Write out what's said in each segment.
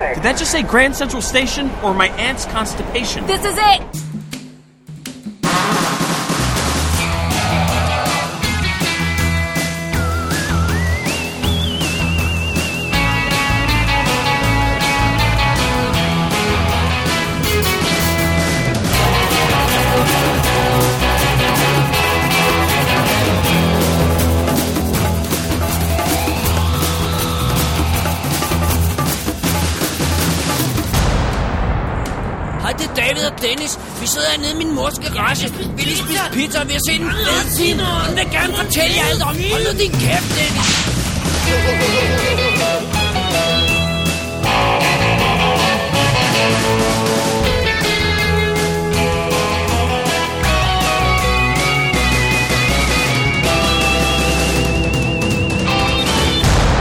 Did that just say Grand Central Station or my aunt's constipation? This is it! Hej, det er David og Dennis. Vi sidder hernede i min mors garage. Vi lige spise pizza, og vi har set en fed film. Hun vil gerne fortælle jer alt om. Hold nu din kæft, Dennis.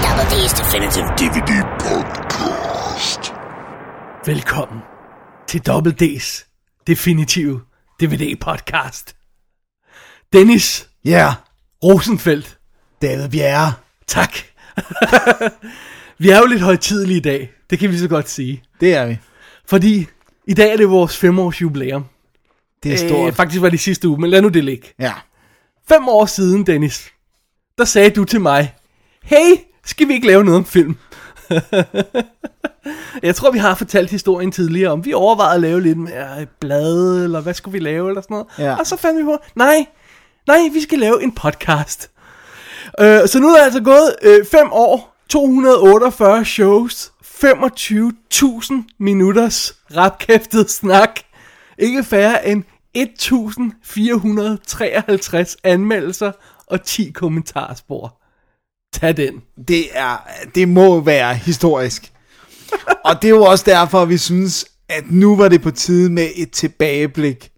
Double D's Definitive DVD Podcast. Velkommen til Double D's definitive DVD-podcast. Dennis Ja, yeah, Rosenfeldt, David Bjerre. tak. vi er jo lidt højtidelige i dag, det kan vi så godt sige. Det er vi. Fordi i dag er det vores femårs jubilæum. Det er stort. Øh, faktisk var det sidste uge, men lad nu det ligge. ja. Fem år siden, Dennis, der sagde du til mig, hey, skal vi ikke lave noget om film? Jeg tror, vi har fortalt historien tidligere om, vi overvejede at lave lidt mere blad, eller hvad skulle vi lave, eller sådan noget. Ja. Og så fandt vi på, nej, nej, vi skal lave en podcast. Øh, så nu er der altså gået øh, fem år, 248 shows, 25.000 minutters rapkæftet snak. Ikke færre end 1.453 anmeldelser og 10 kommentarspor. Tag den. Det, er, det må være historisk. Og det er jo også derfor, vi synes, at nu var det på tide med et tilbageblik.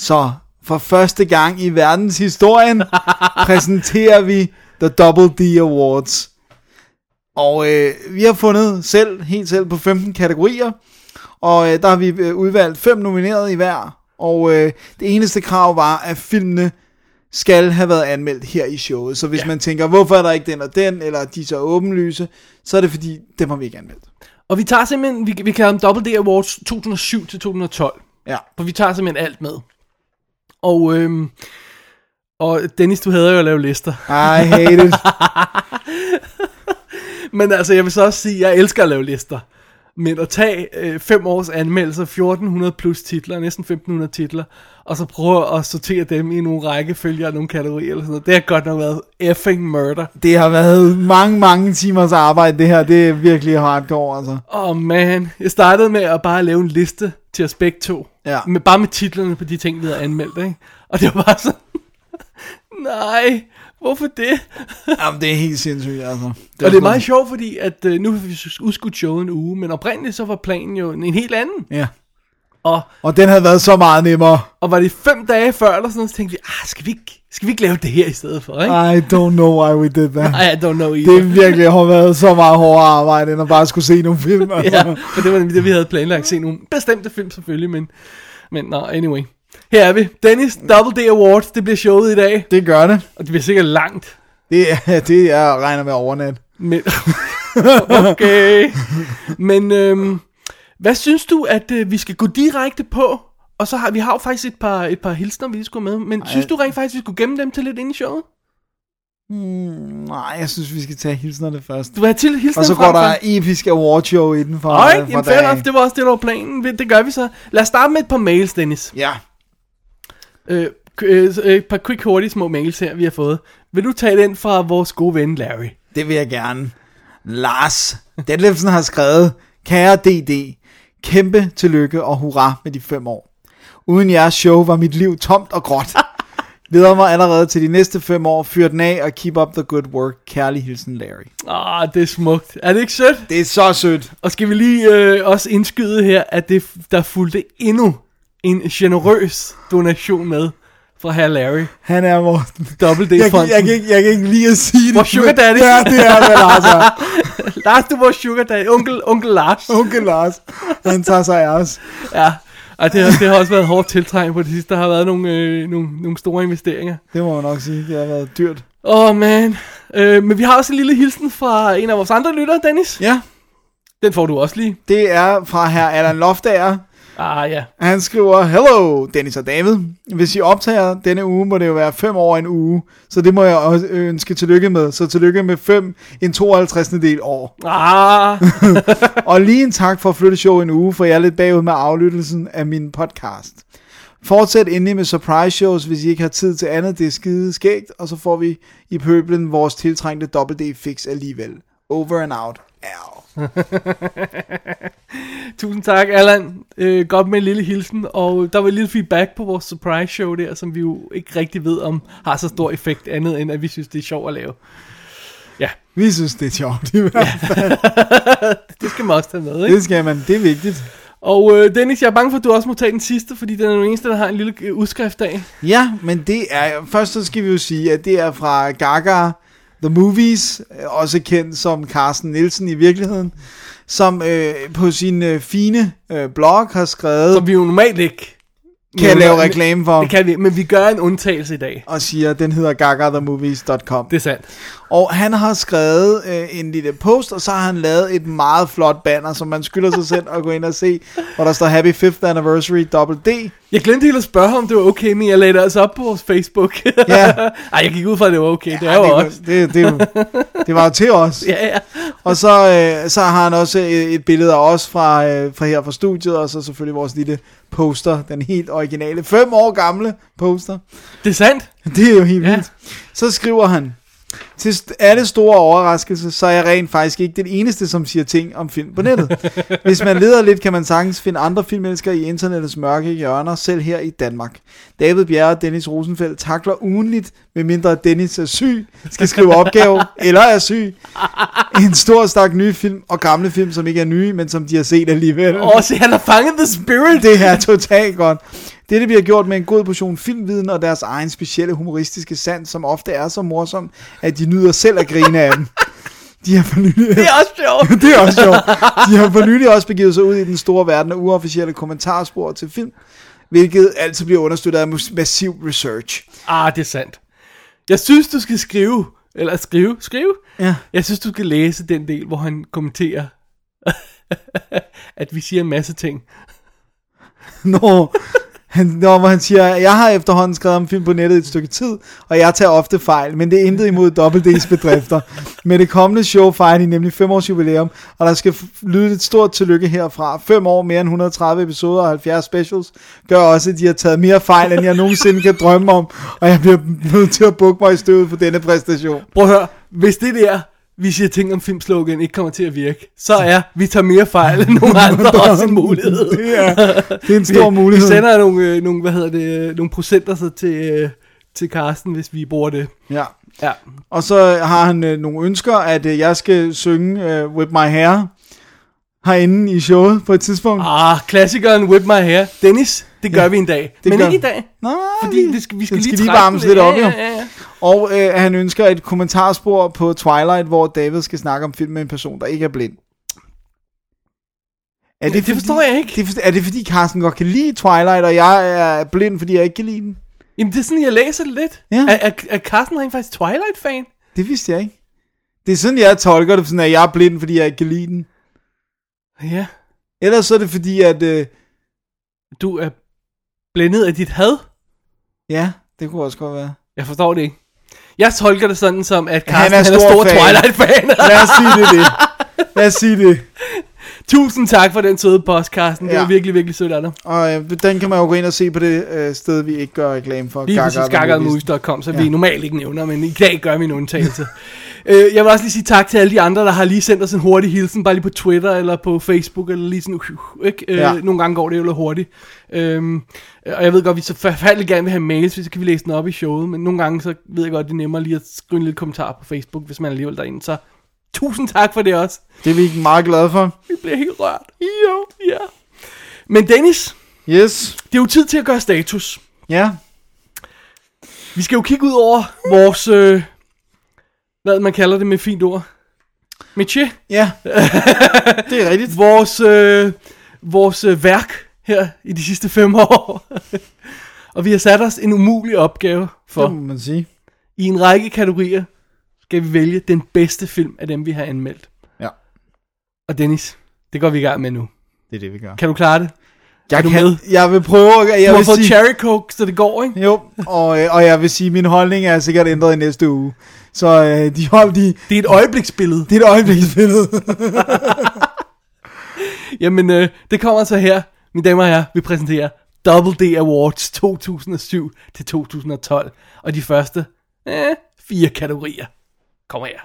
Så for første gang i verdenshistorien præsenterer vi The Double D Awards. Og øh, vi har fundet selv, helt selv på 15 kategorier, og øh, der har vi øh, udvalgt fem nominerede i hver. Og øh, det eneste krav var, at filmene skal have været anmeldt her i showet. Så hvis ja. man tænker, hvorfor er der ikke den og den, eller de er så åbenlyse, så er det fordi, dem har vi ikke anmeldt. Og vi tager simpelthen, vi, vi kalder dem Double D Awards 2007 til 2012. Ja, For vi tager simpelthen alt med. Og, øhm, og Dennis, du hader jo at lave lister. I hate it. Men altså, jeg vil så også sige, at jeg elsker at lave lister. Men at tage øh, fem års anmeldelser, 1400 plus titler, næsten 1500 titler, og så prøve at sortere dem i nogle rækkefølger og nogle kategorier eller sådan noget, det har godt nok været effing murder. Det har været mange, mange timers arbejde, det her. Det er virkelig hardcore, altså. Åh oh man, jeg startede med at bare lave en liste til os begge to. Ja. Med, bare med titlerne på de ting, vi havde anmeldt, ikke? Og det var bare sådan, nej, hvorfor det? Jamen, det er helt sindssygt, altså. og det er meget sjovt, fordi at, øh, nu har vi udskudt showet en uge, men oprindeligt så var planen jo en, en helt anden. Ja. Og Og den havde været så meget nemmere. Og var det fem dage før eller sådan noget, så tænkte vi, ah, skal vi ikke, skal vi ikke lave det her i stedet for, ikke? I don't know why we did that. Ej, I don't know either. Ah. Det virkelig har været så meget hårdere arbejde, end at bare skulle se nogle film. Altså. ja, for det var nemlig det, vi havde planlagt. Se nogle bestemte film selvfølgelig, men, men nå, anyway. Her er vi. Dennis Double D Awards, det bliver showet i dag. Det gør det. Og det bliver sikkert langt. Det er, det er regner med overnat. Men, okay. Men øhm, hvad synes du, at øh, vi skal gå direkte på? Og så har vi har jo faktisk et par, et par hilsner, vi lige skulle have med. Men Ej. synes du rent faktisk, vi skulle gemme dem til lidt ind i showet? Hmm, Nej, jeg synes, vi skal tage hilsnerne først. Du vil have til hilsner Og så går frem for- der episk awardshow i den for, Alright, jamen fair enough, det var også det, der var planen. Vi- Det gør vi så. Lad os starte med et par mails, Dennis. Ja, Øh, k- øh, så et par quick, hurtige små mails her, vi har fået. Vil du tage den fra vores gode ven, Larry? det vil jeg gerne. Lars Detlefsen har skrevet, Kære DD, kæmpe tillykke og hurra med de fem år. Uden jeres show var mit liv tomt og gråt. Glæder mig allerede til de næste fem år. Fyr den af og keep up the good work. Kærlig hilsen, Larry. Ah, det er smukt. Er det ikke sødt? Det er så sødt. Og skal vi lige øh, også indskyde her, at det, f- der fulgte endnu en generøs donation med fra herr Larry. Han er Morten. Dobbelt Jeg, kan- D-fonden. jeg, kan ikke, jeg kan ikke lige at sige det. Hvor sugar men- daddy. Ja, det er vel altså. Lars, du var sugar daddy. Onkel, onkel Lars. Onkel Lars, han tager sig af os. Ja. Og det, har- det har også været hårdt tiltrængt på det sidste. Der har været nogle, øh, nogle, nogle store investeringer. Det må man nok sige, det har været dyrt. Åh, oh, man. Øh, men vi har også en lille hilsen fra en af vores andre lyttere, Dennis. Ja, Den får du også lige. Det er fra her Allan Loftager. Ah, ja. Han skriver, Hello, Dennis og David. Hvis I optager denne uge, må det jo være fem år og en uge, så det må jeg også ønske tillykke med. Så tillykke med fem, en 52. del år. Ah, og lige en tak for at flytte show en uge, for jeg er lidt bagud med aflyttelsen af min podcast. Fortsæt endelig med surprise shows, hvis I ikke har tid til andet. Det er skide skægt, og så får vi i pøblen vores tiltrængte dobbelt D-fix alligevel. Over and out. Ow. tusind tak, Allan. Øh, godt med en lille hilsen. Og der var lidt feedback på vores surprise show der, som vi jo ikke rigtig ved, om har så stor effekt andet, end at vi synes, det er sjovt at lave. Vi synes, det er sjovt. i hvert fald. Det skal man også tage med, ikke? det skal man. Det er vigtigt. Og øh, Dennis, jeg er bange for, at du også må tage den sidste, fordi den er den eneste, der har en lille øh, udskriftdag. Ja, men det er, først så skal vi jo sige, at det er fra Gaga The Movies, øh, også kendt som Carsten Nielsen i virkeligheden, som øh, på sin øh, fine øh, blog har skrevet, som Som vi jo normalt ikke kan men- lave reklame for, Det kan vi, men vi gør en undtagelse i dag. og siger, at den hedder gagathemovies.com. Det er sandt. Og han har skrevet øh, en lille post, og så har han lavet et meget flot banner, som man skylder sig selv at gå ind og se, hvor der står Happy 5th Anniversary Double D. Jeg glemte helt at spørge, om det var okay, men jeg lagde det altså op på vores Facebook. Ja. Ej, jeg gik ud fra, at det var okay. Ja, det er Ej, jo det, også. det, det, er jo- det var jo til os. Ja, ja. Og så, øh, så har han også et, et billede af os fra, øh, fra her fra studiet, og så selvfølgelig vores lille poster, den helt originale, fem år gamle poster. Det er sandt. Det er jo helt Ja. vildt. Så skriver han, til st- alle store overraskelse, så er jeg rent faktisk ikke den eneste, som siger ting om film på nettet. Hvis man leder lidt, kan man sagtens finde andre filmelskere i internettets mørke hjørner, selv her i Danmark. David Bjerre og Dennis Rosenfeldt takler ugenligt, medmindre Dennis er syg, skal skrive opgave, eller er syg. En stor stak nye film og gamle film, som ikke er nye, men som de har set alligevel. Åh, se, han har fanget the spirit. Det her er totalt godt. Dette bliver gjort med en god portion filmviden og deres egen specielle humoristiske sans, som ofte er så morsom, at de nyder selv at grine af dem. De har for nylig... Det er også sjovt. Det er også sjovt. De har for nylig også begivet sig ud i den store verden af uofficielle kommentarspor til film, hvilket altid bliver understøttet af mus- massiv research. Ah, det er sandt. Jeg synes, du skal skrive, eller skrive, skrive. Ja. Jeg synes, du skal læse den del, hvor han kommenterer, at vi siger en masse ting. Nå, han, når han siger, jeg har efterhånden skrevet om film på nettet et stykke tid, og jeg tager ofte fejl, men det er intet imod WD's bedrifter. Med det kommende show fejrer de nemlig 5 års jubilæum, og der skal f- lyde et stort tillykke herfra. 5 år, mere end 130 episoder og 70 specials, gør også, at de har taget mere fejl, end jeg nogensinde kan drømme om, og jeg bliver nødt til at bukke mig i støvet for denne præstation. Prøv at høre, hvis det der, vi siger ting om filmslogan, ikke kommer til at virke, så er, vi tager mere fejl end nogen andre også en mulighed. Det er, det er en stor vi, mulighed. Vi sender nogle, øh, nogle, hvad hedder det, øh, nogle procenter så til, øh, til Carsten, hvis vi bruger det. Ja. Ja. Og så har han øh, nogle ønsker, at øh, jeg skal synge øh, Whip My Hair herinde i showet på et tidspunkt. Ah, Ah, klassikeren Whip My Hair. Dennis, det gør ja, vi en dag. Det Men gør ikke i vi. dag. Nej, Fordi det skal, vi skal, den lige, skal lige trække varmes den lidt op, ja, jo. ja, ja. Og øh, han ønsker et kommentarspor på Twilight, hvor David skal snakke om film med en person, der ikke er blind. Er Det forstår jeg ikke. Det, er for- er det fordi Carsten godt kan lide Twilight, og jeg er blind, fordi jeg ikke kan lide den? Jamen, det er sådan, jeg læser det lidt. Ja. Er, er, er Carsten rent faktisk Twilight-fan? Det vidste jeg ikke. Det er sådan, jeg tolker det, sådan, at jeg er blind, fordi jeg ikke kan lide den. Ja. Ellers så er det fordi, at... Øh, Du er blændet af dit had. ja, det kunne også godt være. Jeg forstår det ikke. Jeg tolker det sådan som, at Carsten er han er stor stor fan. Twilight-fan. Lad os sige det, det. Lad os sige det. Tusind tak for den søde post, Carsten. Det Ja. var virkelig, virkelig sødt af dig. Og øh, den kan man jo gå ind og se på det øh, sted, vi ikke gør reklame for. Lige præcis gaggermovies.com, så ja. vi normalt ikke nævner, men i dag gør vi en undtagelse. øh, jeg vil også lige sige tak til alle de andre, der har lige sendt os en hurtig hilsen, bare lige på Twitter eller på Facebook, eller lige sådan, uh, ikke? Øh, Ja. ja. Nogle gange går det jo lidt hurtigt. Øhm, og jeg ved godt, vi så forfærdeligt gerne vil have mails, så kan vi læse den op i showet, men nogle gange så ved jeg godt, det er nemmere lige at skrive en lille kommentar på Facebook, hvis man er alligevel derinde. Så tusind tak for det også. Det er vi meget glade for. Vi bliver helt rørt. Jo, ja. Men Dennis, Yes. det er jo tid til at gøre status. Ja. Vi skal jo kigge ud over vores, øh, hvad man kalder det med et fint ord, métier, Ja. det er rigtigt. vores, øh, vores øh, værk her i de sidste fem år. og vi har sat os en umulig opgave Det for. må man sige. I en række kategorier skal vi vælge den bedste film af dem, vi har anmeldt. Ja. Og Dennis, Det går vi i gang med nu. Det er det, vi gør. Kan du klare det? jeg, du med? jeg vil prøve, jeg, Du jeg har vil fået sige, cherry coke, så det går, ikke? jo, og, øh, og jeg vil sige, min holdning er sikkert ændret i næste uge. Så øh, de hold, de, Det er et øjebliksbillede. det er et øjebliksbillede. Jamen, øh, det kommer så her. Mine damer og herrer, vi præsenterer Double D Awards 2007 til 2012. Og de første øh, fire kategorier. Kommer her.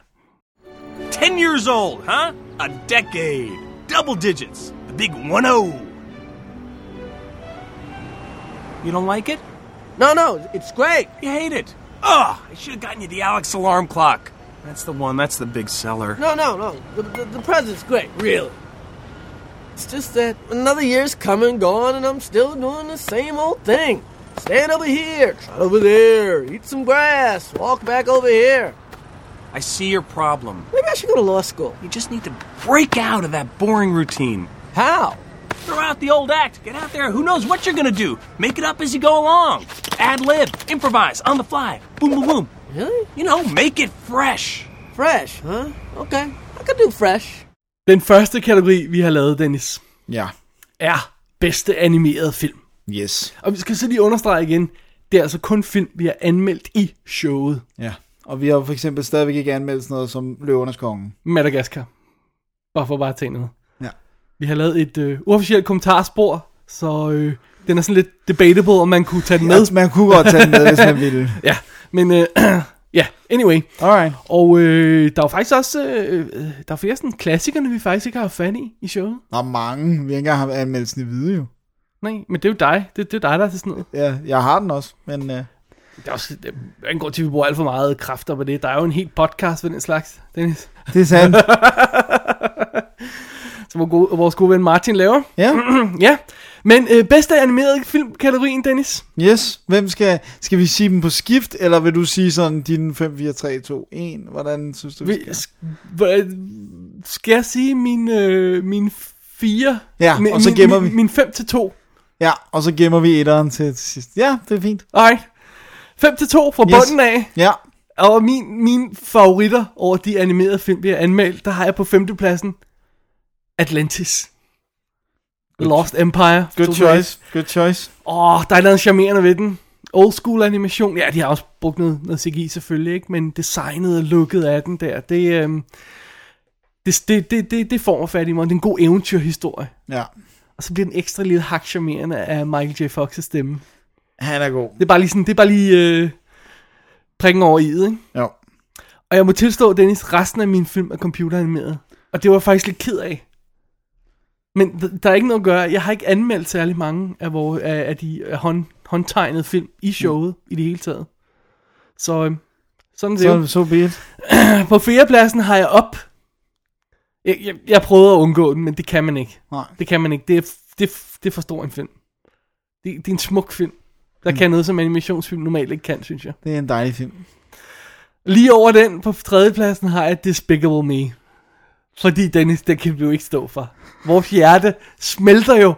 10 years old, huh? A decade. Double digits. The big 1 0. You don't like it? No, no, it's great. You hate it. Ugh, I should have gotten you the Alex alarm clock. That's the one, that's the big seller. No, no, no. The, the, the present's great, really. It's just that another year's come and gone, and I'm still doing the same old thing. Stand over here, trot over there, eat some grass, walk back over here. I see your problem. Maybe I should go to law school. You just need to break out of that boring routine. How? Throw out the old act. Get out there. Who knows what you're gonna do? Make it up as you go along. Ad lib. Improvise. On the fly. Boom, boom, boom. Really? You know, make it fresh. Fresh, huh? Okay, I could do fresh. Den første kategori, vi har lavet, Dennis, ja, er bedste animerede film. yes. Og vi skal så lige understrege igen, det er altså kun film, vi har anmeldt i showet Ja. Og vi har for eksempel stadigvæk ikke anmeldt sådan noget som Løvernes Kongen. Madagaskar. Bare for bare at tage noget. Ja. Vi har lavet et øh, uofficielt kommentarspor, så øh, den er sådan lidt debatable, om man kunne tage den med. Med. Man kunne godt tage den med, hvis man ville. Ja, men øh, ja, anyway. Alright. Og øh, der er jo faktisk også, øh, øh, der er flere sådan klassikerne, vi faktisk ikke har haft fat i i showet. Der er mange. Vi har ikke engang haft anmeldelsen i hvide jo. Nej, men det er jo dig. Det, det er dig, der er til sådan noget. Ja, jeg har den også, men øh, Det er også det er en grund til, at vi bruger alt for meget kræfter på det. Der er jo en helt podcast ved den slags, Dennis. det er sandt. Som vores gode, vores gode ven Martin laver. Ja, ja, men øh, bedste animerede filmkategorien, Dennis? yes. Hvem skal, skal vi sige dem på skift, eller vil du sige sådan din 5, 4, 3, 2, 1? Hvordan synes du, vi Vi, skal? sk- hva- skal jeg sige min, øh, min fire? Ja, min, og så min- gemmer min, vi. Min fem til to. Ja, og så gemmer vi etteren til, til sidst. Ja, det er fint. Alright. Fem til to fra Yes. bunden af. Ja, Og min, mine favoritter over de animerede film, vi har anmeldt, der har jeg på femtepladsen Atlantis. Good. Lost Empire. good choice. Good choice. Åh, oh, der er noget charmerende ved den. Old school animation. Ja, de har også brugt noget, noget CGI selvfølgelig, ikke? Men designet og looket af den der, det, øhm, det, det, det, det, det får mig fat i mig. Det er en god eventyrhistorie. Ja, Og så bliver den ekstra lille hak charmerende af Michael J. Fox' stemme. han er god. Det er bare lige sådan, det er bare lige øh, prikken over i det, ikke? Jo. Og jeg må tilstå, Dennis, resten af min film er computeranimeret. Og det var jeg faktisk lidt ked af. Men th- der er ikke noget at gøre. Jeg har ikke anmeldt særlig mange af, hvor, af, af de af hånd, håndtegnede film i showet mm. i det hele taget. Så øhm, sådan er det Så, jo. så be it. På fjerdepladsen har jeg op. Jeg, jeg, jeg prøvede at undgå den, men det kan man ikke. Nej. Det kan man ikke. Det er, f- det, er f- det er for stor en film. Det, det er en smuk film. Der mm. kan noget, som animationsfilm normalt ikke kan, synes jeg. Det er en dejlig film. Lige over den på tredjepladsen har jeg Despicable Me. Fordi Dennis, det kan vi jo ikke stå for. Vores hjerte smelter jo,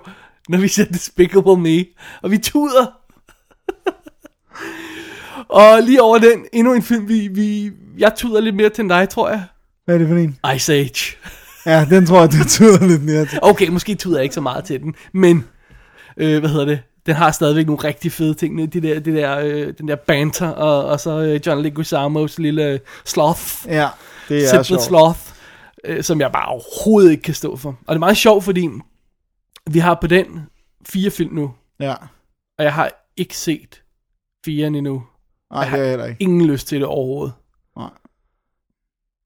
når vi ser Despicable Me. Og vi tuder. og lige over den, endnu en film, vi, vi, jeg tuder lidt mere til end dig, tror jeg. Hvad er det for en? Ice Age. Ja, den tror jeg, du tyder lidt mere til. Okay, måske tuder jeg ikke så meget til den, men, øh, hvad hedder det, den har stadigvæk nogle rigtig fede ting, de der, det der, øh, den der banter, og, og så øh, John Leguizamo's lille øh, sloth. Ja, det er Simple sjovt. Sloth, øh, som jeg bare overhovedet ikke kan stå for. Og det er meget sjovt, fordi vi har på den fire film nu, Ja. og jeg har ikke set firen endnu. Nej, det er jeg heller ikke. Ingen lyst til det overhovedet. Nej.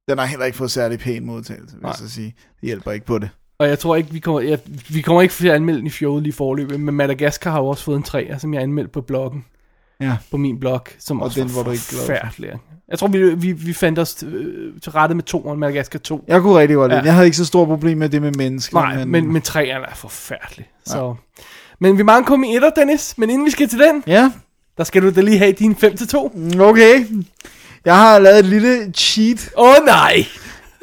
Den har heller ikke fået særlig pæn modtagelse, vil jeg Nej. så sige. Det hjælper ikke på det. Og jeg tror ikke, vi kommer, jeg, vi kommer ikke til at anmelde den i fjollet lige forløbet, men Madagaskar har jo også fået en 3, som jeg anmeldte på bloggen. Ja. På min blog, som Og også den var var du ikke glad for. forfærdelig. Jeg tror, vi, vi, vi fandt os øh, til rette med toeren, Madagaskar 2. Jeg kunne rigtig godt lide Ja. ja. Jeg havde ikke så store problemer med det med mennesker. Nej, men, men træerne er forfærdelig. Så. Men vi mangler kun i etter, Dennis. Men inden vi skal til den, Ja, Der skal du da lige have din 5 til 2. Åh okay. Jeg har lavet et lille cheat, oh, nej.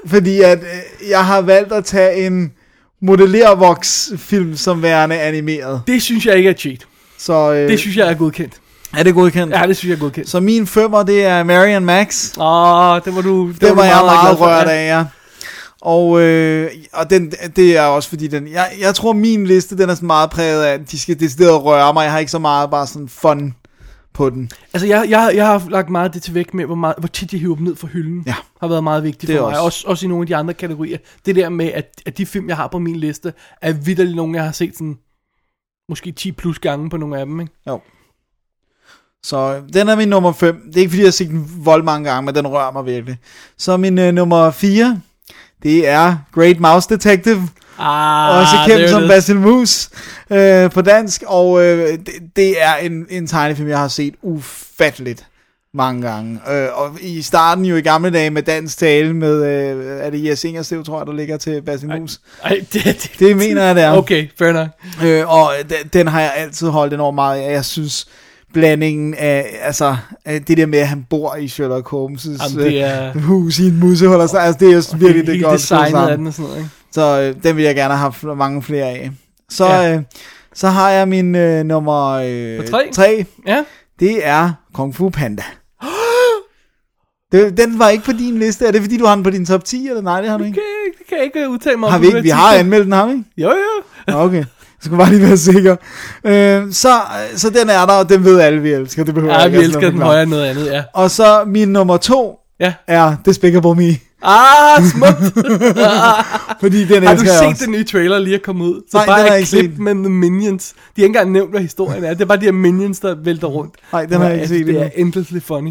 fordi at øh, jeg har valgt at tage en modellervoks-film som værende animeret. Det synes jeg ikke er cheat. Så øh, Det synes jeg er godkendt. er det godkendt? Ja, det synes jeg er godkendt. Så min femmer, det er Marian Max. Åh, det var du... Det du var jeg glad meget for. rørt Ja. af, ja. Og, øh, og den, det er også fordi, den, jeg, jeg tror min liste den er sådan meget præget af, at de skal decideret røre mig. Jeg har ikke så meget bare sådan fun på den. Altså, jeg, jeg, jeg har lagt meget af det til væk med, hvor, meget, hvor tit de hiver dem ned fra hylden. Ja. Har været meget vigtigt Det er for mig. også- Også, også i nogle af de andre kategorier. Det der med, at, at de film, jeg har på min liste, er vidderligt nogle, jeg har set sådan... Måske 10 plus gange på nogle af dem, ikke? Jo. Så øh, den er min nummer 5. Det er ikke fordi, jeg har set den vold mange gange, men den rører mig virkelig. Så min øh, nummer 4, det er Great Mouse Detective. Ah, også kendt som Basil Moose øh, på dansk, og øh, det, det er en, en tegnefilm, jeg har set ufatteligt mange gange. Øh, og i starten jo i gamle dage med dansk tale med, øh, er det Jes Ingerslev, tror jeg, der ligger til Basil Moose. Ej, det, det, Det mener jeg, det er. Okay, fair nok. Øh, og den, den har jeg altid holdt enormt meget af. Jeg synes, blandingen af, altså, af det der med, at han bor i Sherlock Holmes' Jamen, det er- øh, hus i en musehul, og så, altså, det er jo virkelig det, Hele det godt skruet designet af sammen. den og sådan noget, ikke? Så øh, den vil jeg gerne have haft mange flere af. Så, Ja. ja. øh, så har jeg min øh, nummer På øh, tre? 3. Ja. Det er Kung Fu Panda. Det, den var ikke på din liste. Er det fordi, du har den på din top 10? Eller nej, det har du ikke. Kan jeg, ikke- det kan jeg ikke øh, udtale mig om. Har vi ikke? Vi har en. anmeldt den, har vi ikke? Jo, jo. Nå, okay. Jeg skulle bare lige være sikker. Øh, så, så den er der, og den ved alle, vi elsker. Det behøver Ja, jeg ikke vi at elsker den forklare. højere end noget andet, ja. Og så min nummer to Ja. er Despicable Me. Ah, smukt. Fordi den Har du elsker jeg set også. den nye trailer lige er kommet ud? Så Nej, bare den har jeg et ikke klip set. med The Minions. De har ikke engang nævnt, hvad historien er. Det er bare de her Minions, der vælter rundt. Nej, den har jeg ikke set Det er endnu. endlessly funny.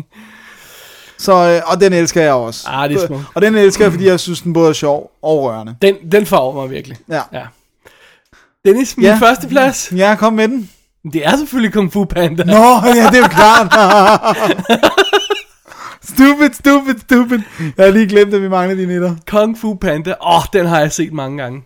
Så, øh, og den elsker jeg også. Ah, det er smukt. Og den elsker jeg, fordi jeg synes, den både er sjov og rørende. Den, den farver mig virkelig. Ja. ja. Dennis, min Ja. første plads. Ja, kom med den. Det er selvfølgelig Kung Fu Panda. Nå, ja, det er jo klart. stupid, stupid, stupid. Jeg har lige glemt, at vi mangler de nitter. Kung Fu Panda. Åh, oh, den har jeg set mange gange.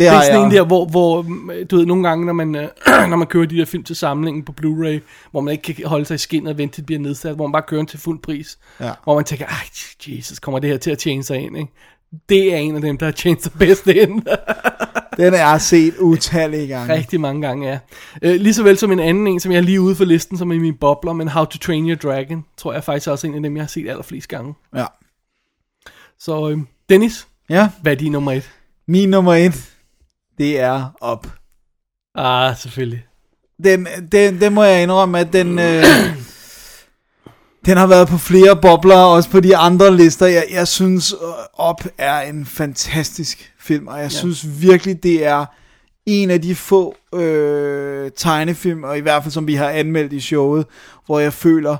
Det Det har er sådan en der, jeg. hvor, hvor mm, du ved, nogle gange, når man, øh, når man kører de der film til samlingen på Blu-ray, hvor man ikke kan holde sig i skinnet og vente til det bliver nedsat, hvor man bare kører den til fuld pris. Ja. Hvor man tænker, ej, Jesus, kommer det her til at tjene sig ind, ikke? Det er en af dem, der har tjent sig bedst ind. Den er jeg set utallige gange. Rigtig mange gange, ja. Øh, lige så vel som en anden en, som jeg er lige ude for listen, som er i mine bobler, men How to Train Your Dragon, tror jeg faktisk også er en af dem, jeg har set allerflest gange. Ja. Så øh, Dennis, ja. hvad er din nummer et? Min nummer et, det er op. Ah, selvfølgelig. Den, den, den må jeg indrømme, at den... Øh, den har været på flere bobler, også på de andre lister. Jeg, jeg synes, øh, op er en fantastisk film, og jeg ja. synes virkelig, det er en af de få øh, tegnefilm, og i hvert fald som vi har anmeldt i showet, hvor jeg føler,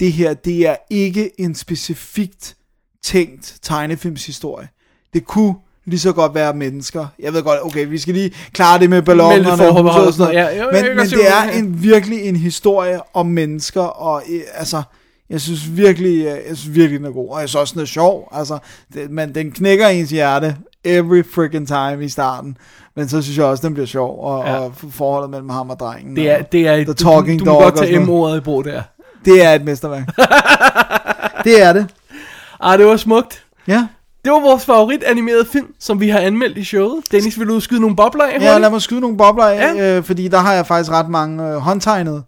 det her, det er ikke en specifikt tænkt tegnefilmshistorie. Det kunne lige så godt være mennesker. Jeg ved godt, okay, vi skal lige klare det med ballonerne. Med lidt forbehold huset og sådan noget. Ja, jo, jeg men, kan men godt se, det hvad du er mener. en, virkelig en historie om mennesker, og øh, altså, jeg synes virkelig, øh, jeg synes virkelig, den er god, og jeg synes også, den er sjov. Altså, det, man, den knækker ens hjerte every freaking time i starten, men så synes jeg også, den bliver sjov, og, Ja. ja. og forholdet mellem ham og drengen. Det er, og, det er The et, Talking du, du, du må Dog godt og sådan tage noget. M-ordet i brug der. det er et mesterværk. det er det. Ah, det var smukt. Ja. Det var vores favorit animerede film, som vi har anmeldt i showet. Dennis, vil du udskyde nogle bobler af? Ja, hurtigt? lad mig skyde nogle bobler af, Ja. ja. øh, fordi der har jeg faktisk ret mange øh, håndtegnede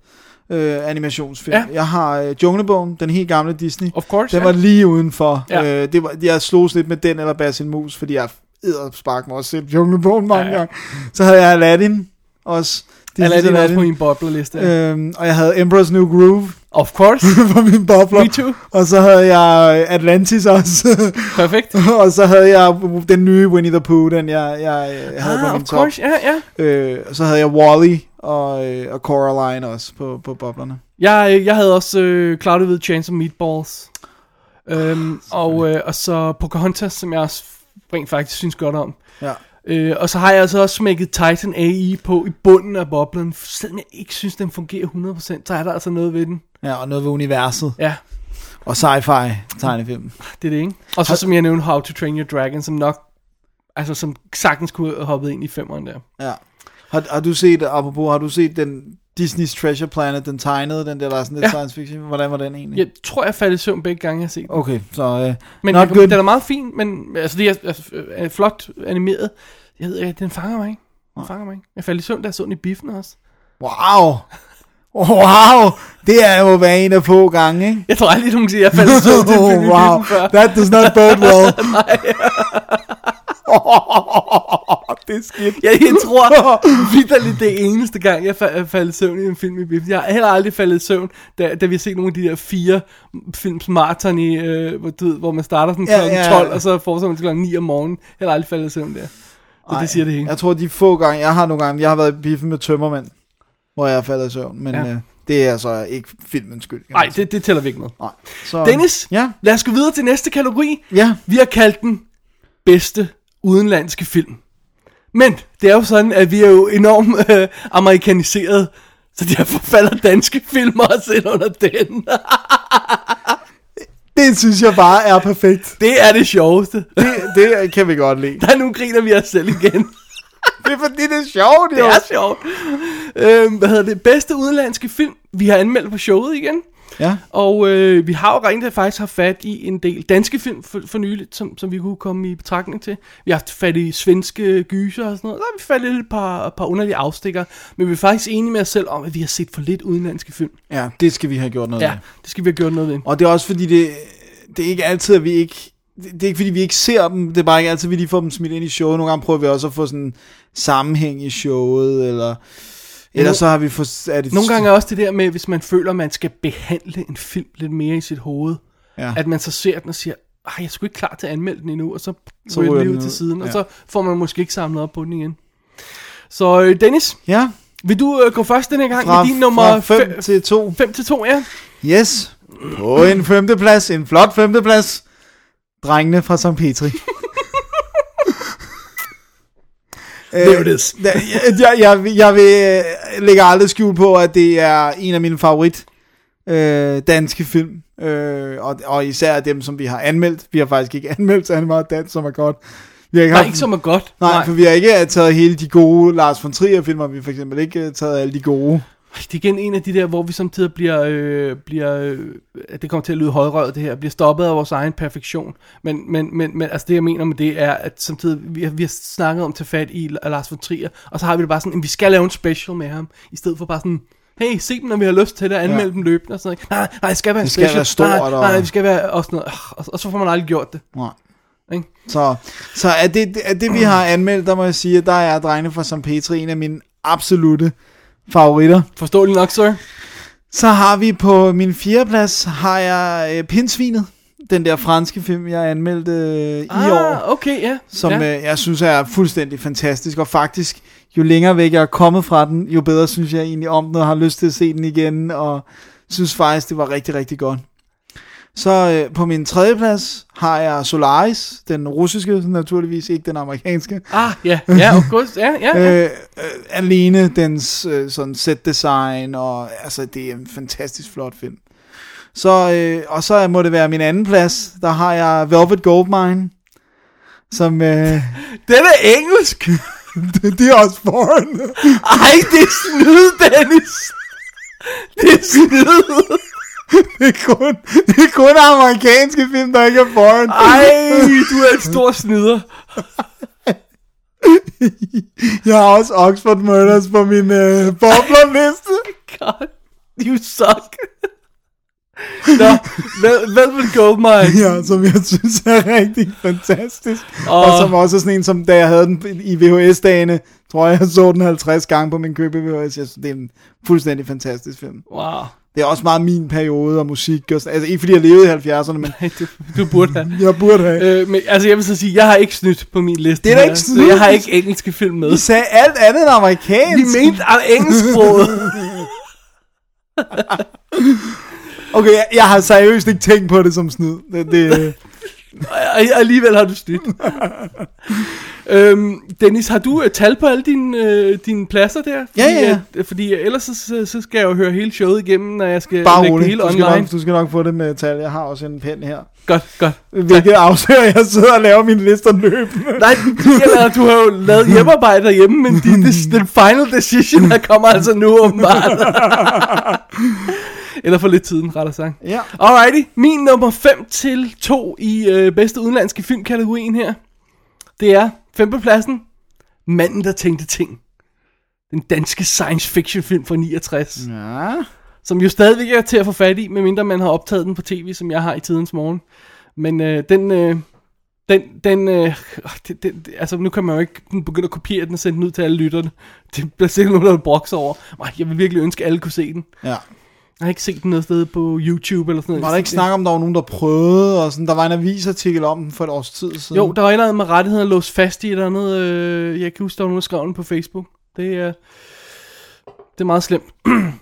øh, animationsfilm. Ja. Ja. Jeg har øh, Junglebogen, den helt gamle Disney. Of course, Den ja. var lige udenfor. Ja. Ja. Øh, det var, jeg slogs lidt med den eller Basil Mus, fordi jeg spark mig også set Junglebogen mange Ja, ja. ja. gange. Så havde jeg Aladdin også. Disney's Aladdin er også på min boblerliste. Uh, Øhm, og jeg havde Emperor's New Groove of course. på min bobler. Me too. Og så havde jeg øh, Atlantis også. Perfekt. og så havde jeg den nye Winnie the Pooh, den jeg, jeg, øh, jeg havde Ah, på of min top. course, ja, ja. Øh, og så havde jeg Wally og, øh, og Coraline også på, på boblerne. Jeg, øh, jeg havde også øh, Cloudy with a Chance of Meatballs. Ah, Øhm, og, øh, og så Pocahontas, som jeg også rent faktisk synes godt om. Ja. Øh, og så har jeg altså også smækket Titan AI på i bunden af boblen. Selvom jeg ikke synes, den fungerer 100%, så er der altså noget ved den. ja, og noget ved universet. Ja, Og sci-fi tegnefilm. det er det, ikke? Og så som jeg nævnte, How to Train Your Dragon, som nok, altså som sagtens kunne have hoppet ind i femmeren der. Ja. Har, har du set, apropos, har du set den Disney's Treasure Planet, den tegnede, den der, der er sådan lidt Ja. ja. science fiction? Hvordan var den egentlig? Jeg tror, jeg faldt i søvn begge gange, jeg har set den. Okay, så øh, Men not jeg, good. den er meget fin, men altså, det er, altså, er flot animeret. Jeg ved ikke, den fanger mig ikke. Den fanger mig ikke. Jeg faldt i søvn, da jeg så den i biffen også. Wow! Wow, det er jo være en af få gange, ikke? Jeg tror aldrig, nogen siger, at jeg faldt i søvn til en film i wow, biffen før. that does not bode well. det er skidt. Jeg, jeg tror vidderligt det eneste gang, jeg fa- faldt i søvn i en film i biffen. Jeg har heller aldrig faldet i søvn, da, da vi har set nogle af de der fire films maraton i, øh, hvor, du ved, hvor man starter sådan Ja, kl. ja. 12, og så fortsætter man til kl. 9 om morgenen. Jeg har heller aldrig faldet i søvn der. Så det siger det hele. Jeg tror, de få gange, jeg har nogle gange, jeg har været i biffen med tømmermænd, hvor jeg er faldet i søvn, men Ja. ja. øh, det er altså ikke filmens skyld. kan man Nej, sige. det, det tæller vi ikke med. Nej. Så, Dennis, Ja, lad os gå videre til næste kategori. ja. Vi har kaldt den bedste udenlandske film. Men det er jo sådan, at vi er jo enormt øh, amerikaniseret, så derfor falder danske film også ind under den. Det synes jeg bare er perfekt. Det er det sjoveste. Det, det kan vi godt lide. Der nu griner vi os selv igen. Det er fordi, det er sjovt, Det er sjovt. Øhm, hvad hedder det? Bedste udenlandske film, vi har anmeldt på showet igen. Ja. Og øh, vi har jo rent faktisk haft fat i en del danske film for, for nyligt, som, som vi kunne komme i betragtning til. Vi har haft fat i svenske gyser og sådan noget. Der har vi fat i et par, par underlige afstikker. Men vi er faktisk enige med os selv om, at vi har set for lidt udenlandske film. ja, det skal vi have gjort noget Ja, af. det skal vi have gjort noget ved. Og det er også fordi, det, det er ikke altid, at vi ikke... Det det er ikke fordi, vi ikke ser dem. Det er bare ikke altid, vi lige får dem smidt ind i showet. Nogle gange prøver vi også at få sådan sammenhæng i showet, eller... Eller så har vi fået... Er det Nogle gange er også det der med, hvis man føler, at man skal behandle en film lidt mere i sit hoved. Ja. at man så ser den og siger, ej, jeg er sgu ikke klar til at anmelde den endnu, og så Så ryger den ryger lige den ud til ud. siden, ja. og Ja. så får man måske ikke samlet op på den igen. Så øh, Dennis, Ja, vil du øh, gå først denne gang fra, med din nummer fra 5 til 2. 5 til 2, ja? Yes. På en femteplads, en flot femteplads. Drengene fra St. Petri. There it is. Øh, Jeg, jeg, jeg vil øh, lægge aldrig skjul på, at det er en af mine favorit øh, danske film. Øh, og, og især dem, som vi har anmeldt. Vi har faktisk ikke anmeldt så meget dansk, som er godt. Vi har ikke Nej, haft- ikke som er godt. Nej, for vi har ikke øh, taget hele de gode Lars von Trier filmer. Vi har for eksempel ikke øh, taget alle de gode. Ej, det er igen en af de der, hvor vi samtidig bliver, øh, bliver øh, at det kommer til at lyde højrøvet det her, bliver stoppet af vores egen perfektion. Men, men, men, men altså det jeg mener med det er, at samtidig, vi har, vi har snakket om at tage fat i L- Lars von Trier, og så har vi det bare sådan, at vi skal lave en special med ham, i stedet for bare sådan, hey, se dem, når vi har lyst til det, og anmelde ja. Ja. dem løbende og sådan noget. Nej, nej, det skal være en Det skal special. være stort, nej, nej, og- nej, vi skal være, og sådan noget. Ah, Og, og så får man aldrig gjort det. Nej. Ikke? Så, så er det, er det, vi har anmeldt, der må jeg sige, at der er drengene fra St. Petri en af mine absolute favoritter. Forståeligt nok, sir. Så har vi på min fjerdeplads, har jeg øh, Pinsvinet. Den der franske film, jeg anmeldte øh, i år Ah, okay, ja. som ja. ja. øh, jeg synes er fuldstændig fantastisk, og faktisk, jo længere væk jeg er kommet fra den, jo bedre synes jeg egentlig om den, og har lyst til at se den igen, og synes faktisk, det var rigtig, rigtig godt. Så øh, på min tredje plads har jeg Solaris, den russiske naturligvis, ikke den amerikanske. Ah, ja, ja, of course, ja, ja. ja. Øh, øh, alene dens øh, sådan set design og altså det er en fantastisk flot film. Så øh, og så må det være min anden plads. Der har jeg Velvet Goldmine, som øh, Den er engelsk. det, det er også foreign. Ej, det er snyd, Dennis. Det er snyd. Det er kun, det er kun amerikanske film, der ikke er foreign. Ej, du er en stor snyder. Jeg har også Oxford Murders på min øh, boblerliste. God, you suck. Nå, Vel- Velvet Goldmine. Ja, som jeg synes er rigtig fantastisk. Og- Og, og som også er sådan en, som da jeg havde den i VHS-dagene, tror jeg, jeg så den 50 gange på min købe VHS. Jeg synes, det er en fuldstændig fantastisk film. Wow. Det er også meget min periode og musik. Og sådan, altså ikke fordi jeg levede i 70'erne, men Ej, du, du burde have. jeg burde have. Øh, men altså, jeg vil så sige, jeg har ikke snydt på min liste. Det er da her, ikke Så snyd. jeg har ikke engelske film med. Vi sagde alt andet end amerikansk. Vi mente af engelsksproget. Okay, jeg, jeg har seriøst ikke tænkt på det som snyd. Det, det, Og og alligevel har du snydt. øhm, Dennis, har du øh, tal på alle dine, øh, dine plasser der? Fordi, Ja, ja. At, fordi ellers så, så, så skal jeg jo høre hele showet igennem, når jeg skal Bare lægge det rolig. hele Du skal, online. nok, du skal nok få det med tal. Jeg har også en pen her. Godt, godt. Hvilket afslører, at jeg sidder og laver mine lister løbende. Nej, eller, du har jo lavet hjemmearbejde derhjemme, men de, de, den final decision der kommer altså nu åbenbart. eller for lidt tiden, rettere sagt. Ja. Alrighty, min nummer 5 til 2 i øh, bedste udenlandske filmkategorien her, det er femtepladsen, Manden, der tænkte ting. Den danske science fiction film fra 69. Ja. Ja. Som jo stadigvæk er til at få fat i, medmindre man har optaget den på tv, som jeg har i tidens morgen. Men øh, den... Øh, den, den, øh, det, det, det- altså nu kan man jo ikke begynde at kopiere den og sende den ud til alle lytterne. Det bliver sikkert nogen, der vil brokse over. Nej, jeg vil virkelig ønske, at alle kunne se den. ja. Jeg har ikke set den noget sted på YouTube eller sådan noget. Var der ikke snak om, der var nogen, der prøvede, og sådan, der var en avisartikel om den for et års tid siden? Jo, der var et eller andet med rettigheder låst fast i et eller andet. Øh, jeg kan huske, der var nogen, der skrev den på Facebook. Det er, det er meget slemt.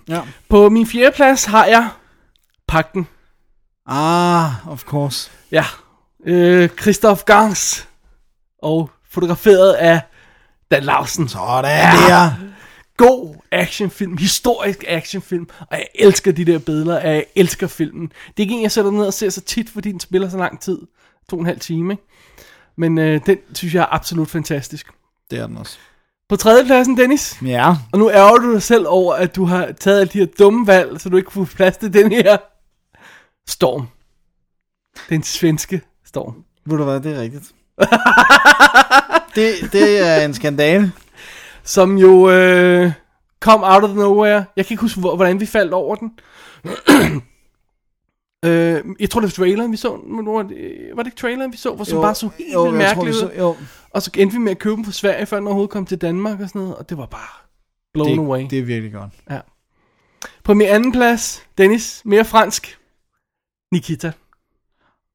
Ja. På min fjerde plads har jeg Pakten. Ah, of course. Ja. Øh, Christoph Gans. Og fotograferet af Dan Larsen. Sådan der. god actionfilm, historisk actionfilm, og jeg elsker de der billeder, og jeg elsker filmen. Det er ikke en, jeg sætter ned og ser så tit, fordi den spiller så lang tid, to og en halv time, ikke? Men øh, den synes jeg er absolut fantastisk. Det er den også. På tredjepladsen, Dennis, Ja. og nu ærger du dig selv over, at du har taget alle de her dumme valg, så du ikke kunne få plads til den her storm. Den svenske storm. Ved du hvad, det er rigtigt. det, det er en skandale. Som jo øh, kom out of nowhere. Jeg kan ikke huske, hvor- hvordan vi faldt over den. øh, jeg tror, det var traileren, vi så. den, Men var det, var det ikke traileren, vi så, hvor som bare så helt jo, jeg tror, vi mærkeligt så- ud? Jo, Og så endte vi med at købe den fra Sverige, før den overhovedet kom til Danmark og sådan noget. Og det var bare blown away. det, det er virkelig godt. På min anden plads, Dennis, mere fransk. Nikita.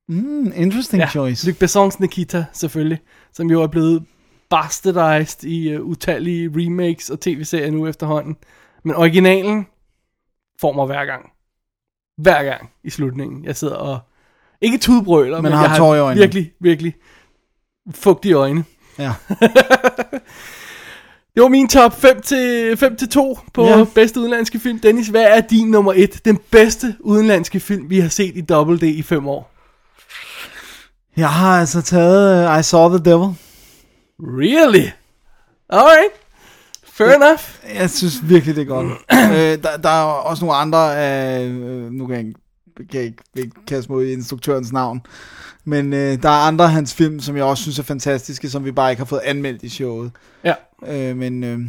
Mm, interesting ja, choice. Luc Besson's Nikita, selvfølgelig. Som jo er blevet bastardized i uh, utallige remakes og tv-serier nu efterhånden. Men originalen får mig hver gang. Hver gang i slutningen. Jeg sidder og... Ikke tudbrøler, men, har jeg tår i øjnene. virkelig, virkelig fugtige øjne. Ja. Det var min top 5 til, 5 til 2 på Ja. ja. bedste udenlandske film. Dennis, hvad er din nummer 1? Den bedste udenlandske film, vi har set i Double D i 5 år. Jeg har altså taget uh, I Saw the Devil. Really? Alright. Fair enough. Jeg synes virkelig, det er godt. øh, der, der er også nogle andre, øh, øh, nu kan jeg, ikke- kan jeg ikke, ikke kaste mod instruktørens navn, men øh, der er andre af hans film, som jeg også synes er fantastiske, som vi bare ikke har fået anmeldt i showet. Ja. Øh, men øh,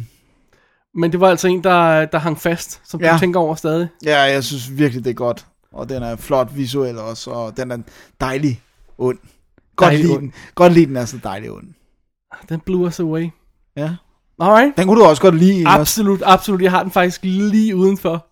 Men det var altså en, der, der hang fast, som ja. Ja. du tænker over stadig. ja, jeg synes virkelig, det er godt. Og den er flot visuel også, og den er dejlig ond. Godt Dejlig lide ond. den. Godt lide den er så dejlig ond. Ah, Den blew us away. Ja. Alright. Den kunne du også godt lide. ikke også? Absolut, absolut. Jeg har den faktisk lige udenfor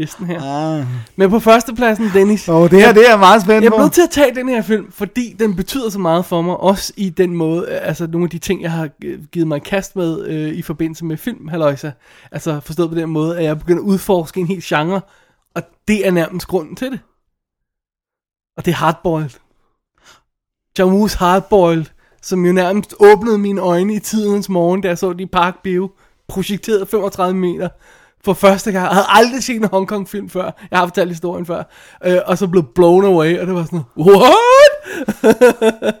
listen her. Ah. Men på førstepladsen, Dennis. Og det her, det er jeg meget spændt Jeg på. er nødt til at tage den her film, fordi den betyder så meget for mig, også i den måde, øh, altså nogle af de ting, jeg har øh, givet mig i kast med øh, i forbindelse med film, halløjsa. Altså forstået på den måde, at jeg begynder at udforske en hel genre, og det er nærmest grunden til det. Og det er Hardboiled. Jamus Hardboiled, som jo nærmest åbnede mine øjne i tidens morgen, da jeg så det i Park Bio, projekteret 35 meter for første gang. Jeg havde aldrig set en Hong Kong film før. Jeg har fortalt historien før. Øh, og så blev blown away, og det var sådan, what?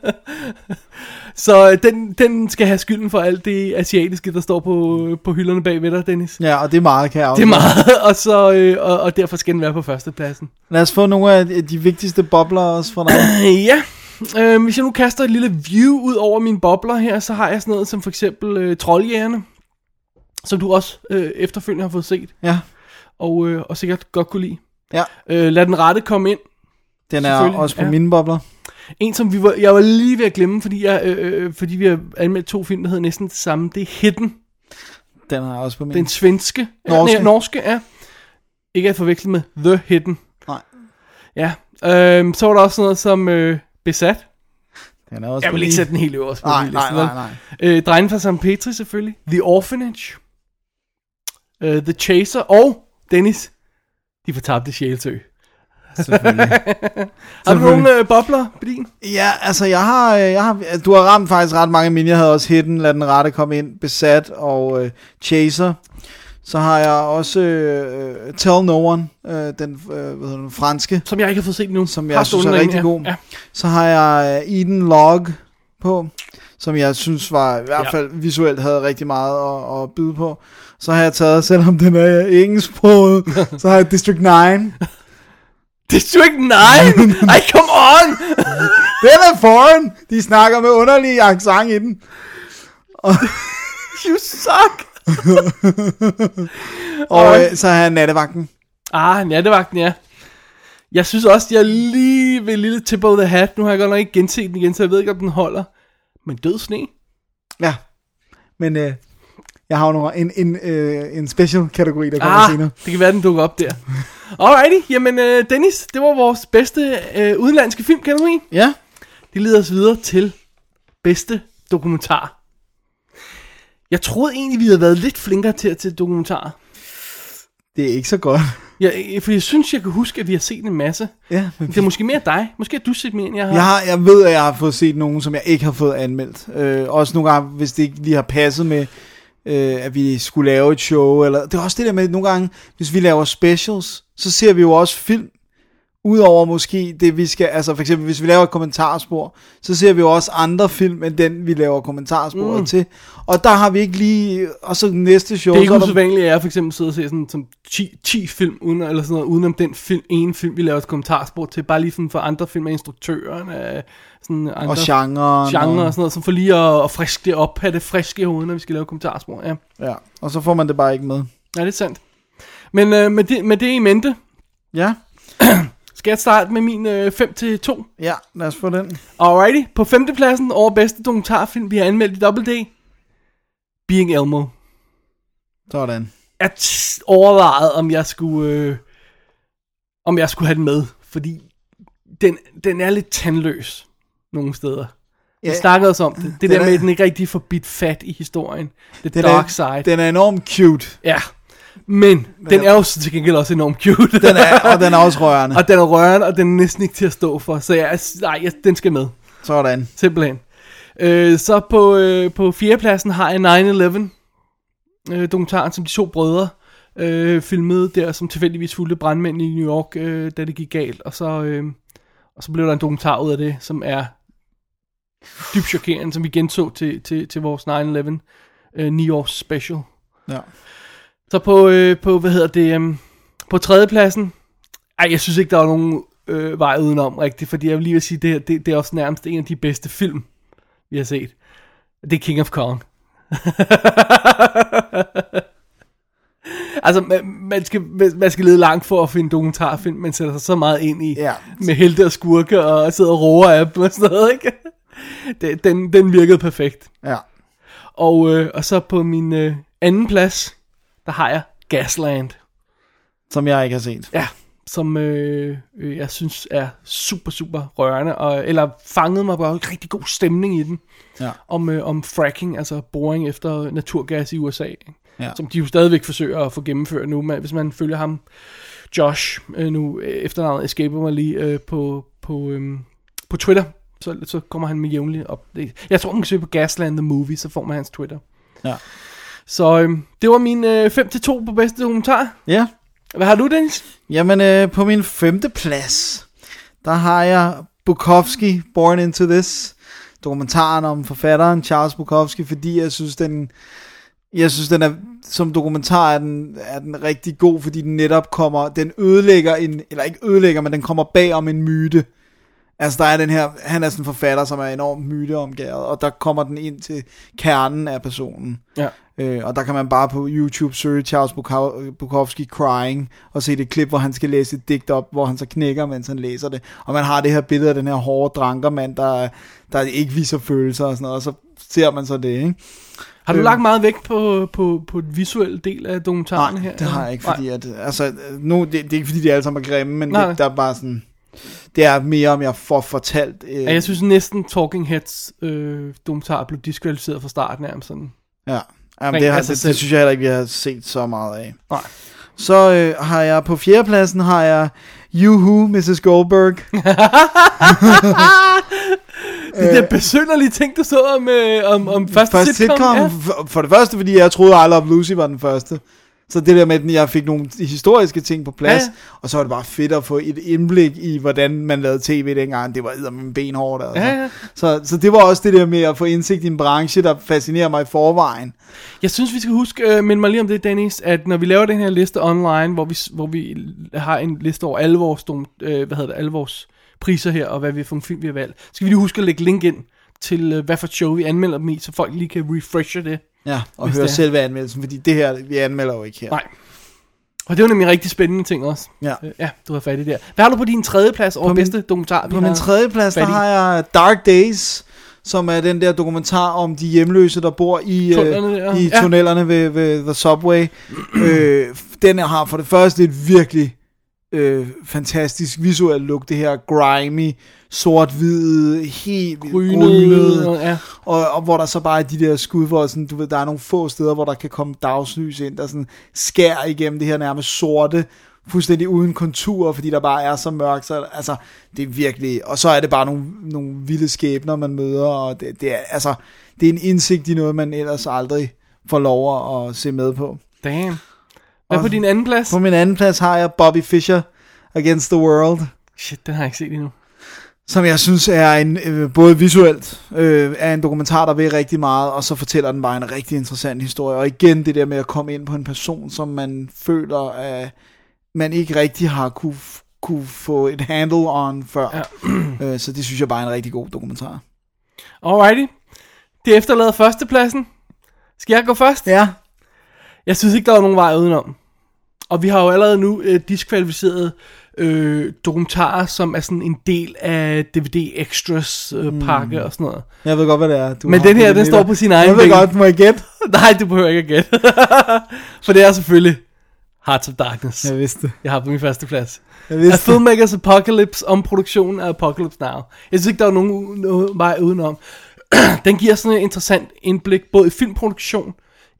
så øh, den, den skal have skylden for alt det asiatiske, der står på, på hylderne bag ved dig, Dennis. Ja, og det er meget, kan jeg Det er meget, og, så, øh, og, og derfor skal den være på førstepladsen. Lad os få nogle af de- de vigtigste bobler også fra dig. Øh, Ja, øh, hvis jeg nu kaster et lille view ud over mine bobler her, så har jeg sådan noget som for eksempel øh, Trolljægerne, som du også øh, efterfølgende har fået set, ja, og, øh, og sikkert godt kunne lide. Ja. Øh, lad den rette komme ind. den er Selvfølgelig, også på ja. ja. mine bobler. En, som vi var, jeg var lige ved at glemme, fordi, jeg, øh, øh, fordi vi har anmeldt to film, der hedder næsten det samme. Det er Hidden, Den er også på mine. den svenske. Norske. Nej, norske, ja. Ikke at forveksle med The Hidden. Nej. Ja. Øh, så var der også noget som øh, Besat. Den er også Jeg på vil ikke mine. sætte den helt øverst på Nej, min nej, liste, vel? nej, nej. Øh, Drengen fra St. Petri selvfølgelig. The Orphanage. Øh, The Chaser. Og Dennis. De fortabte sjælsø. Selvfølgelig. Har du nogle øh, bobler på din? ja, altså jeg har, øh, jeg har, du har ramt faktisk ret mange af mine. Jeg havde også Hidden, Lad den rette komme ind, Besat og øh, Chaser. Så har jeg også øh, øh, Tell No One, øh, den, øh, hvad hedder den franske. Som jeg ikke har fået set nu. Som jeg Har synes stående er derinde, rigtig ja. god. Ja. Så har jeg øh, Eden Log på, som jeg synes var i hvert fald visuelt havde rigtig meget at, at byde på. Så har jeg taget, selvom den er engelsksproget, så har jeg District 9. District 9! Ej, come on! Den er foreign! De snakker med underlige accent i den. You suck! Og øh, så har han nattevagten. Ah, nattevagten, ja. Jeg synes også, jeg lige ved lille tip of the hat. Nu har jeg godt nok ikke genset den igen, så jeg ved ikke, om den holder. Men død sne? Ja. Men øh, jeg har jo nogle, en, en, øh, en special kategori, der kommer Ah, senere. det kan være, den dukker op der. Alrighty, jamen øh, Dennis, det var vores bedste øh, udenlandske filmkategori. Ja. Det leder os videre til bedste dokumentar. Jeg troede egentlig, vi havde været lidt flinkere til at til dokumentarer. Det er ikke så godt. Jeg, for jeg synes, jeg kan huske, at vi har set en masse. Ja, men Det er måske mere dig. Måske har du set mere, end jeg har. Jeg, har, jeg ved, at jeg har fået set nogen, som jeg ikke har fået anmeldt. Øh, også nogle gange, hvis det ikke lige har passet med, øh, at vi skulle lave et show. Eller, det er også det der med, at nogle gange, hvis vi laver specials, så ser vi jo også film. Udover måske det, vi skal... Altså for eksempel, hvis vi laver et kommentarspor, så ser vi jo også andre film, end den, vi laver kommentarsporet mm. til. Og der har vi ikke lige... Og så næste show... Det er ikke så der- usædvanligt, at jeg for eksempel sidder og ser sådan, som 10, 10 film uden, eller sådan noget, udenom den film, ene film, vi laver et kommentarspor til, bare lige sådan for andre film af instruktøren, af sådan andre og genren. genre og sådan noget, som for lige at, at friske det op, have det friske i hovedet, når vi skal lave kommentarspor. Ja, Ja, og så får man det bare ikke med. ja det er sandt. Men øh, med, det, med det i mente, Ja, skal jeg starte med min øh, 5-2. ja, lad os få den. Alrighty, på femtepladsen over bedste dokumentarfilm, vi har anmeldt i Double D, Being Elmo. Sådan. jeg t- overvejede, om jeg skulle, øh, om jeg skulle have den med, fordi den, den er lidt tandløs nogle steder. Vi Ja. snakkede også om det. Det Den der med, er- at den ikke rigtig får bidt fat i historien. The Den dark er, side. Den, Den er enormt cute. ja. Men den er jo så til gengæld også enormt cute. Den er, og den er også rørende. og den er rørende, og den er næsten ikke til at stå for. Så jeg, er- nej, jeg, den skal med. Sådan. Simpelthen. Øh, så på, øh, på fjerdepladsen har jeg 9-11 øh, dokumentaren, som de to brødre øh, filmede der, som tilfældigvis fulgte brandmænd i New York, øh, da det gik galt. Og så, øh, og så blev der en dokumentar ud af det, som er dybt chokerende, som vi genså til, til, til vores 9-11 øh, New York special. Ja. Så på, øh, på hvad hedder det, øh, på tredjepladsen, ej, jeg synes ikke, der var nogen øh, vej udenom rigtigt, fordi jeg vil lige vil sige, det, her, det, det er også nærmest en af de bedste film, vi har set. Det er King of Kong. altså, man, man, skal, man skal lede langt for at finde dokumentarfilm, man sætter sig så meget ind i, Ja. med helte og skurke, og sidder og roer af dem og sådan noget, ikke? Det, den, den virkede perfekt. ja. Og, øh, og så på min øh, anden plads, der har jeg Gasland. Som jeg ikke har set. Ja, som øh, øh, jeg synes er super, super rørende, og, eller fangede mig bare en rigtig god stemning i den, Ja. om, øh, om fracking, altså boring efter naturgas i USA, ikke? Ja. som de jo stadigvæk forsøger at få gennemført nu, men hvis man følger ham, Josh, øh, nu øh, efternavnet escaper mig lige, øh, på, på, øh, på Twitter, så, så kommer han med jævnligt op. Det- Jeg tror, man kan søge på Gasland The Movie, så får man hans Twitter. Ja. Så øh, det var min øh, 5-2 på bedste dokumentar. ja. Hvad har du, Dennis? Jamen, øh, på min femte plads, der har jeg Bukowski, Born Into This. Dokumentaren om forfatteren Charles Bukowski, fordi jeg synes, den, jeg synes, den er, som dokumentar er den, er den rigtig god, fordi den netop kommer, den ødelægger en, eller ikke ødelægger, men den kommer bag om en myte. Altså der er den her, han er sådan en forfatter, som er enormt myteomgæret, og der kommer den ind til kernen af personen. Ja. Øh, og der kan man bare på YouTube søge Charles Bukau- Bukowski crying, og se det klip, hvor han skal læse et digt op, hvor han så knækker, mens han læser det. Og man har det her billede af den her hårde drankermand, der, der ikke viser følelser og sådan noget, og så ser man så det, ikke? Har du Øh. lagt meget vægt på, på, på den visuelle del af dokumentaren Nej, her? det har jeg ikke, fordi at, altså, nu, det, det er ikke fordi, de alle sammen er grimme, men Nej. det, der er bare sådan, det er mere, om jeg får fortalt. Øh, Ja, jeg synes næsten Talking Heads øh, dokumentar blev diskvalificeret fra start nærmest sådan. Ja, Jamen, Rent det, har, af sig det, altså, selv. det synes jeg heller ikke, vi har set så meget af. Nej. Så øh, har jeg på fjerdepladsen, har jeg Juhu, Mrs. Goldberg. Det der besynderlige ting, du så om, øh, om, om første, Øh. Første sitcom, Ja. for, for det første, fordi jeg troede, I Love Lucy var den første. Så det der med, at jeg fik nogle historiske ting på plads, Ja, ja, ja. og så var det bare fedt at få et indblik i, hvordan man lavede tv dengang. Det var med benhårdt. Altså. Ja, ja. Så, så det var også det der med at få indsigt i en branche, der fascinerer mig i forvejen. Jeg synes, vi skal huske, øh, men mig lige om det, Dennis, at når vi laver den her liste online, hvor vi, s- hvor vi har en liste over alle vores, dom, øh, hvad hedder det, alle vores priser her, og hvad vi for en film, vi har valgt, så skal vi lige huske at lægge link ind til, øh, hvad for et show vi anmelder dem i, så folk lige kan refreshe det. Ja, og Hvis høre det er. selve anmeldelsen, fordi det her, vi anmelder jo ikke her. Nej. Og det var nemlig en rigtig spændende ting også. Ja. Øh, ja, du har fat i der. Hvad har du på din tredje plads over På min- bedste dokumentar? vi På min har? tredje plads, der fat i. har jeg Dark Days, som er den der dokumentar om de hjemløse, der bor i, Tunnelerne der. øh, i Ja. tunnelerne ved, ved The Subway. øh, den har for det første et virkelig øh, fantastisk visuelt look, det her grimy, sort-hvide, helt grynet, Grynet. Ja. og, og hvor der så bare er de der skud, hvor sådan, du ved, der er nogle få steder, hvor der kan komme dagslys ind, der sådan skærer igennem det her nærmest sorte, fuldstændig uden kontur, fordi der bare er så mørkt, så altså, det er virkelig, og så er det bare nogle, nogle vilde skæbner, man møder, og det, det er, altså, det er en indsigt i noget, man ellers aldrig får lov at- at se med på. Damn. Hvad er på Og- din anden plads? På min anden plads har jeg Bobby Fischer, Against the World. Shit, den har jeg ikke set endnu. som jeg synes er en, øh, både visuelt øh, er en dokumentar, der ved rigtig meget, og så fortæller den bare en rigtig interessant historie. Og igen det der med at komme ind på en person, som man føler, at man ikke rigtig har kunne, f- kunne få et handle on før. Ja. øh, så det synes jeg bare er en rigtig god dokumentar. Alrighty. Det efterlader førstepladsen. Skal jeg gå først? Ja, Jeg synes ikke, der er nogen vej udenom. Og vi har jo allerede nu øh, diskvalificeret øh, dokumentarer, som er sådan en del af DVD Extras øh, pakke mm. og sådan noget. jeg ved godt, hvad det er. Du Men har den her, Hmm. det den med står dig. på sin egen Jeg ved ben. godt, må jeg gætte? Nej, du behøver ikke at gætte. For det er selvfølgelig Hearts of Darkness, Jeg vidste det. jeg har på min første plads. Jeg Af vidste det. Filmmakers Apocalypse om produktionen af Apocalypse Now. Jeg synes ikke, der er nogen u- noget vej udenom. Den giver sådan et interessant indblik, både i filmproduktion,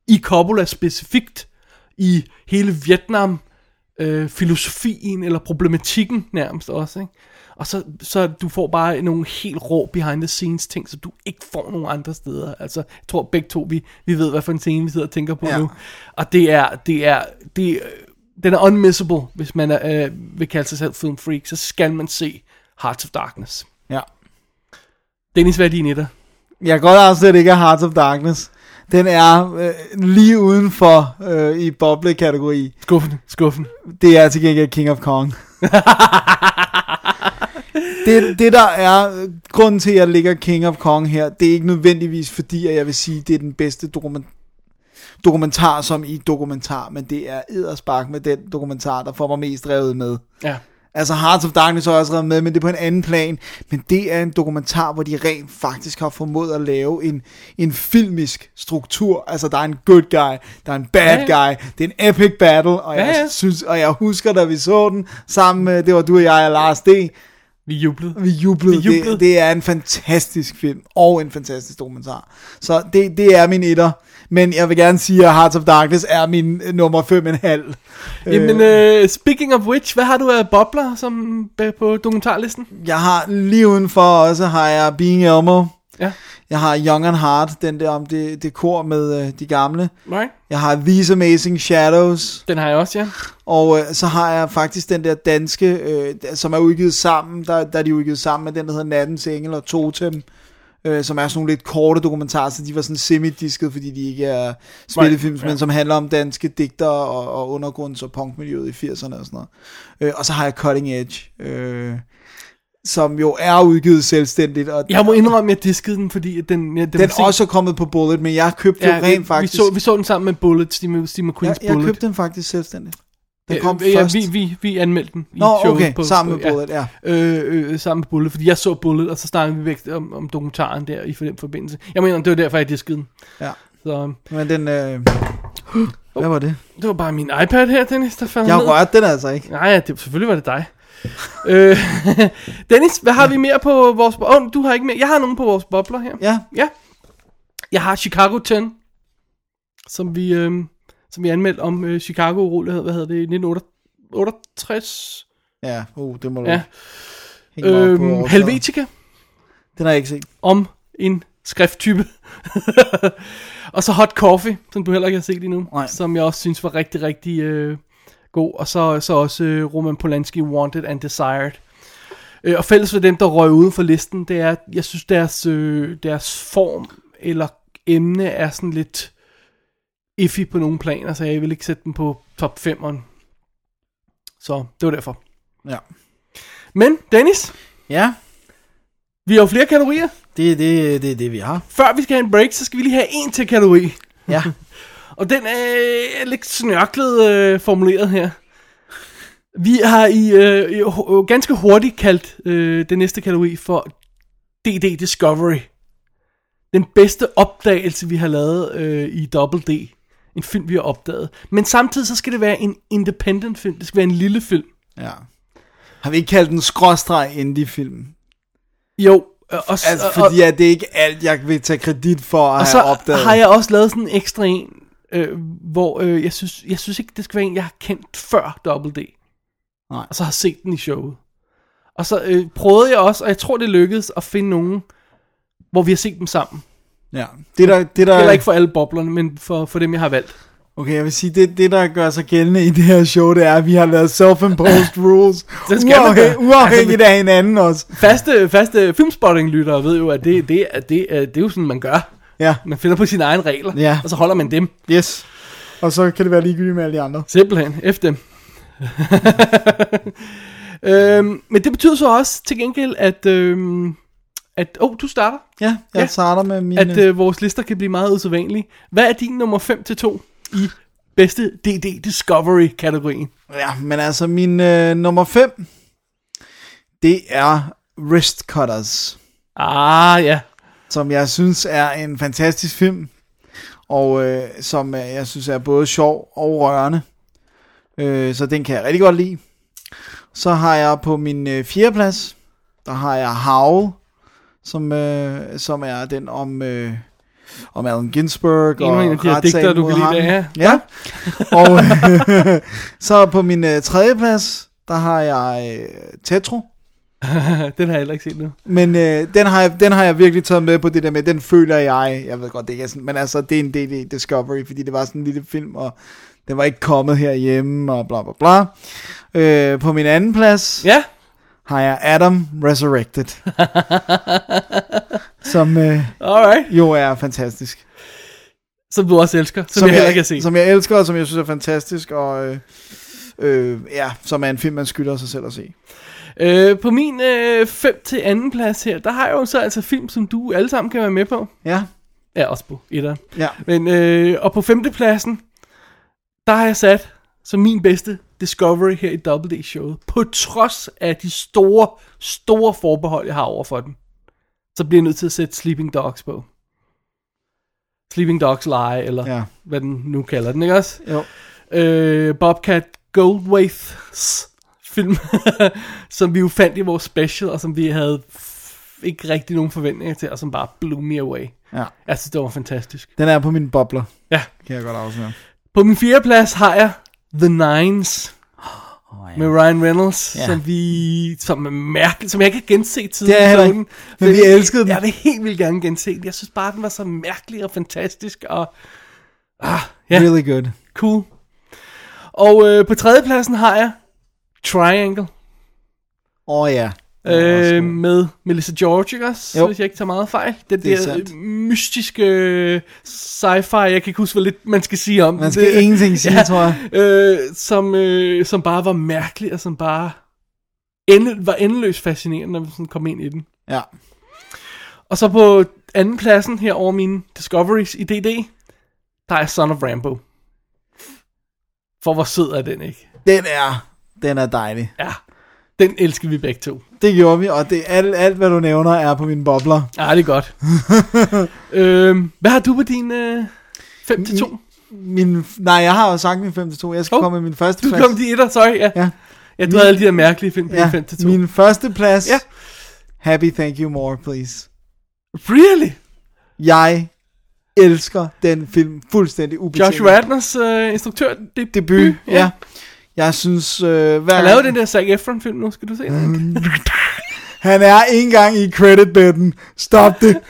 i Coppola specifikt, i hele Vietnam, øh, filosofien eller problematikken nærmest også. Ikke? Og så, så du får bare nogle helt rå behind the scenes ting, som du ikke får nogen andre steder. Altså, jeg tror begge to, vi, vi ved, hvad for en scene vi sidder og tænker på ja. Ja. nu. Og det er, det er, det, øh, den er unmissable, hvis man er, øh, vil kalde sig selv film freak, så skal man se Hearts of Darkness. Ja. Dennis, hvad er din etter? Jeg kan godt afsætte ikke af Hearts of Darkness. Den er øh, lige udenfor øh, i boble-kategori. Skuffende, skuffende. Det er til gengæld King of Kong. det, det der er grunden til, at jeg ligger King of Kong her, det er ikke nødvendigvis fordi, at jeg vil sige, det er den bedste dokument dokumentar som i dokumentar, men det er Ederspark med den dokumentar, der får mig mest revet med. Ja. Altså Hearts of Darkness har jeg også revet med, men det er på en anden plan. Men det er en dokumentar, hvor de rent faktisk har formået at lave en, en filmisk struktur. Altså der er en good guy, der er en bad Ja, ja, ja. guy, det er en epic battle. Og, Ja, ja, ja. jeg synes, og jeg husker, da vi så den sammen med, det var du og jeg og Lars D. Vi jublede. Vi jublede. Vi jublede. Det, det er en fantastisk film, og en fantastisk dokumentar. Så det, det er min etter. Men jeg vil gerne sige, at Hearts of Darkness er min øh, nummer fem en halv. Jamen, øh, speaking of which, hvad har du af bobler som øh, på dokumentarlisten? Jeg har lige udenfor også har jeg Being Elmo. Ja. Jeg har Young and Hard, den der om det, det kor med øh, de gamle. Right. Jeg har These Amazing Shadows. Den har jeg også, ja. Og øh, så har jeg faktisk den der danske, øh, der- som er udgivet sammen. Der, der er de udgivet sammen med den, der hedder Nattens Engel og Totem. Øh, som er sådan nogle lidt korte dokumentarer, så de var sådan semidisket, fordi de ikke er spillefilm, right, men som handler om danske digter og, og undergrunds- og punkmiljøet i 80'erne og sådan noget. Øh, og så har jeg Cutting Edge, øh, som jo er udgivet selvstændigt. Og Jeg må indrømme, at jeg diskede den, fordi at den... Ja, den er var også er kommet på Bullet, men jeg købte ja, Ja, jo rent vi, vi, faktisk... så, vi så den sammen med Bullet, Steve, Steve jeg, McQueen's jeg Bullet. købte den faktisk selvstændigt. Den kom Øh, øh, først. Ja, vi, vi, vi anmeldte den i Nå, showet okay, på, sammen på- med Bullet, ja. Øh, øh, sammen med Bullet, fordi jeg så Bullet, og så snakkede vi væk om, om dokumentaren der i for den forbindelse. Jeg mener, det var derfor, jeg diskede den. Ja. Så øh, Men den... Øh... Hvad var det? det var bare min iPad her, Dennis, der faldt Jeg ned. rørte den altså ikke. Nej, det, selvfølgelig var det dig. øh, Dennis, hvad har vi mere på vores... bo- Åh, oh, du har ikke mere. Jeg har nogen på vores bobler her. Ja, Ja. Jeg har Chicago 10, som vi, øh, som vi anmeldte om øh, chicago urolighed hvad hedder det, i 1968. ja. Uh, det må du Ja. ja. hænge mig op på Øh, overfladen. Helvetica, Den har jeg ikke set. om en skrifttype. og så Hot Coffee, som du heller ikke har set endnu, Nej. som jeg også synes var rigtig, rigtig øh, god. Og så, så også øh, Roman Polanski, Wanted and Desired. Øh, og fælles for dem, der røg uden for listen, det er, at jeg synes, deres, øh, deres form eller emne er sådan lidt iffy på nogle planer, så jeg vil ikke sætte dem på top 5'eren. Så det var derfor. Ja. Men, Dennis, Ja. vi har jo flere kategorier. Det er det, det, er det, vi har. Før vi skal have en break, så skal vi lige have en til kategori. Ja. Og den er øh, lidt snørklet øh, formuleret her. Vi har i, øh, i hu- øh, ganske hurtigt kaldt øh, den næste kategori for DD Discovery. Den bedste opdagelse, vi har lavet øh, i Double D. En film, vi har opdaget. Men samtidig så skal det være en independent film. Det skal være en lille film. ja. Har vi ikke kaldt den skråstreg indie-film? Jo, øh, og, s- Altså, og- fordi at det er ikke alt, jeg vil tage kredit for at og have så opdaget. har jeg også lavet sådan en ekstra en, øh, hvor øh, jeg, synes, jeg synes ikke, det skal være en, jeg har kendt før Double D. Nej. Og så har set den i showet. Og så øh, prøvede jeg også, og jeg tror, det lykkedes at finde nogen, hvor vi har set dem sammen. Ja. Det der, det der, Heller ikke for alle boblerne, men for, for dem, jeg har valgt. Okay, jeg vil sige, det, det der gør sig gældende i det her show, det er, at vi har lavet self-imposed rules. Det skal man uafhæ- gøre. uafhængigt af hinanden også. Faste, faste filmspotting-lyttere ved jo, at det, det, er- det, er- det er jo sådan, man gør. Ja, Man finder på sine egne regler, Ja. og så holder man dem. yes. Og så kan det være ligegyldigt med alle de andre. Simpelthen, efter dem. øhm, men det betyder så også til gengæld, at... Øhm, at, oh, du starter. Ja, jeg Ja. ja. starter med mine... At øh, vores lister kan blive meget usædvanlige. Hvad er din nummer 5 til 2 i bedste DD Discovery-kategorien? Ja, men altså, min øh, nummer 5, det er Wrist Cutters, Ah, ja. som jeg synes er en fantastisk film, og øh, som øh, jeg synes er både sjov og rørende. Øh, så den kan jeg rigtig godt lide. Så har jeg på min øh, fjerdeplads, der har jeg Howl, som, øh, som er den om... Øh, om Allen Ginsberg Endnu og en af de her retssagen digtere, du mod kan lide, ham. det er. Ja. og øh, så på min øh, tredje plads, der har jeg øh, Tetro. Den har jeg heller ikke set nu. Men øh, den, har jeg, den har jeg virkelig taget med på det der med, den føler jeg, jeg ved godt, det ikke er sådan, men altså, det er en del i Discovery, fordi det var sådan en lille film, og den var ikke kommet herhjemme, og bla bla bla. Øh, på min anden plads Ja, har jeg Adam Resurrected, som øh, alright. jo er fantastisk. Som du også elsker, som, som jeg heller ikke har set. Som jeg elsker, og som jeg synes er fantastisk, og øh, øh, ja, som er en film, man skylder sig selv at se. Øh, på min 5 til anden plads her, der har jeg jo så altså film, som du alle sammen kan være med på. Ja, Ja, også på etteren. ja. Men, øh, og på femtepladsen, der har jeg sat som min bedste Discovery her i Double D-showet. På trods af de store, store forbehold, jeg har over for den, så bliver jeg nødt til at sætte Sleeping Dogs på. Sleeping Dogs Lie, eller ja. Ja. hvad den nu kalder den, ikke også? Jo. øh, Bobcat Goldwaiths film, som vi jo fandt i vores special, og som vi havde f- ikke rigtig nogen forventninger til, og som bare blew me away. Ja. Jeg synes, det var fantastisk. Den er på min bobler, Ja. kan jeg godt afsløre. På min fjerde plads har jeg The Nines. Med Ryan Reynolds, Ja. som vi som er mærkeligt, som jeg ikke har genset siden. Det er jeg heller ikke, solen. men vi elskede den. Jeg vil helt vildt gerne gense den. Jeg synes bare, den var så mærkelig og fantastisk, og Ja. Ja. Really good. Cool. Og øh, på tredjepladsen har jeg Triangle Åh oh, ja. Den er også øh, god. med Melissa George, ikke også? Jo. Hvis jeg ikke tager meget fejl. Den Det er der sandt. øh, mystiske øh, sci-fi, jeg kan ikke huske, hvad lidt man skal sige om Man den. skal det, ingenting sige, ja. tror jeg. øh, som, øh, som bare var mærkelig, og som bare ende, var endeløst fascinerende, når vi sådan kom ind i den. Ja. Og så på anden pladsen her over mine discoveries i DD, der er Son of Rambo. For hvor sød er den, ikke? Den er, den er dejlig. Ja, den elsker vi begge to. Det gjorde vi, og det, alt, alt, hvad du nævner, er på min bobler. Ja, ah, det er godt. øhm, hvad har du på din øh, 5 til 2? Min, nej, jeg har jo sagt min 5 til 2. Jeg skal Hov. oh, komme med min første Du plads. kom de etter, sorry. Ja, Ja. ja du havde alle de der mærkelige film på ja, ja. din 5 til 2. Min første plads. Ja. Happy Thank You More, please. Really? Jeg elsker den film fuldstændig ubetinget. Josh Radners øh, instruktør debut. debut. Ja. ja. Jeg synes, øh, hver Mm, Han gang- lavede den der Zac Efron film nu, skal du se den? Mm. ikke? han er ikke engang i creditbedden. Stop det.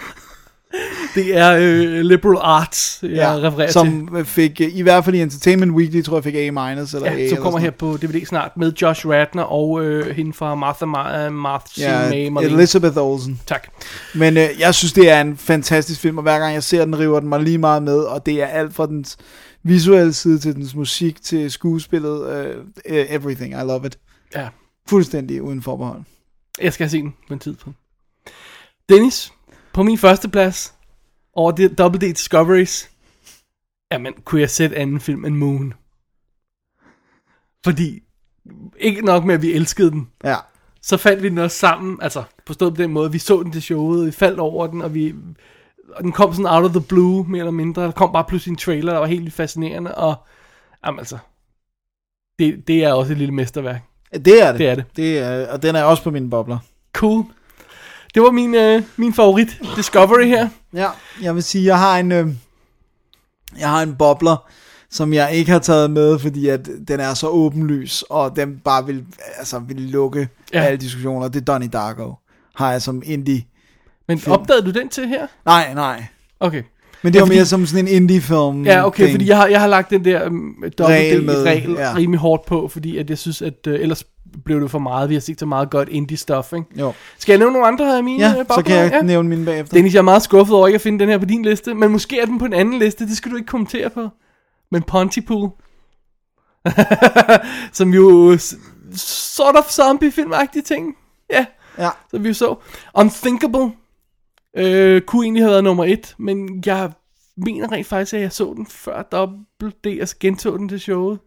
Det er øh, liberal arts, jeg ja, refererer til. Som fik, øh, i hvert fald i Entertainment Weekly, tror jeg fik A- minus eller A. Ja, eller som kommer her på sådan DVD snart med Josh Radner og øh, hende fra Martha, Ma- øh, Martha noget. May Ja, Marlene. Elizabeth Olsen. Tak. Men øh, jeg synes, det er en fantastisk film, og hver gang jeg ser den, river den mig lige meget med, og det er alt fra dens visuelle side til dens musik til skuespillet. Øh, øh, everything, I love it. Ja, Fuldstændig uden forbehold. jeg skal have set den på en tidspunkt. Dennis, På min første plads over det Double D Discoveries, jamen, kunne jeg sætte anden film end Moon. Fordi, ikke nok med, at vi elskede den, Ja. så fandt vi den også sammen, altså forstået på den måde, vi så den til showet, vi faldt over den, og vi og den kom sådan out of the blue, mere eller mindre, der kom bare pludselig en trailer, der var helt vildt fascinerende, og jamen altså, det, det er også et lille mesterværk. Det er det. Det er det. det er, og den er også på mine bobler. Cool. Det var min, øh, min favorit Discovery her. Ja, jeg vil sige, jeg har en, øh, jeg har en bobler, som jeg ikke har taget med, fordi at den er så åbenlys, og den bare vil, altså, vil lukke Ja. ja. alle diskussioner. Det er Donnie Darko, har jeg som indie. Men opdagede du den til her? Nej, nej. Okay. Men det var fordi- mere som sådan en indie-film. Ja, okay, ting. fordi jeg har, jeg har lagt den der um, Mm, Regel regel, med, regel ja. ja. rimelig hårdt på, fordi at jeg synes, at øh, ellers blev det for meget. Vi har set så meget godt indie-stuff, ikke? Jo. Skal jeg nævne nogle andre af mine? øh, Ja, så bobler? kan jeg ja. nævne mine bagefter. Dennis, jeg er meget skuffet over ikke at finde den her på din liste, men måske er den på en anden liste, det skal du ikke kommentere på. Men Pontypool, som jo s- sort of zombie-filmagtige ting, ja, Ja. som vi jo så. Unthinkable øh, kunne egentlig have været nummer et, men jeg mener rent faktisk, at jeg så den før Double D, og så gentog den til showet.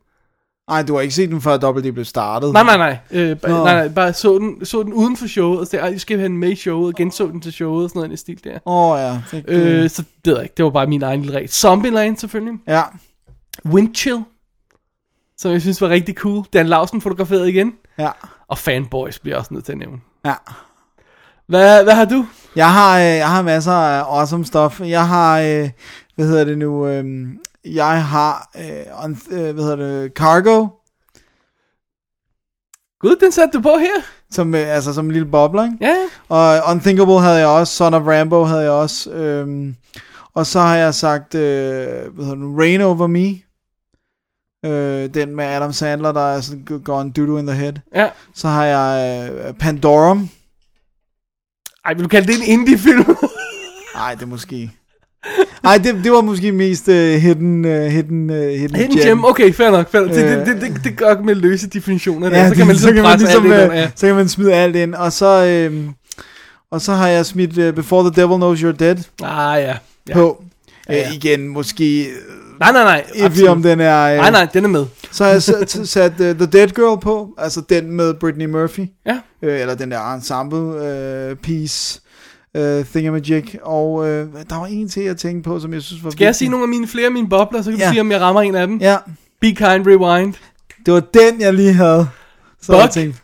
Nej, du har ikke set den før Double D blev startet. Nej, nej, nej. Øh, ba- Nå. nej, nej, bare så den, så den uden for showet, og så jeg skal have den med i showet, og genså den til showet, og sådan noget i den stil der. Åh oh, ja. Det, Øh, så det ved jeg ikke, det var bare min egen lille regel. Zombieland selvfølgelig. ja. Windchill, som jeg synes var rigtig cool. Dan Lausen fotograferet igen. Ja. Og Fanboys bliver jeg også nødt til at nævne. Ja. Hvad, hvad har du? Jeg har, øh, jeg har masser af awesome stuff. Jeg har, øh, hvad hedder det nu, øh, jeg har, øh, on, øh, hvad hedder det, Cargo, Gud, den satte du på her. som, øh, altså som en lille bobler, ikke? Ja, ja. Og Unthinkable havde jeg også, Son of Rambo havde jeg også, øh, og så har jeg sagt, øh, hvad hedder det nu, Rain Over Me, øh, den med Adam Sandler, der er sådan, går en doodoo in the head. ja. Så har jeg øh, Pandorum, Ej, vil du kalde det en indie-film? Nej, det er måske... Nej, det, det var måske mest uh, hidden, uh, hidden, uh, hidden, Hidden Gem, okay, fair nok. Fair nok. Det, det, det, det, det gør med løse definitioner der. Ja, så kan man ligesom presse alt Øh. det øh, der. Ja. Så kan man smide alt ind. Og så, øh, og så har jeg smidt uh, Before the Devil Knows You're Dead Ah, ja. ja. ja. på. Ja, ja. igen, måske... Nej, nej, nej. If vi om den er... øh, Nej, nej, den er med. Så har jeg sat, sat uh, The Dead Girl på, altså den med Britney Murphy, Ja. øh, eller den der ensemble uh, piece, uh, Thingamajig, og øh, der var en til, jeg tænkte på, som jeg synes var Skal jeg sige nogle af mine flere af mine bobler, så kan Ja. du sige, om jeg rammer en af dem? Ja, Be Kind Rewind. det var den, jeg lige havde. Så jeg Buck. tænkte,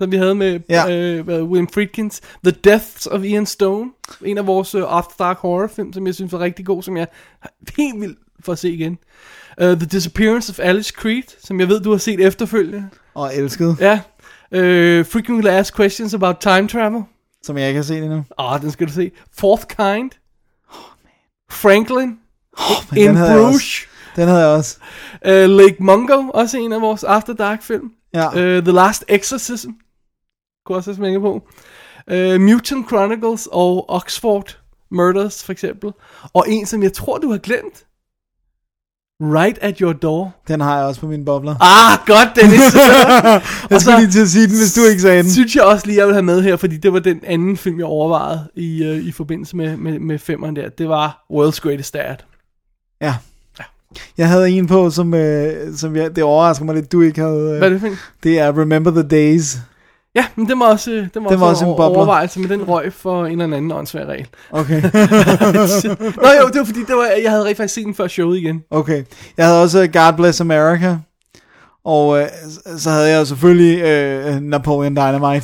som vi havde med Ja. ja. øh, hvad, William Friedkins. The Deaths of Ian Stone. En af vores øh, off-dark horrorfilm, som jeg synes var rigtig god, som jeg er helt vildt for at se igen. Uh, The Disappearance of Alice Creed, som jeg ved, du har set efterfølgende. og elskede, Ja. Uh, Frequently Asked Questions About Time Travel. som jeg ikke har set endnu. Åh, oh, den skal du se. Fourth Kind. Franklin. Men In den havde jeg Bruges. Også. Den havde jeg også. Uh, Lake Mungo, også en af vores After Dark film. Ja. Øh. Uh, The Last Exorcism. Kunne også have smænket på. Uh, Mutant Chronicles og Oxford Murders, for eksempel. Og en, som jeg tror, du har glemt. Right at your door. Den har jeg også på mine bobler. Ah, godt, Dennis. jeg og skulle så- lige til at sige den, hvis du ikke sagde den. Synes jeg også lige, jeg vil have med her, fordi det var den anden film, jeg overvejede i, uh, i forbindelse med, med, med femmeren der. Det var World's Greatest Dad. Ja. Jeg havde en på, som, øh, som jeg, det overrasker mig lidt, du ikke havde. Øh, Hvad er det for en? det er Remember the Days. Ja, men det var også, øh, den var den Den var var også også en over, bobler. overvejelse, men den røg for en eller anden åndssvær regel. Okay. Nå jo, det var fordi, det var, jeg havde rigtig faktisk set den før showet igen. okay. Jeg havde også øh, God Bless America. Og øh, s- så havde jeg jo selvfølgelig øh, Napoleon Dynamite, Øh,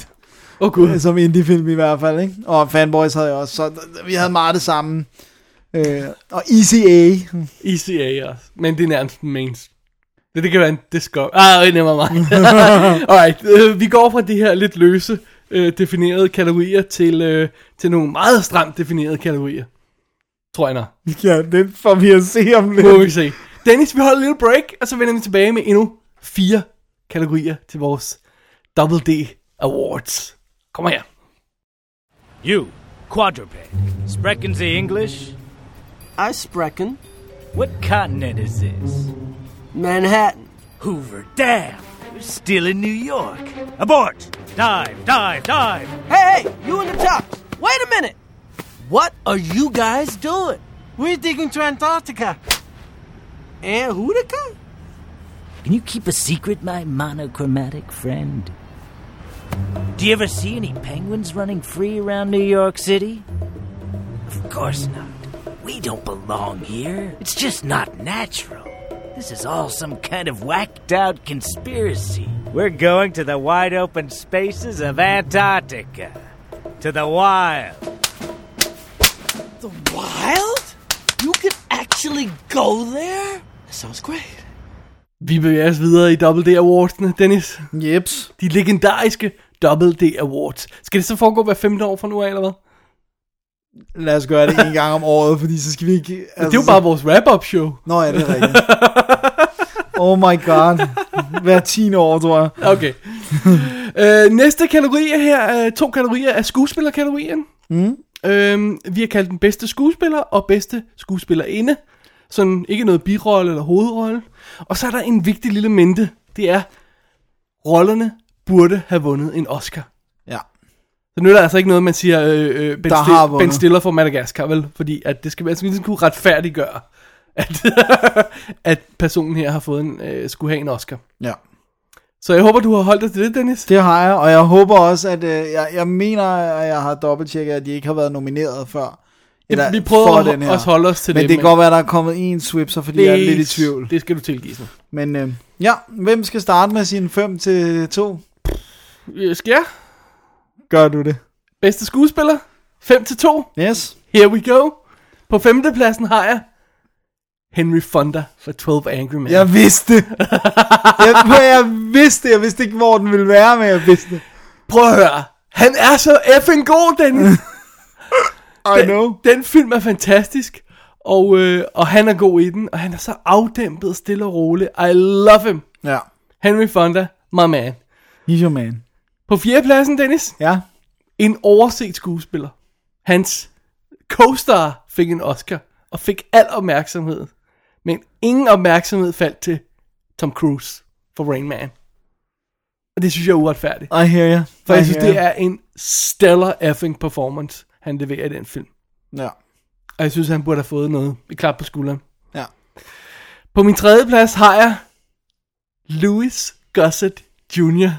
Åh oh, gud. som indie-film i hvert fald, ikke? Og Fanboys havde jeg også, så d- vi havde meget det samme. Øh, og ECA, ECA også. Men det er nærmest en mains. Det, det kan være en disco. Ah, det nemmer mig. Alright, øh, vi går fra det her lidt løse øh, definerede kategorier til, øh, til nogle meget stramt definerede kategorier. Tror jeg nok. Ja, det får vi at se om Det må lidt. vi se. Dennis, vi holder en lille break, og så vender vi tilbage med endnu fire kategorier til vores Double D Awards. Kom her. You, quadruped. Sprechen Sie English? I sprechen What continent is this? Manhattan. Hoover Dam. We're still in New York. Abort! Dive, dive, dive! Hey, hey, you in the top. Wait a minute. What are you guys doing? We're digging to Antarctica. And Hudica? Can you keep a secret, my monochromatic friend? Do you ever see any penguins running free around New York City? Of course not. We don't belong here. It's just not natural. This is all some kind of whacked out conspiracy. We're going to the wide open spaces of Antarctica. To the wild. The wild? You can actually go there? That sounds great. Vi bevæger os videre i Double D Awards'ene, Dennis. Jeps. De legendariske Double D Awards. Skal det så foregå hver femte år fra nu af, eller hvad? Lad os gøre det en gang om året, fordi så skal vi ikke... Altså, Det er jo bare vores wrap-up show. Nå ja, det er rigtigt. Oh my god. Hver 10 år, tror jeg. Okay. øh, næste kategori er her, øh, to kategorier, er skuespillerkategorien. Mm. Øhm, vi har kaldt den bedste skuespiller og bedste skuespillerinde. Sådan ikke noget birolle eller hovedrolle. Og så er der en vigtig lille mente. Det er, rollerne burde have vundet en Oscar. Ja. Så nytter altså ikke noget, man siger øh, øh, ben, Der har Stil- vundet. ben Stiller fra Madagaskar, vel? Fordi at det skal man skal ligesom kunne retfærdiggøre, at, at personen her har fået en, øh, skulle have en Oscar. Ja. Så jeg håber, du har holdt dig til det, Dennis. Det har jeg, og jeg håber også, at øh, jeg, jeg mener, at jeg har dobbelttjekket, at de ikke har været nomineret før. Eller vi prøver for at- også holde os til men det, det men- kan godt være, at der er kommet en swipser, fordi jeg er lidt i tvivl. Det skal du tilgive sig. Men øh, ja, hvem skal starte med sin 5 til 2? Øh, Skal jeg? Gør du det? Bedste skuespiller? 5 til 2. Yes. Here we go. På femtepladsen har jeg Henry Fonda for 12 Angry Men. Jeg vidste. jeg, jeg vidste, jeg vidste ikke, hvor den ville være, men jeg vidste. det. Prøv at høre. Han er så effing god, Dennis. I know. Den film er fantastisk. Og, øh, og han er god i den. Og han er så afdæmpet, stille og rolig. I love him. Ja. Henry Fonda, my man. He's your man. På fjerdepladsen, Dennis. Ja. en overset skuespiller. Hans co-star fik en Oscar og fik al opmærksomhed. Men ingen opmærksomhed faldt til Tom Cruise for Rain Man. Og det synes jeg er uretfærdigt. I hear you. For I jeg synes, hear det er en stellar effing performance, han leverer i den film. you. Ja. Og jeg synes, han burde have fået noget i klap på skulderen. Ja. På min tredje plads har jeg Louis Gossett Jr.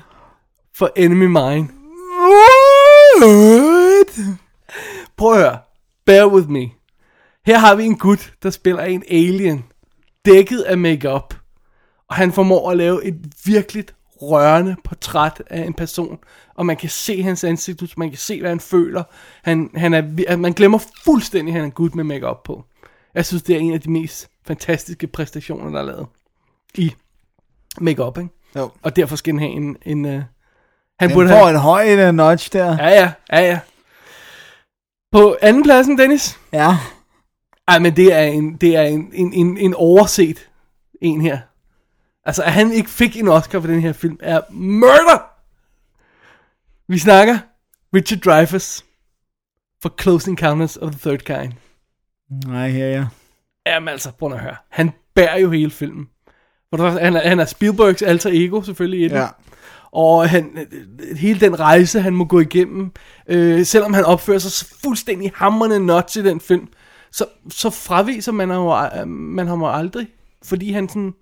for Enemy Mine. What? Prøv at høre. Bear with me. Her har vi en gut, der spiller en alien, dækket af makeup, og han formår at lave et virkeligt rørende portræt af en person, og man kan se hans ansigt, man kan se, hvad han føler. Han, han er, vi- at man glemmer fuldstændig, at han er en gut med makeup på. Jeg synes, det er en af de mest fantastiske præstationer, der er lavet i makeup, ikke? Jo. Og derfor skal han have en... en uh, han Den burde får have... en høj øh, notch der. Ja, ja, ja, ja. På anden pladsen, Dennis. Ja. Ej, men det er en, det er en, en, en, en overset en her. Altså, at han ikke fik en Oscar for den her film, er murder! Vi snakker Richard Dreyfuss for Close Encounters of the Third Kind. I hear you. Jamen altså, prøv nu at høre. Han bærer jo hele filmen. For det første, Han er, han er Spielbergs alter ego selvfølgelig i den. Ja. Og han, øh, hele den rejse, han må gå igennem, øh, selvom han opfører sig så fuldstændig hammerne nuts i den film, så, så fraviser man ham, jo- øh, man ham jo aldrig, fordi han, sådan,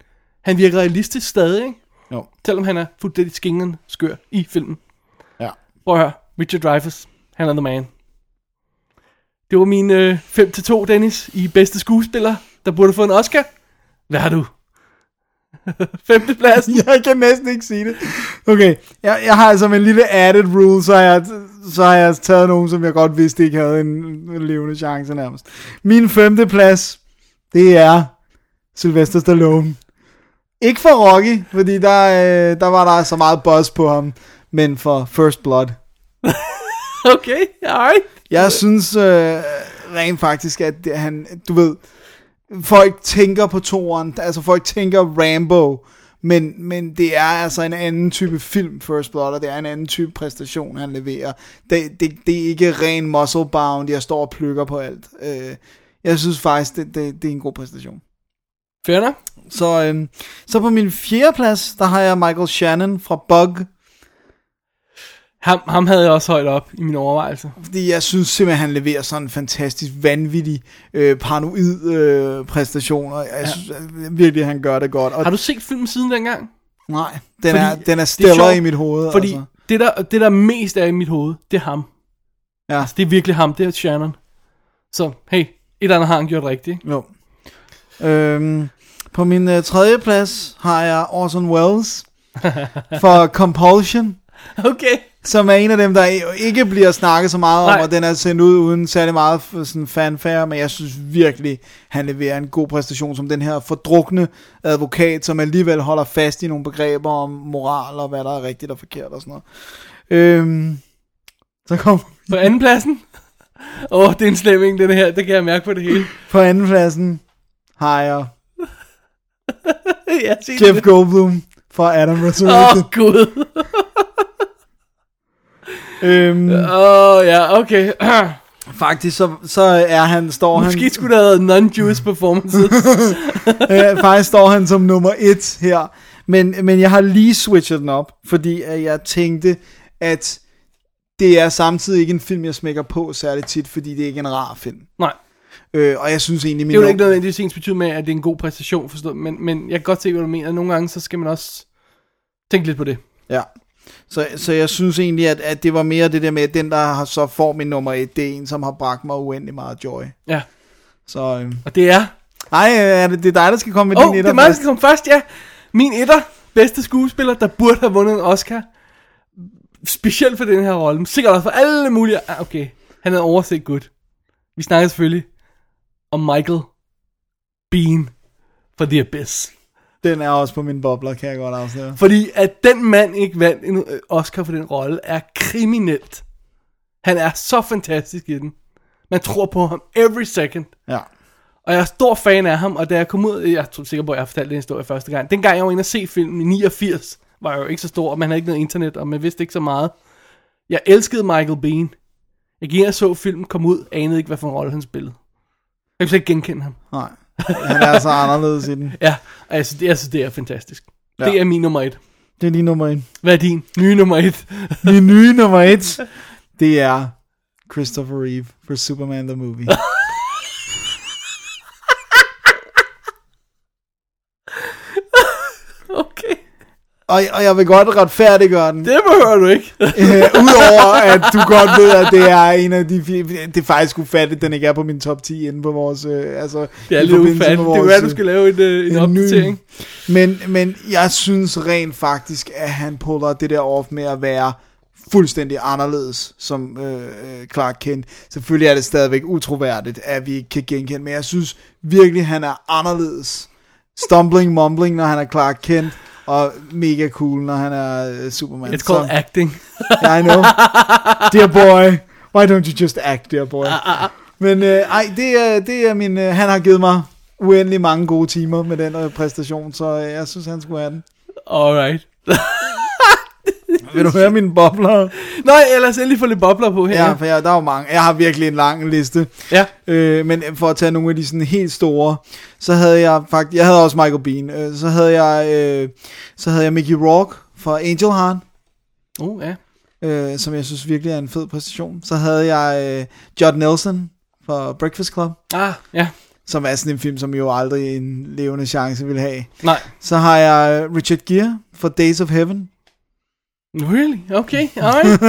han virker realistisk stadig, ikke? Jo. selvom han er fuldstændig skingen skør i filmen. Ja. Prøv at høre, Richard Dreyfuss, han er the man. Det var min øh, 5-2, Dennis, i bedste skuespiller, der burde få en Oscar. Hvad har du? Femteplads. Jeg kan næsten ikke sige det. Okay, jeg, jeg har altså med en lille added rule, så har, jeg, så har jeg taget nogen, som jeg godt vidste ikke havde en, en levende chance nærmest. Min femte plads, det er Sylvester Stallone. Ikke for Rocky, fordi der, øh, der var der så meget buzz på ham, men for First Blood. Okay, alright. Jeg synes øh, rent faktisk, at det, han, du ved, folk tænker på toren, altså folk tænker Rambo, men, men det er altså en anden type film, First Blood, og det er en anden type præstation, han leverer. Det, det, det er ikke ren muscle bound, jeg står og plukker på alt. Øh, jeg synes faktisk, det, det, det er en god præstation. Fair nok. Så, øhm, så på min fjerde plads, der har jeg Michael Shannon fra Bug. Ham, ham havde jeg også højt op i mine overvejelser. Fordi jeg synes simpelthen, han leverer sådan en fantastisk, vanvittig, øh, paranoid øh, præstation, og jeg ja. synes øh, virkelig, han gør det godt. Og Har du set filmen siden dengang? Nej, den Fordi er, den er det er stiller sjovt, i mit hoved. Fordi altså. det, der, det, der mest er i mit hoved, det er ham. Ja. Altså, det er virkelig ham, det er Shannon. Så, hey, et eller andet har han gjort rigtigt. ikke? Jo. Øhm, på min øh, tredje plads har jeg Orson Welles for Compulsion, Okay. som er en af dem, der i- ikke bliver snakket så meget om, Nej. og den er sendt ud uden særlig meget f- sådan fanfare, men jeg synes virkelig, han leverer en god præstation som den her fordrukne advokat, som alligevel holder fast i nogle begreber om moral og hvad der er rigtigt og forkert og sådan noget. Øhm, så kom På anden pladsen. Åh, oh, det er en slemming, den her. Det kan jeg mærke på det hele. på anden pladsen har jeg jeg siger Jeff Goldblum for Adam Åh, Resurrection. oh, Gud. Oh. Øhm, Åh, oh, ja, okay. Faktisk så, så er han, står Måske han, skulle der have været non-Jewish performances. øh, faktisk står han som nummer et her. Men, men jeg har lige switchet den op, fordi at jeg tænkte, at det er samtidig ikke en film, jeg smækker på særligt tit, fordi det er ikke en rar film. Nej, Øh, og jeg synes egentlig, min det er jo num- ikke nødvendigvis ens betyder med, at det er en god præstation, forstået. Men, men jeg kan godt se, hvad du mener. Nogle gange, så skal man også tænke lidt på det. Ja. Så, så jeg synes egentlig, at, at det var mere det der med, at den, der har så får min nummer et, det er en, som har bragt mig uendelig meget joy. Ja, Så øh. og det er Ej, øh, er det, det er dig, der skal komme med Åh, din oh, det etter er mig, der først. skal komme først, ja. Min etter, bedste skuespiller, der burde have vundet en Oscar. Specielt for den her rolle. men Sikkert også for alle mulige... Ah, okay. Han havde overset godt. Vi snakker selvfølgelig om Michael Bean for The Abyss. Den er også på min bobler, kan jeg godt afsløre. Fordi at den mand ikke vandt en øh, Oscar for den rolle, er kriminelt. Han er så fantastisk i den. Man tror på ham every second. Ja. Og jeg er stor fan af ham, og da jeg kom ud, jeg er sikker på, at jeg har fortalt den historie første gang. Dengang jeg var inde og se filmen i 89, var jeg jo ikke så stor, og man havde ikke noget internet, og man vidste ikke så meget. Jeg elskede Michael Bean. Jeg gik ind og så filmen, kom ud, anede ikke, hvad for en rolle han spillede. Jeg kunne slet ikke genkende ham. Nej. Han er så anderledes i den. Ja, og jeg synes, det, jeg synes, det er fantastisk. Ja. Ja. Det er min nummer et. Det er lige nummer en. Hvad er din? Nye nummer et. Min nye nummer et, det er Christopher Reeve for Superman the Movie. Okay. Og, og jeg vil godt retfærdiggøre den, Det behøver du ikke. øh, udover at du godt ved, at det er en af de... fi- Det er faktisk ufatteligt, at den ikke er på min top 10 inde på vores... Øh, altså, Det er i lidt forbindelse med ufatteligt. Det vores, kunne være, øh, du skulle lave en, øh, en en ny- opdatering. Men, men jeg synes rent faktisk, at han puller det der off med at være fuldstændig anderledes som øh, øh, Clark Kent. Selvfølgelig er det stadigvæk utroværdigt, at vi ikke kan genkende, men jeg synes virkelig, han er anderledes. Stumbling, mumbling, når han er Clark Kent, og mega cool, når han er øh, Superman. It's called Så- acting. Yeah, I know. dear boy, why don't you just act, dear boy? Men øh, ej, det er, det er min... Øh, han har givet mig uendelig mange gode timer med den øh, præstation, så øh, jeg synes, han skulle have den. Alright. Vil du høre mine bobler? Nå, ellers endelig få lidt bobler på her. Ja, for jeg, der er jo mange. Jeg har virkelig en lang liste. ja. Øh, men for at tage nogle af de sådan helt store, så havde jeg faktisk... Jeg havde også Michael Bean. Øh, så, havde jeg, øh, så havde jeg Mickey Rourke fra Angel Heart. Oh, ja. øh, som jeg synes virkelig er en fed præstation. Så havde jeg øh, Judd Nelson fra Breakfast Club, Ah, ja. som er sådan en film, som jo aldrig en levende chance ville have. Nej. Så har jeg øh, Richard Gere fra Days of Heaven, Really? Okay, alright.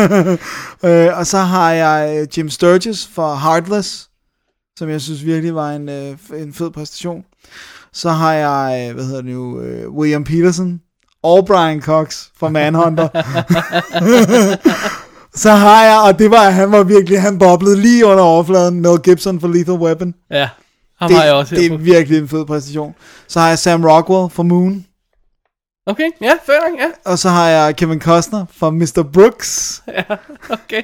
øh, og så har jeg øh, Jim Sturgis fra Heartless, som jeg synes virkelig var en, øh, f- en fed præstation. Så har jeg, øh, hvad hedder det nu, øh, William Peterson og Brian Cox fra Manhunter. så har jeg, og det var, han var virkelig, han boblede lige under overfladen, Mel Gibson for Lethal Weapon. ja, ham Det, har jeg også det her er på. virkelig en fed præstation. Så har jeg Sam Rockwell for Moon, Okay, ja, fair nok, ja. og så har jeg Kevin Costner for Mr. Brooks. Okay.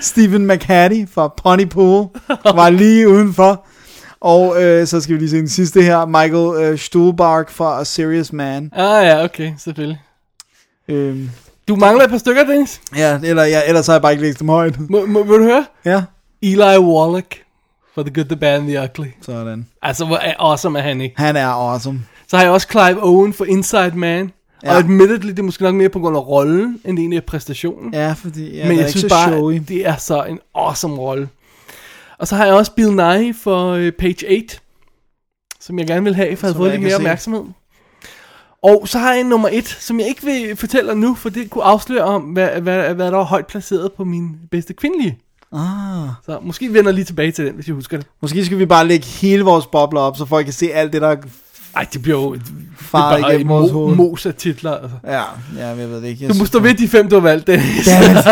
Stephen McHattie fra Pony Pool var lige udenfor. Og øh, så skal vi lige se den sidste her. Michael øh, Stuhlbarg fra A Serious Man. Ah ja, okay, selvfølgelig. Øhm, Du mangler et par stykker, Dennis. ja, eller, ja, ellers har jeg bare ikke læst dem højt. Må, må, vil du høre? Ja, Eli Wallach for The Good, The Bad and The Ugly. sådan. Altså, hvor er awesome er han ikke? Han er awesome. Så har jeg også Clive Owen for Inside Man. Ja. Og admittedly, det er måske nok mere på grund af rollen, end egentlig af præstationen. Ja, fordi ja, Men det jeg er ikke synes så bare, showy. det er så en awesome rolle. Og så har jeg også Bill Nye for øh, Page 8, som jeg gerne vil have, for jeg havde Som fået jeg lidt ikke mere har set. opmærksomhed. Og så har jeg en nummer 1, som jeg ikke vil fortælle dig nu, for det kunne afsløre om, hvad, hvad, hvad der var højt placeret på min bedste kvindelige. Ah. Så måske vender jeg lige tilbage til den, hvis jeg husker det. Måske skal vi bare lægge hele vores bobler op, så folk kan se alt det, der er Ej, det bliver jo faret bare en igennem vores mo- hoved. mos af titler. Altså. Ja, ja, men jeg ved det ikke. Jeg Du må synes- stå ved de fem, du har valgt, Dennis. Dammit.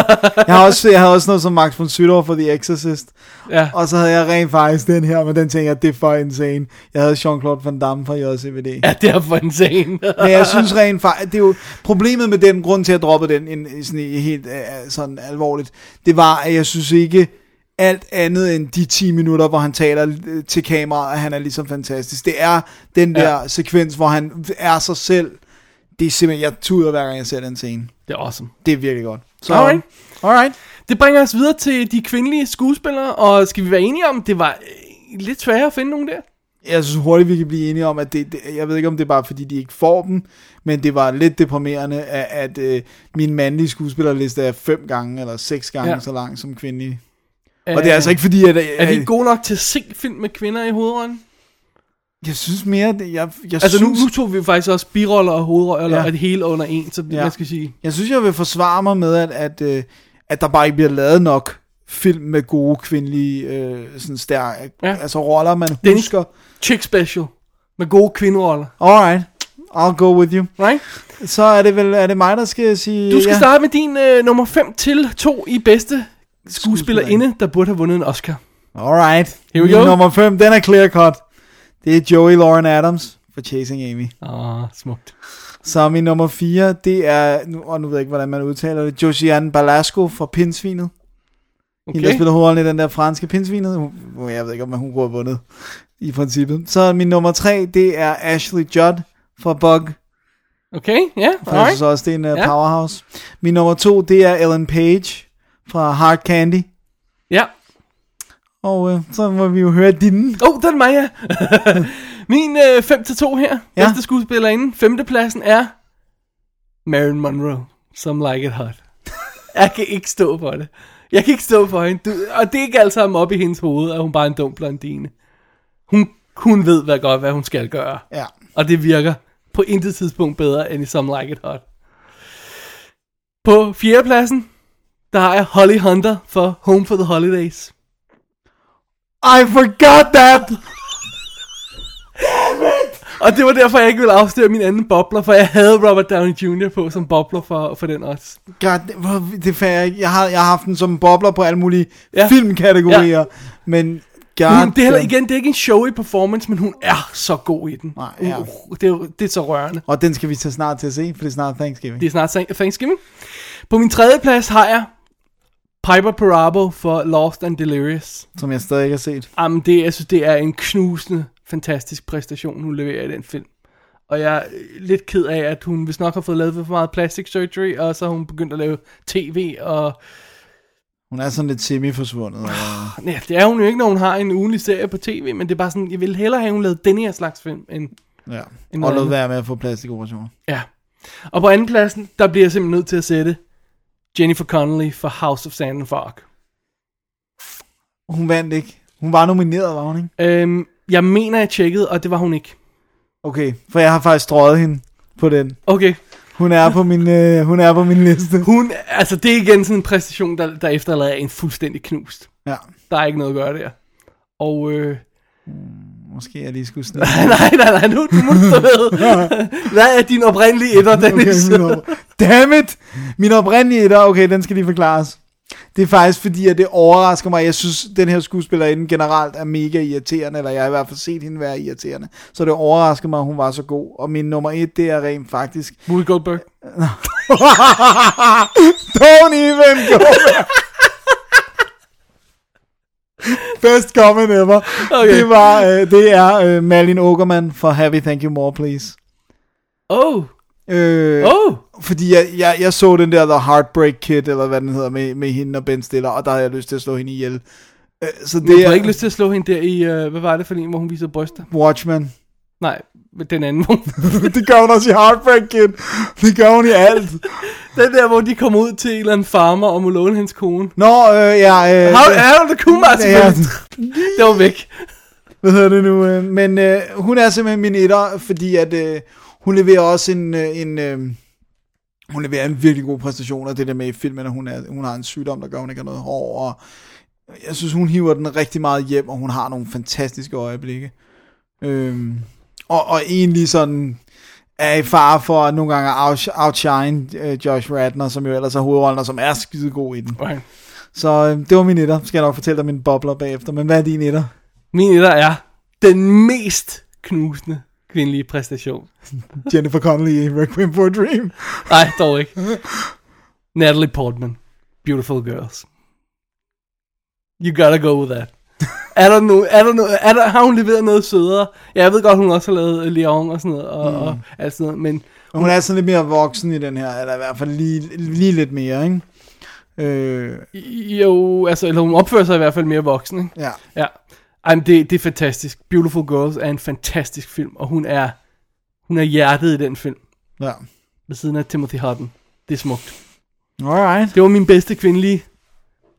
jeg, har også, jeg havde også noget som Max von Sydow for The Exorcist. Ja. Og så havde jeg rent faktisk den her, men den tænker jeg, det er for insane. Jeg havde Jean-Claude Van Damme fra JCVD. Ja, det er for insane. Men jeg synes rent faktisk, det er jo problemet med den grund til at droppe den en, en- sådan i- helt øh, sådan alvorligt, det var, at jeg synes ikke alt andet end de 10 minutter, hvor han taler øh, til kameraet, at han er ligesom fantastisk. Det er den der ja. sekvens, hvor han er sig selv. Det er simpelthen, jeg tuder hver gang jeg ser den scene. det er awesome. Det er virkelig godt. Så, Alright. Alright. Det bringer os videre til de kvindelige skuespillere, og skal vi være enige om, det var øh, lidt sværere at finde nogen der? Jeg synes hurtigt, vi kan blive enige om, at det, det, jeg ved ikke, om det er bare fordi, de ikke får dem, men det var lidt deprimerende, at, at øh, min mandlige skuespillerliste er fem gange eller seks gange Ja. Øh, ja. så lang som kvindelig. Og det er altså ikke fordi, at... Er vi gode nok til at se film med kvinder i hovedrollen? Jeg synes mere... det- Jeg, jeg, Altså nu, synes, nu tog vi faktisk også biroller og hovedroller, Ja. og det hele under en, så ja. Ja. man skal sige. jeg synes, jeg vil forsvare mig med, at, at, øh, at der bare ikke bliver lavet nok film med gode kvindelige øh, sådan stærke, Ja. ja. altså roller, man Dennis. husker. Chick special. Med gode kvinderoller, Alright, I'll go with you. right? Så er det vel er det mig, der skal sige... Du skal ja. starte med din øh, nummer 5 til to i bedste skuespillerinde, der burde have vundet en Oscar. Alright. Here we Min go. Nummer 5, den er clear cut. Det er Joey Lauren Adams for Chasing Amy. Åh, oh, smukt. Så min nummer 4, det er, nu, og nu ved jeg ikke, hvordan man udtaler det, Josiane Balasco for Pinsvinet. Okay. Hende, der Okay. spiller hovedrollen i den der franske Pinsvinet. Hun, hun- jeg ved ikke, om hun kunne have vundet i princippet. Så min nummer 3, det er Ashley Judd for Bug. Okay, ja, For jeg alright. synes også, det er en uh, Ja. powerhouse. Min nummer 2, det er Ellen Page fra Hard Candy. Ja. Og uh, så må vi jo høre dine. Åh, oh, den er mig, ja. Min 5 til 2 her. Ja. Ja. Bedste skuespillerinde. Femtepladsen er Marilyn Monroe. Some like it hot. Jeg kan ikke stå for det. Jeg kan ikke stå for hende. Du, og det er ikke alt sammen op i hendes hoved, at hun bare er en dum blondine. Hun, hun ved hvad godt, hvad hun skal gøre. Ja. Og det virker på intet tidspunkt bedre end i Some Like It Hot. På fjerdepladsen, der har jeg Holly Hunter for Home for the Holidays. I forgot that! Og det var derfor, jeg ikke ville afsløre min anden bobler, for jeg havde Robert Downey Jr. på som bobler for, for den også. God, det, hvor- det fandt jeg ikke. Jeg har, jeg har haft den som bobler på alle mulige Ja. ja. filmkategorier. Ja. Men God, Hun, det er heller, igen, det er ikke en showy performance, men hun er så god i den. Nej, ja. uh, det, er, jo- det er så rørende. Og den skal vi tage snart til at se, for det er snart Thanksgiving. Det Det. er snart Thank- Thanksgiving. På min tredje plads har jeg Piper Parabo for Lost and Delirious. Som jeg stadig ikke har set. Jamen, det, jeg synes, det er en knusende, fantastisk præstation, hun leverer i den film. Og jeg er øh, lidt ked af, at hun hvis nok har fået lavet for meget plastic surgery, og så har hun begyndt at lave tv, og Hun er sådan lidt semi-forsvundet. og- ja, det er hun jo ikke, når hun har en ugenlig serie på tv, men det er bare sådan, jeg ville hellere have, at hun lavede den her slags film, end ja. En Og lod anden. være med at få plastikoperationer. ja. Og på anden pladsen, der bliver jeg simpelthen nødt til at sætte Jennifer Connelly for House of Sand and Fog. Hun vandt ikke. Hun var nomineret, var hun ikke? Øhm, jeg mener, jeg tjekkede, og det var hun ikke. Okay, for jeg har faktisk strøget hende på den. Okay, Hun er på min, øh, hun er på min liste. hun, altså det er igen sådan en præstation, der, der efterlader en fuldstændig knust. Ja, Der er ikke noget at gøre der. Og øh, måske jeg lige skulle snige. nej, nej, nej, nu du må du stå ved. Hvad er din oprindelige etter, Okay, Dennis? min op- Damn it! Min oprindelige etter, okay, den skal lige forklares. Det er faktisk fordi, at det overrasker mig. Jeg synes, den her skuespillerinde generelt er mega irriterende, eller jeg har i hvert fald set hende være irriterende. Så det overrasker mig, at hun var så god. Og min nummer et, det er rent faktisk... Will Goldberg. Don't even go there. Best comment ever. Okay. Det, var, øh, det er øh, Malin Åkerman for Happy Thank You More Please. Oh, Øh, oh. fordi jeg, jeg, jeg så den der The Heartbreak Kid, eller hvad den hedder, med, med hende og Ben Stiller, og der havde jeg lyst til at slå hende ihjel. Øh, Så Men det jeg er har ikke lyst til at slå hende der i, øh, hvad var det for en, hvor hun viser bryster? Watchmen. Nej, men den anden vogn. det gør hun også i Heartbreak Kid. Det gør hun i alt. den der, hvor de kommer ud til en eller anden farmer og må låne hans kone. Nå, øh, ja... Øh, How det- er det Kumar ja, selvfølgelig? Det var væk. hvad hedder det nu? øh, Men øh, hun er simpelthen min etter, fordi at øh, hun leverer også en... Øh, en øh, hun leverer en virkelig god præstation, og det der med i filmen, at hun, er, hun har en sygdom, der gør, at hun ikke har noget hår, og jeg synes, hun hiver den rigtig meget hjem, og hun har nogle fantastiske øjeblikke. Øhm, og, og egentlig sådan er i fare for at nogle gange out, outshine øh, Josh Radner, som jo ellers er hovedrollen, og som er skidegod i den. Right. Så øh, det var min etter. Skal jeg nok fortælle dig min bobler bagefter, men hvad er din etter? Min etter er den mest knusende kvindelige præstation. Jennifer Connelly i Requiem for a Dream. Nej, dog ikke. Natalie Portman. Beautiful girls. You gotta go with that. Er der no, er der no, er der, har hun leveret noget sødere? Ja, jeg ved godt, hun også har lavet Leon og sådan noget, og, mm. og alt sådan noget, men Og Hun er sådan lidt mere voksen i den her, eller i hvert fald lige, lige lidt mere, ikke? Øh, jo, altså, eller hun opfører sig i hvert fald mere voksen, ikke? ja. Ja. Ej, men det, det er fantastisk. Beautiful Girls er en fantastisk film, og hun er, hun er hjertet i den film, ja. ved siden af Timothy Hutton. Det er smukt. Alright. Det var min bedste kvindelige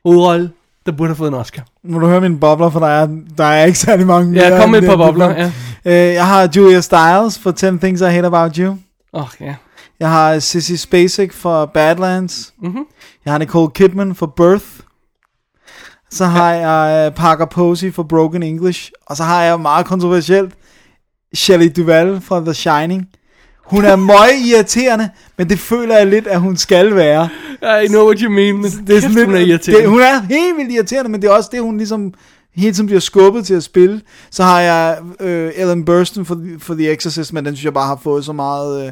hovedrolle, der burde have fået en Oscar. Må du høre mine bobler, for der er, der er ikke særlig mange Ja, kom med et end par det, du bobler, kom. ja. Øh, jeg har Julia Stiles for 10 Things I Hate About You. Åh, oh, ja. Jeg har Sissy Spacek for Badlands. Mhm. Jeg har Nicole Kidman for Birth. Så har jeg øh, Parker Posey for Broken English. Og så har jeg meget kontroversielt Shelley Duvall fra The Shining. Hun er møg irriterende, men det føler jeg lidt, at hun skal være. I know what you mean, men det er sådan lidt, hun er irriterende. det, hun er helt vildt irriterende, men det er også det, hun ligesom hele tiden bliver skubbet til at spille. Så har jeg øh, Ellen Burstyn for, The- for The Exorcist, men den synes jeg bare har fået så meget øh,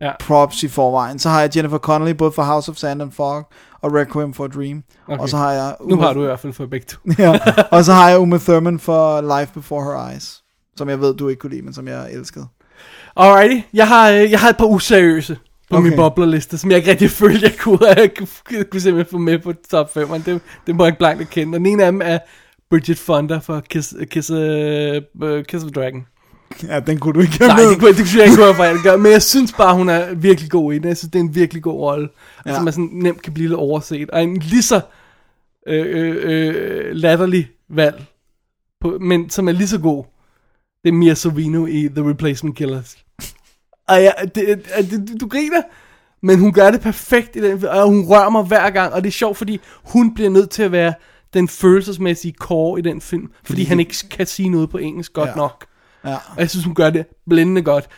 Ja. ja. props i forvejen. Så har jeg Jennifer Connelly både for House of Sand and Fog og Requiem for a Dream. Okay. Og så har jeg Nu har du i hvert fald fået begge to. ja. Og så har jeg Uma Thurman for Life Before Her Eyes, som jeg ved, du ikke kunne lide, men som jeg elskede. Alrighty, jeg har, øh, jeg har et par useriøse på okay. min Okay. boblerliste, som jeg ikke rigtig følte, jeg kunne, jeg kunne, kunne simpelthen få med på top 5, men det, det må jeg ikke blankt erkende. Og den ene af dem er Bridget Fonda fra Kiss, Kiss, uh, Kiss of Dragon. Ja, den kunne du ikke have Nej, med. det, kunne, det synes jeg ikke, kunne jeg gøre, men jeg synes bare, hun er virkelig god i den. Jeg synes, det er en virkelig god rolle, ja. Ja. som man sådan nemt kan blive lidt overset. Og en lige så øh, øh, øh, latterlig valg, på, men som er lige så god, det er Mia Sorvino i The Replacement Killers. Og jeg, det, det, det, du griner, men hun gør det perfekt i den, og hun rører mig hver gang, og det er sjovt, fordi hun bliver nødt til at være den følelsesmæssige core i den film, fordi, fordi han ikke kan sige noget på engelsk godt ja. Ja. nok. Ja. Og jeg synes, hun gør det blændende godt.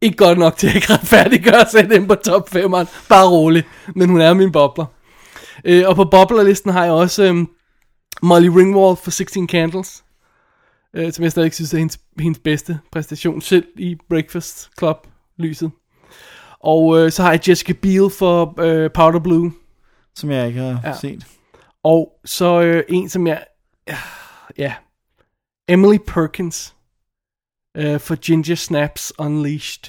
Ikke godt nok til at jeg ikke retfærdiggøre at sætte ind på top 5'eren. Bare rolig. Men hun er min bobler. Øh, og på boblerlisten har jeg også øhm, Molly Ringwald for 16 Candles. Øh, som jeg stadig synes er hendes, hendes bedste præstation. Selv i Breakfast Club lyset. Og øh, så har jeg Jessica Biel for øh, Powder Blue. Som jeg ikke har Ja. ja. set. Og så øh, en, som jeg... Ja. Emily Perkins. Øh, for Ginger Snaps Unleashed.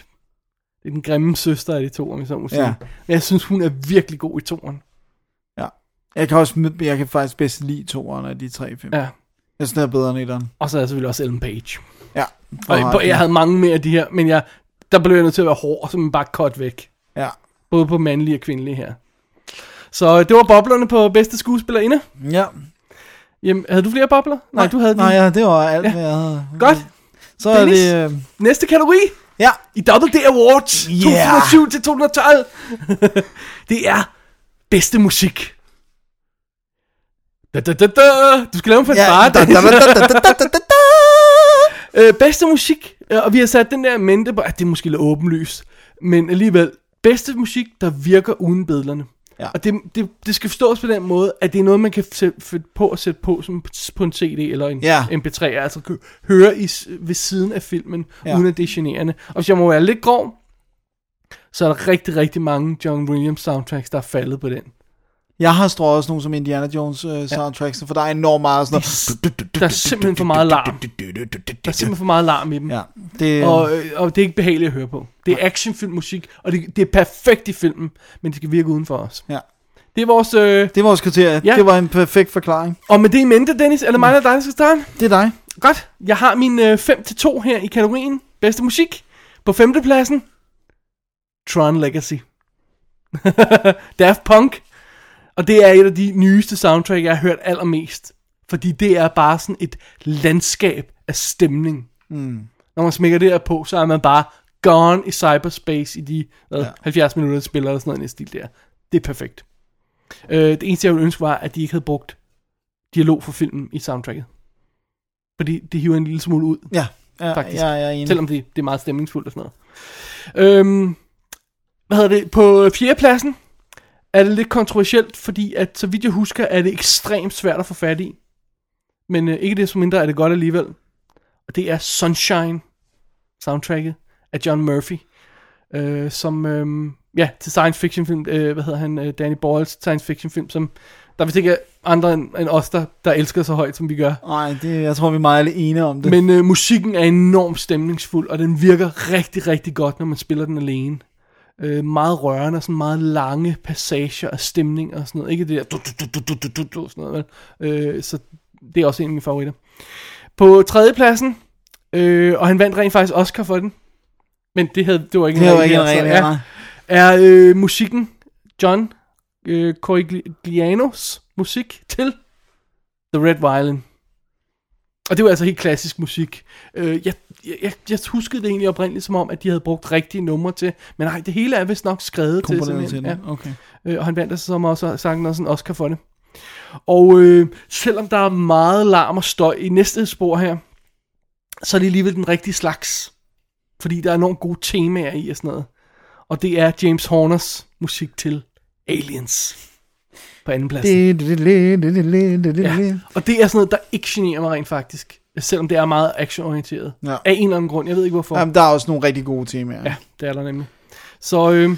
Det er den grimme søster af de to, om jeg så må sige. Ja. Men jeg synes, hun er virkelig god i toren. Jeg kan, også, jeg kan faktisk bedst lide toeren af de tre film. Ja. Jeg synes, den er bedre end etteren. Og så er jeg selvfølgelig også Ellen Page. Ja. Og jeg, jeg havde mange mere af de her, men jeg, der blev jeg nødt til at være hård, så man bare cut væk. Ja. Både på mandlige og kvindelige her. Så øh, det var boblerne på bedste skuespillerinde. ja. Jamen, havde du flere bobler? Nej, du havde Nej, din. ja, det var alt, hvad jeg havde. Godt. Så er Dennis? det... Øh, Næste kategori. ja. i Double D Awards Yeah. 2007 til 2012. det er bedste musik. Da, da, da, da. Du skal lave en ja fanfare. da, da, da, da, da, da, da, da, da. Øh, bedste musik, øh, og vi har sat den der i mente på, at det er måske lidt åbenlyst, men alligevel, bedste musik, der virker uden billederne. Ja. Og det, det, det skal forstås på den måde, at det er noget, man kan sætte finde på at sætte på som på en CD eller en Ja. MP3, altså kø- høre i, s- ved siden af filmen, ja. Ja. uden at det er generende. Og hvis jeg må være lidt grov, så er der rigtig, rigtig mange John Williams soundtracks, der er faldet på den. Jeg har strået også nogle som Indiana Jones øh, soundtracks, for der er enormt meget sådan noget. Der er simpelthen for meget larm. Der er simpelthen for meget larm i dem. Ja, det, Og, øh, og det er ikke behageligt at høre på. Det er actionfilmmusik, og det, det er perfekt i filmen, men det skal virke uden for os. ja. Det er vores... Øh, det er vores kriterie. Ja. Det var en perfekt forklaring. og med det i mente, Dennis, er det mig eller dig, der skal starte? Det er dig. Godt. Jeg har min øh, 5-2 her i kategorien. Bedste musik. På femtepladsen, Tron Legacy. Daft Punk. Og det er et af de nyeste soundtrack, jeg har hørt allermest. Fordi det er bare sådan et landskab af stemning. Mm. Når man smækker det her på, så er man bare gone i cyberspace i de hvad, 70 minutter, det spiller eller sådan noget i den stil der. Det er perfekt. Øh, det eneste, jeg ville ønske, var, at de ikke havde brugt dialog for filmen i soundtracket. Fordi det hiver en lille smule ud Ja, ja, Faktisk. ja, jeg er enig. Selvom det, det er meget stemningsfuldt og sådan noget. Øhm, hvad hedder det? På fjerdepladsen er det lidt kontroversielt, fordi at, så vidt jeg husker, er det ekstremt svært at få fat i. Men øh, ikke desto mindre er det godt alligevel. Og det er Sunshine soundtracket af John Murphy, øh, som, øh, ja, til science fiction film, øh, hvad hedder han, øh, Danny Boyles science fiction film, som der vist ikke er andre end, end os, der, der elsker så højt, som vi gør. Nej, det, jeg tror, vi er meget enige om det. Men øh, musikken er enormt stemningsfuld, og den virker rigtig, rigtig godt, når man spiller den alene. Øh, meget rørende og sådan meget lange passager af stemning og sådan noget. Ikke det der... Du, du, du, du, du, du, du, sådan noget, vel? Øh, så det er også en af mine favoritter. På tredjepladsen, øh, og han vandt rent faktisk Oscar for den. Men det, havde, det var ikke det er jo rigtig altså, ikke en regel, Oscar, ja. er øh, musikken John øh, Coriglianos musik til The Red Violin. Og det var altså helt klassisk musik. Øh, jeg, jeg, jeg, jeg huskede det egentlig oprindeligt som om, at de havde brugt rigtige numre til, men nej, det hele er vist nok skrevet til. Komponeret til simpelthen. det. Okay. Øh, og han vandt altså som også sangen også en Oscar for det. Og øh, selvom der er meget larm og støj i næste spor her, så er det alligevel den rigtige slags. Fordi der er nogle gode temaer i og sådan noget. Og det er James Horners musik til Aliens på anden plads. Det, det, det, det, det, det, det, det, Ja. det. Og det er sådan noget, der ikke generer mig rent faktisk. Selvom det er meget actionorienteret. Ja. Af en eller anden grund, jeg ved ikke hvorfor. Jamen, der er også nogle rigtig gode temaer. Ja, det er der nemlig. Så øh,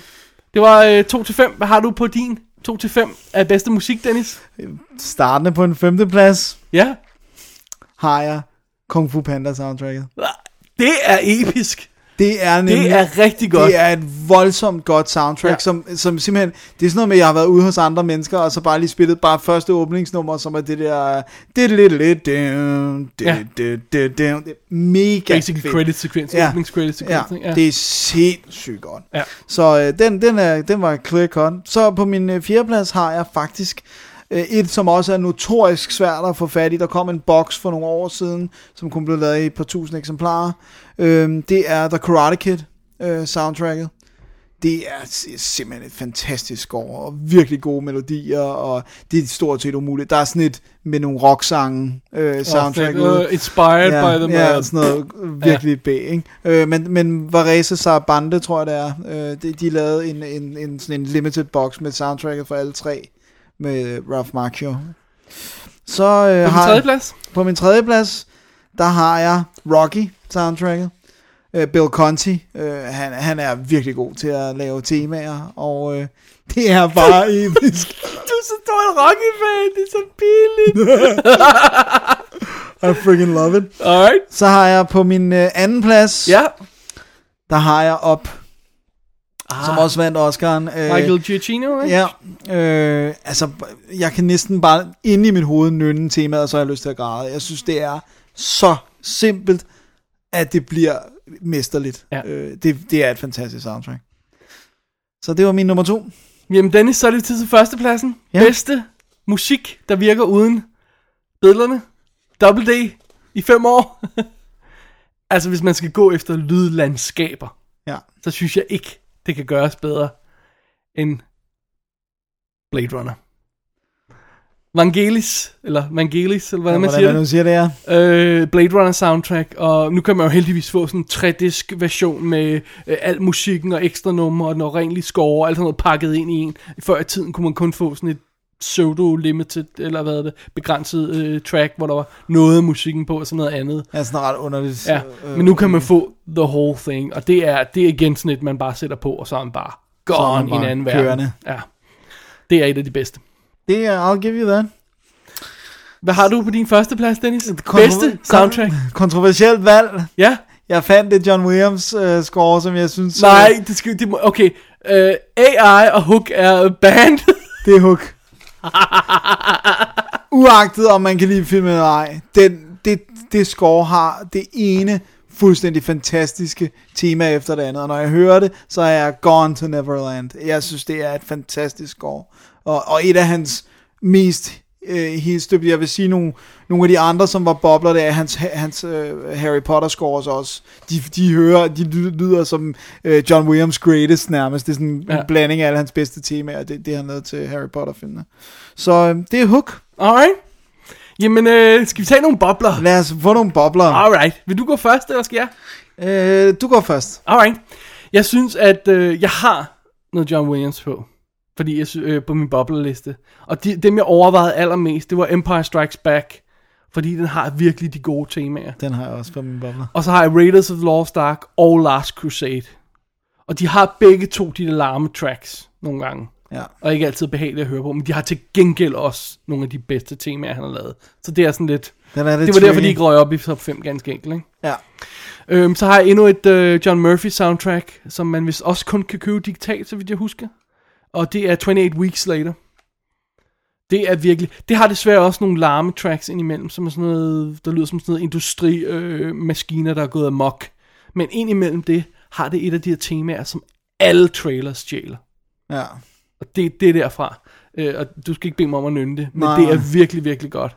det var øh, 2-5. Hvad har du på din 2-5 af bedste musik, Dennis? Startende på en femteplads Ja. har jeg Kung Fu Panda soundtracket. Det er episk. Det er nemlig... Det er rigtig godt. Det er et voldsomt godt soundtrack, Ja. ja. som, som simpelthen, det er sådan noget med, at jeg har været ude hos andre mennesker, og så bare lige spillet bare første åbningsnummer, som er det der, det lidt lidt, det Ja. er mega Basically fedt. credit sequence, ja. Ja. åbningscredit Ja, sequence. det er sindssygt godt. Ja. Så øh, den, den, er, den var clear cut. Så på min øh, fjerdeplads har jeg faktisk øh, et, som også er notorisk svært at få fat i. Der kom en boks for nogle år siden, som kun blev lavet i et par tusind eksemplarer. Øh, det er The Karate Kid øh, soundtracket. Det er si- simpelthen et fantastisk score, og virkelig gode melodier, og det er stort set umuligt. Der er sådan et med nogle rocksange øh, soundtrack Soundtrack ude. uh, inspired Ja, by øh, the ja, man. sådan noget virkelig ja. bag, ikke? Øh, men, men Varese Sarabande, tror jeg det er, øh, de, de lavede en, en, en, sådan en limited box med soundtracket for alle tre, med Ralph Macchio. Så øh, På har, tredje plads. på min tredje plads, der har jeg Rocky soundtracket. Øh, Bill Conti, øh, han, han er virkelig god til at lave temaer, og øh, det er bare episk. Du er så stor en Rocky-fan, det er så pinligt. I freaking love it. Alright. Så har jeg på min øh, anden plads, Ja. der har jeg op, ah, som også vandt Oscar'en. Øh, Michael Giacchino, ikke? Ja, øh, altså, jeg kan næsten bare inde i mit hoved nynne temaet, og så har jeg lyst til at græde. Jeg synes, det er så simpelt, at det bliver mesterligt. Ja. Øh, det, det er et fantastisk soundtrack. Så det var min nummer to. Jamen Dennis, så er det tid til førstepladsen. Ja. Ja. Bedste musik, der virker uden billederne. Double D i fem år. altså hvis man skal gå efter lydlandskaber, Ja. så synes jeg ikke, det kan gøres bedre end Blade Runner. Vangelis, eller Vangelis, eller hvordan man siger Hvordan det. man siger det, er. Øh, Blade Runner soundtrack, og nu kan man jo heldigvis få sådan en trædisk version med øh, al musikken og ekstra numre og den oprindelige score og alt sådan noget pakket ind i en. Før i tiden kunne man kun få sådan et pseudo-limited, eller hvad er det, begrænset øh, track, hvor der var noget af musikken på og sådan noget andet. Ja, sådan ret underligt. Ja, øh, men nu kan man få the whole thing, og det er, det er igen sådan et, man bare sætter på, og så er man bare er gone i man en bare anden verden. kørende. Ja, det er et af de bedste. Det er, I'll give you that. Hvad har du på din første plads, Dennis? Kontro- bedste soundtrack? Kontroversielt valg. Ja? Jeg fandt det John Williams øh, score, som jeg synes... øh, Nej, det skal, det må, okay. Uh, AI og Hook er band. Det er hook. Uagtet om man kan lide filmen eller ej, den, det, det score har det ene fuldstændig fantastiske tema efter det andet. Og når jeg hører det, så er jeg Gone to Neverland. Jeg synes, det er et fantastisk år. Og, og et af hans mest øh, helstøbte, jeg vil sige nogle, nogle af de andre, som var bobler der, hans, hans øh, Harry Potter scores også, de, de hører, de ly- lyder som øh, John Williams greatest nærmest, det er sådan ja. Ja. en blanding af alle hans bedste temaer, det, det han lavede til Harry Potter filmene. Så øh, det er hook. Alright. Jamen, øh, skal vi tage nogle bobler? Lad os få nogle bobler. Alright. Vil du gå først, eller skal jeg? Øh, du går først. Alright. Jeg synes, at øh, jeg har noget John Williams på. Fordi jeg sy- øh, på min bobleliste. Og de, dem, jeg overvejede allermest, det var Empire Strikes Back. Fordi den har virkelig de gode temaer. Den har jeg også på min bobler. Og så har jeg Raiders of the Lost Ark og Last Crusade. Og de har begge to de der larme tracks nogle gange. Ja. Og ikke altid behagelige at høre på. Men de har til gengæld også nogle af de bedste temaer, han har lavet. Så det er sådan lidt... Den er lidt Det var derfor, tricky. de ikke røg op i top 5 ganske enkelt, ikke? Ja. Øhm, så har jeg endnu et øh, John Murphy soundtrack, som man vist også kun kan købe digitalt, så vidt jeg husker. Og det er 28 Weeks Later. Det er virkelig... Det har desværre også nogle larme tracks indimellem, som er sådan noget, der lyder som sådan noget industrimaskiner, øh, maskiner, der er gået amok. Men indimellem det har det et af de her temaer, som alle trailers stjæler. Ja. Og det, det er derfra. Øh, og du skal ikke bede mig om at nynne det, men Nej. Nej. det er virkelig, virkelig godt.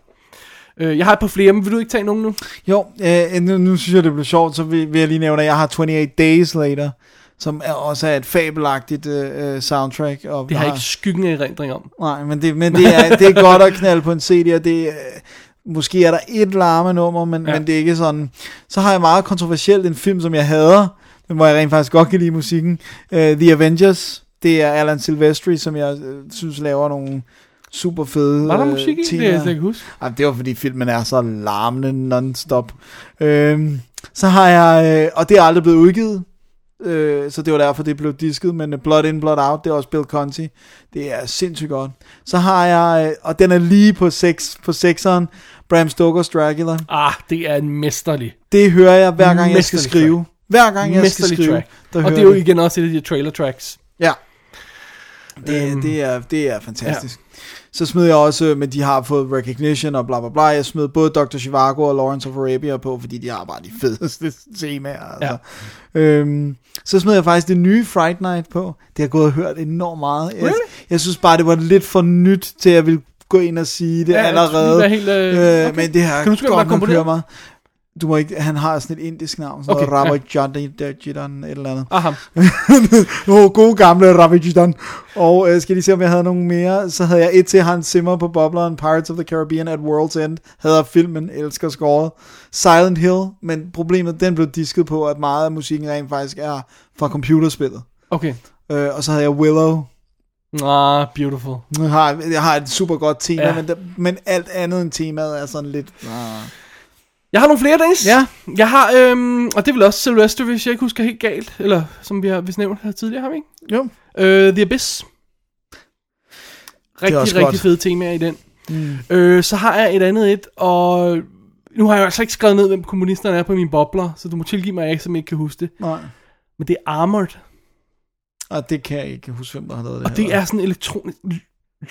Øh, jeg har et par flere, men vil du ikke tage nogen nu? Jo, øh, nu, nu synes jeg, det blev sjovt, så vil, vil jeg lige nævne, at jeg har 28 Days Later, som er, også er et fabelagtigt øh, øh, soundtrack. Og Det har jeg ikke skyggen af erindring om. Nej, men det, men det, er, det er godt at knalde på en CD, og det, øh, måske er der et larmenummer, men, ja. Ja. men det er ikke sådan. Så har jeg meget kontroversielt en film, som jeg hader, men hvor jeg rent faktisk godt kan lide musikken. Uh, The Avengers, det er Alan Silvestri, som jeg øh, synes laver nogle super fede Var der øh, musik i det, temaer. jeg slet ikke huske? Ej, det var fordi filmen er så larmende non-stop. Øhm, så har jeg, øh, og det er aldrig blevet udgivet, øh, så det var derfor, det blev disket, men øh, Blood In, Blood Out, det er også Bill Conti. Det er sindssygt godt. Så har jeg, øh, og den er lige på 6, på 6'eren, Bram Stoker's Dracula. Ah, det er en mesterlig, Det hører jeg, hver gang jeg skal Mesterlig skrive. Hver gang jeg skal mesterlig skrive, track. der Og hører det er jo jeg igen også et af de her trailer tracks. Ja. Det, øhm. det, er, det er fantastisk. Ja. Så smed jeg også, øh, men de har fået recognition og bla bla bla. Jeg smed både Dr. Zhivago og Lawrence of Arabia på, fordi de har bare de fedeste temaer. Altså. Ja. Øhm, så smed jeg faktisk det nye Fright Night på. Det har jeg gået og hørt enormt meget. Jeg, really? jeg synes bare, det var lidt for nyt til, at jeg ville gå ind og sige det Ja, ja, jeg allerede. skulle lige være helt, øh, øh, okay. men det har Kan du huske, hvem der godt nok komponerede hørt mig. Du må ikke, han har sådan et indisk navn, sådan Okay, okay, noget Robert ja. Jordan, et eller andet. Aha. Åh, oh, gode gamle Ramajudan. Og øh, skal lige se, om jeg havde nogen mere. Så havde jeg et til Hans Zimmer på bobleren. Pirates of the Caribbean at World's End. Havde filmen, elsker scoret. Silent Hill, men problemet, den blev disket på, at meget af musikken rent faktisk er fra computerspillet. Okay. Øh, og så havde jeg Willow. Ah, beautiful. Nu har, jeg- jeg har et super godt tema, ja. Ja. men, der, men alt andet end temaet er sådan lidt... Ah. Jeg har nogle flere, Dennis. Ja. Jeg har, øhm, og det er vel også Sylvester, hvis jeg ikke husker helt galt. Eller som vi har vist nævnt her tidligere, har vi ikke? Jo. Øh, The Abyss. Rigtig, også rigtig godt. fede temaer i den. Mm. Øh, så har jeg et andet et, og nu har jeg jo altså ikke skrevet ned, hvem kommunisterne er på mine bobler, så du må tilgive mig, at jeg ikke, som ikke kan huske det. Nej. Men det er Armored. Og det kan jeg ikke huske, hvem der har lavet det Og det er sådan elektronisk...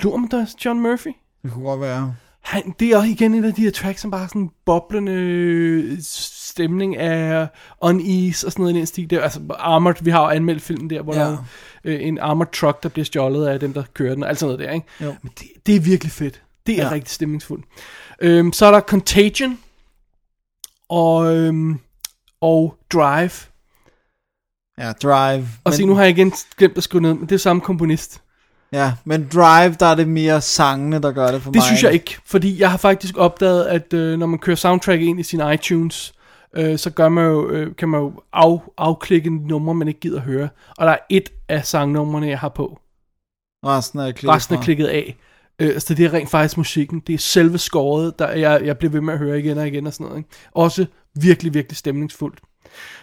Lurmdørs John Murphy? Det kunne godt være. Han, det er også igen et af de her tracks, som bare har sådan en boblende øh, stemning af unease og sådan noget i den stil. Der. Altså Armored, vi har jo anmeldt filmen der, hvor Ja. ja. der er øh, en Armored truck, der bliver stjålet af dem, der kører den og alt sådan noget der. Ikke? Jo. Men det, det er virkelig fedt. Det er Ja. ja. rigtig stemningsfuldt. Øhm, så er der Contagion og, øhm, og Drive. Ja, Drive. Og men- se, nu har jeg igen glemt at skrive ned, men det er samme komponist. Ja, men Drive, der er det mere sangene, der gør det for mig. Det synes jeg ikke, fordi jeg har faktisk opdaget, at øh, når man kører soundtrack ind i sin iTunes, øh, så gør man jo, øh, kan man jo af, afklikke numre, man ikke gider høre. Og der er et af sangnumrene, jeg har på. Resten er klikket. Resten er klikket af. Øh, så det er rent faktisk musikken. Det er selve skåret, der jeg, jeg bliver ved med at høre igen og igen og sådan noget. Ikke? Også virkelig, virkelig stemningsfuldt.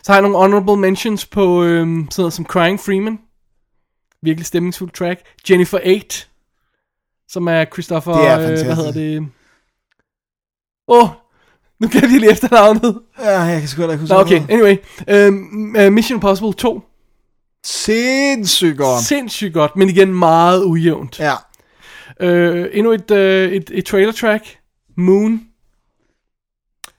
Så har jeg nogle honorable mentions på øh, sådan noget som Crying Freeman. Virkelig stemningsfuld track. Jennifer 8, som er Christopher... Det øh, er hvad fantastisk. hedder det? Åh, oh, nu kan jeg lige efternavnet. Ja, jeg kan sgu heller ikke huske Nå, okay. hvad. Anyway. Øh, Mission Impossible 2. Sindssygt godt. Sindssygt godt, men igen meget ujævnt. Ja, Øh, endnu et, øh, et, et trailer track. Moon.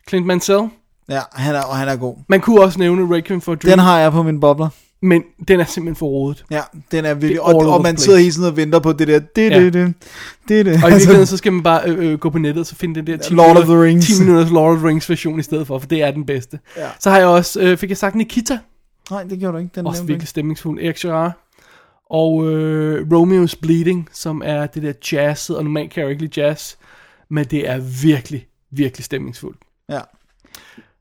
Clint Mansell. Ja, han er, og han er god. Man kunne også nævne Requiem for a Dream, Den har jeg på min bobler. men den er simpelthen for rodet. Ja, den er virkelig... Det er all Og, over og man the sidder place. hele tiden og venter på det der... Det, det, det, det, det. Og i virkeligheden, så skal man bare øh, øh, gå på nettet og så finde den der 10 Altså- Lord of the minutter- Rings. 10 minutters Lord of the Rings version i stedet for, for det er den bedste. Ja. Så har jeg også, øh, fik jeg sagt Nikita, Nej, det gjorde du ikke. Den også nævnte du virkelig stemningsfuld, Erik Gerard. Og øh, Romeo's Bleeding, som er det der jazzet, og normalt kan jeg jo ikke lide jazz, men det er virkelig, virkelig stemningsfuldt. ikke.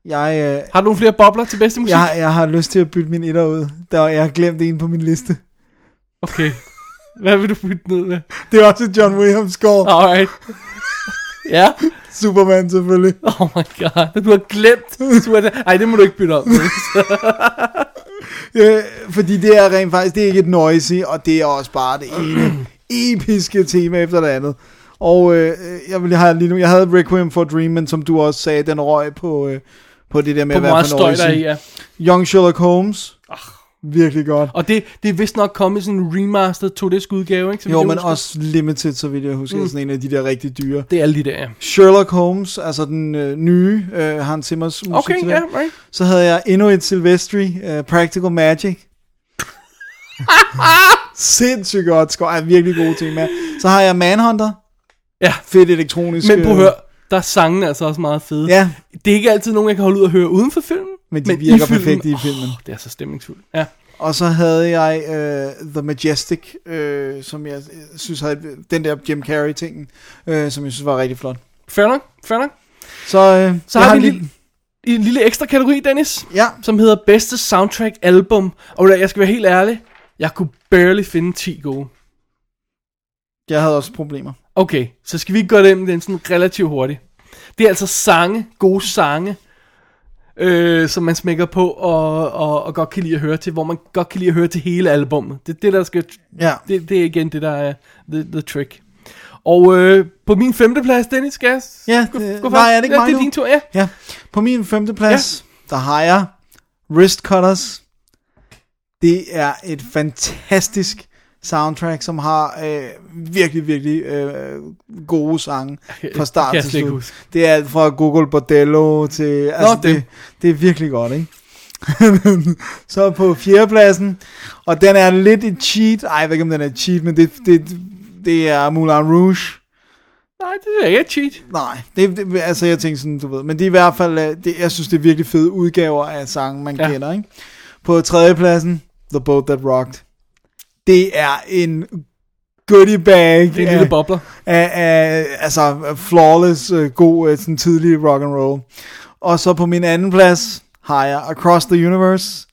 Ja. Jeg, øh, Har du nogle flere bobler til bedste musik? Jeg, jeg har lyst til at bytte min etter ud. Der, jeg har glemt en på min liste. Okay. Hvad vil du putte ned med? Det er også et John Williams score. Oh. Alright. Ja. Superman selvfølgelig. Oh my god. Du har glemt. Du er... Ej, det må du ikke bytte om. Øh, fordi det er rent faktisk, det er ikke et noisy, og det er også bare det ene episke tema efter det andet. Og øh, jeg vil have lige nu, jeg havde Requiem for a Dream, men som du også sagde, den røg på, øh, på det der med Hvor at være meget for støj noisy. der er i, ja. Ah. Young Sherlock Holmes. Virkelig godt. Og det, det er vist nok kommet i sådan en remastered 2 udgave, ikke? Så vidt Jo, jeg men husker. også Limited, så vidt jeg husker, mm. sådan en af de der rigtig dyre. Det er alle de der, ja. Sherlock Holmes, altså den øh, nye øh, Hans Zimmers musik Okay, til ja, den. right. Så havde jeg endnu et Silvestri, uh, Practical Magic. Sindssygt godt score. Ej, virkelig gode temaer. Så har jeg Manhunter. Ja. Fedt elektronisk. Men prøv at øh, høre, der er sangene altså også meget fede. Ja, Det er ikke altid nogen, jeg kan holde ud og høre uden for filmen. men de men virker filmen- perfekt i filmen. Åh, det er så stemningsfuldt. Ja. Og så havde jeg øh, The Majestic, øh, som jeg øh, synes havde den der Jim Carrey-tingen, øh, som jeg synes var rigtig flot. Fair nok, fair nok. Så, øh, Så jeg har vi en en lille, en lille ekstra kategori, Dennis. Ja, som hedder bedste soundtrack album. Og jeg skal være helt ærlig, jeg kunne barely finde 10 gode. jeg havde også problemer. Okay, så skal vi ikke gå dem den sådan relativt hurtigt. Det er altså sange, gode sange, øh, som man smækker på og, og, og godt kan lide at høre til, hvor man godt kan lide at høre til hele albummet. Det er det, der skal, Ja, det, det er igen det, der er the, the trick. Og øh, på min femteplads, Dennis Gas. Ja, det- nej, er det ikke ja, mig det er nu? din tur, ja. ja. På min femte plads, ja. der har jeg Wrist Cutters. Det er et fantastisk soundtrack, som har øh, virkelig, virkelig øh, gode sange fra start kan jeg til slet ikke slut. huske. Det er alt fra Google Bordello til... Altså, dem. det, det er virkelig godt, ikke? så på fjerdepladsen, og den er lidt et cheat. Ej, jeg ved ikke, om den er et cheat, men det, det, det er Moulin Rouge. Nej, det er ikke et cheat. Nej, det, det, altså jeg tænkte sådan, du ved, men det er i hvert fald, øh, det, jeg synes det er virkelig fede udgaver af sange, man Ja. ja. kender, ikke? På tredjepladsen, The Boat That Rocked. Det er en goodie bag Det er en af, lille bobler. af, af, altså flawless, øh, god, øh, sådan tidlig rock and roll. Og så på min anden plads har jeg Across the Universe.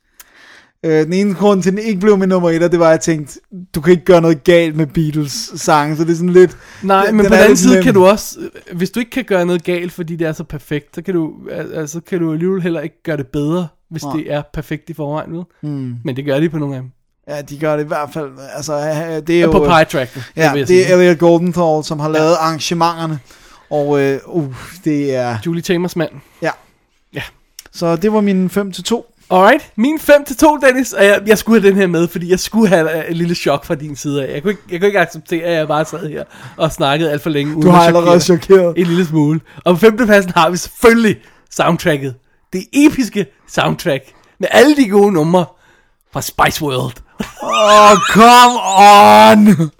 Øh, den ene grund til, at den ikke blev min nummer et, det var, at jeg tænkte, du kan ikke gøre noget galt med Beatles sange, så det er sådan lidt... Nej, den- men den på er den anden lidt side nem. kan du også, øh, hvis du ikke kan gøre noget galt, fordi det er så perfekt, så kan du, al- altså, kan du alligevel heller ikke gøre det bedre, hvis Nej. Hmm. det er perfekt i forvejen, vel? Mm. Men det gør de på nogle af dem. Ja, de gør det i hvert fald. Altså, øh, det er Jo, jo... på pie track. Ja, det er Elliot Goldenthal, som har lavet arrangementerne. Og øh, uh, det er... Julie Tamers mand. Ja. Ja. Så det var min 5 til 2. Alright, min 5 til 2, Dennis, og jeg, jeg skulle have den her med, fordi jeg skulle have øh, et lille chok fra din side af. Jeg kunne ikke, jeg kunne ikke acceptere, at jeg bare sad her og snakkede alt for længe. Du uden har at allerede chokere. chokeret. En lille smule. Og på femtepladsen har vi selvfølgelig soundtracket. Det episke soundtrack med alle de gode numre fra Spice World. Åh, oh, come on!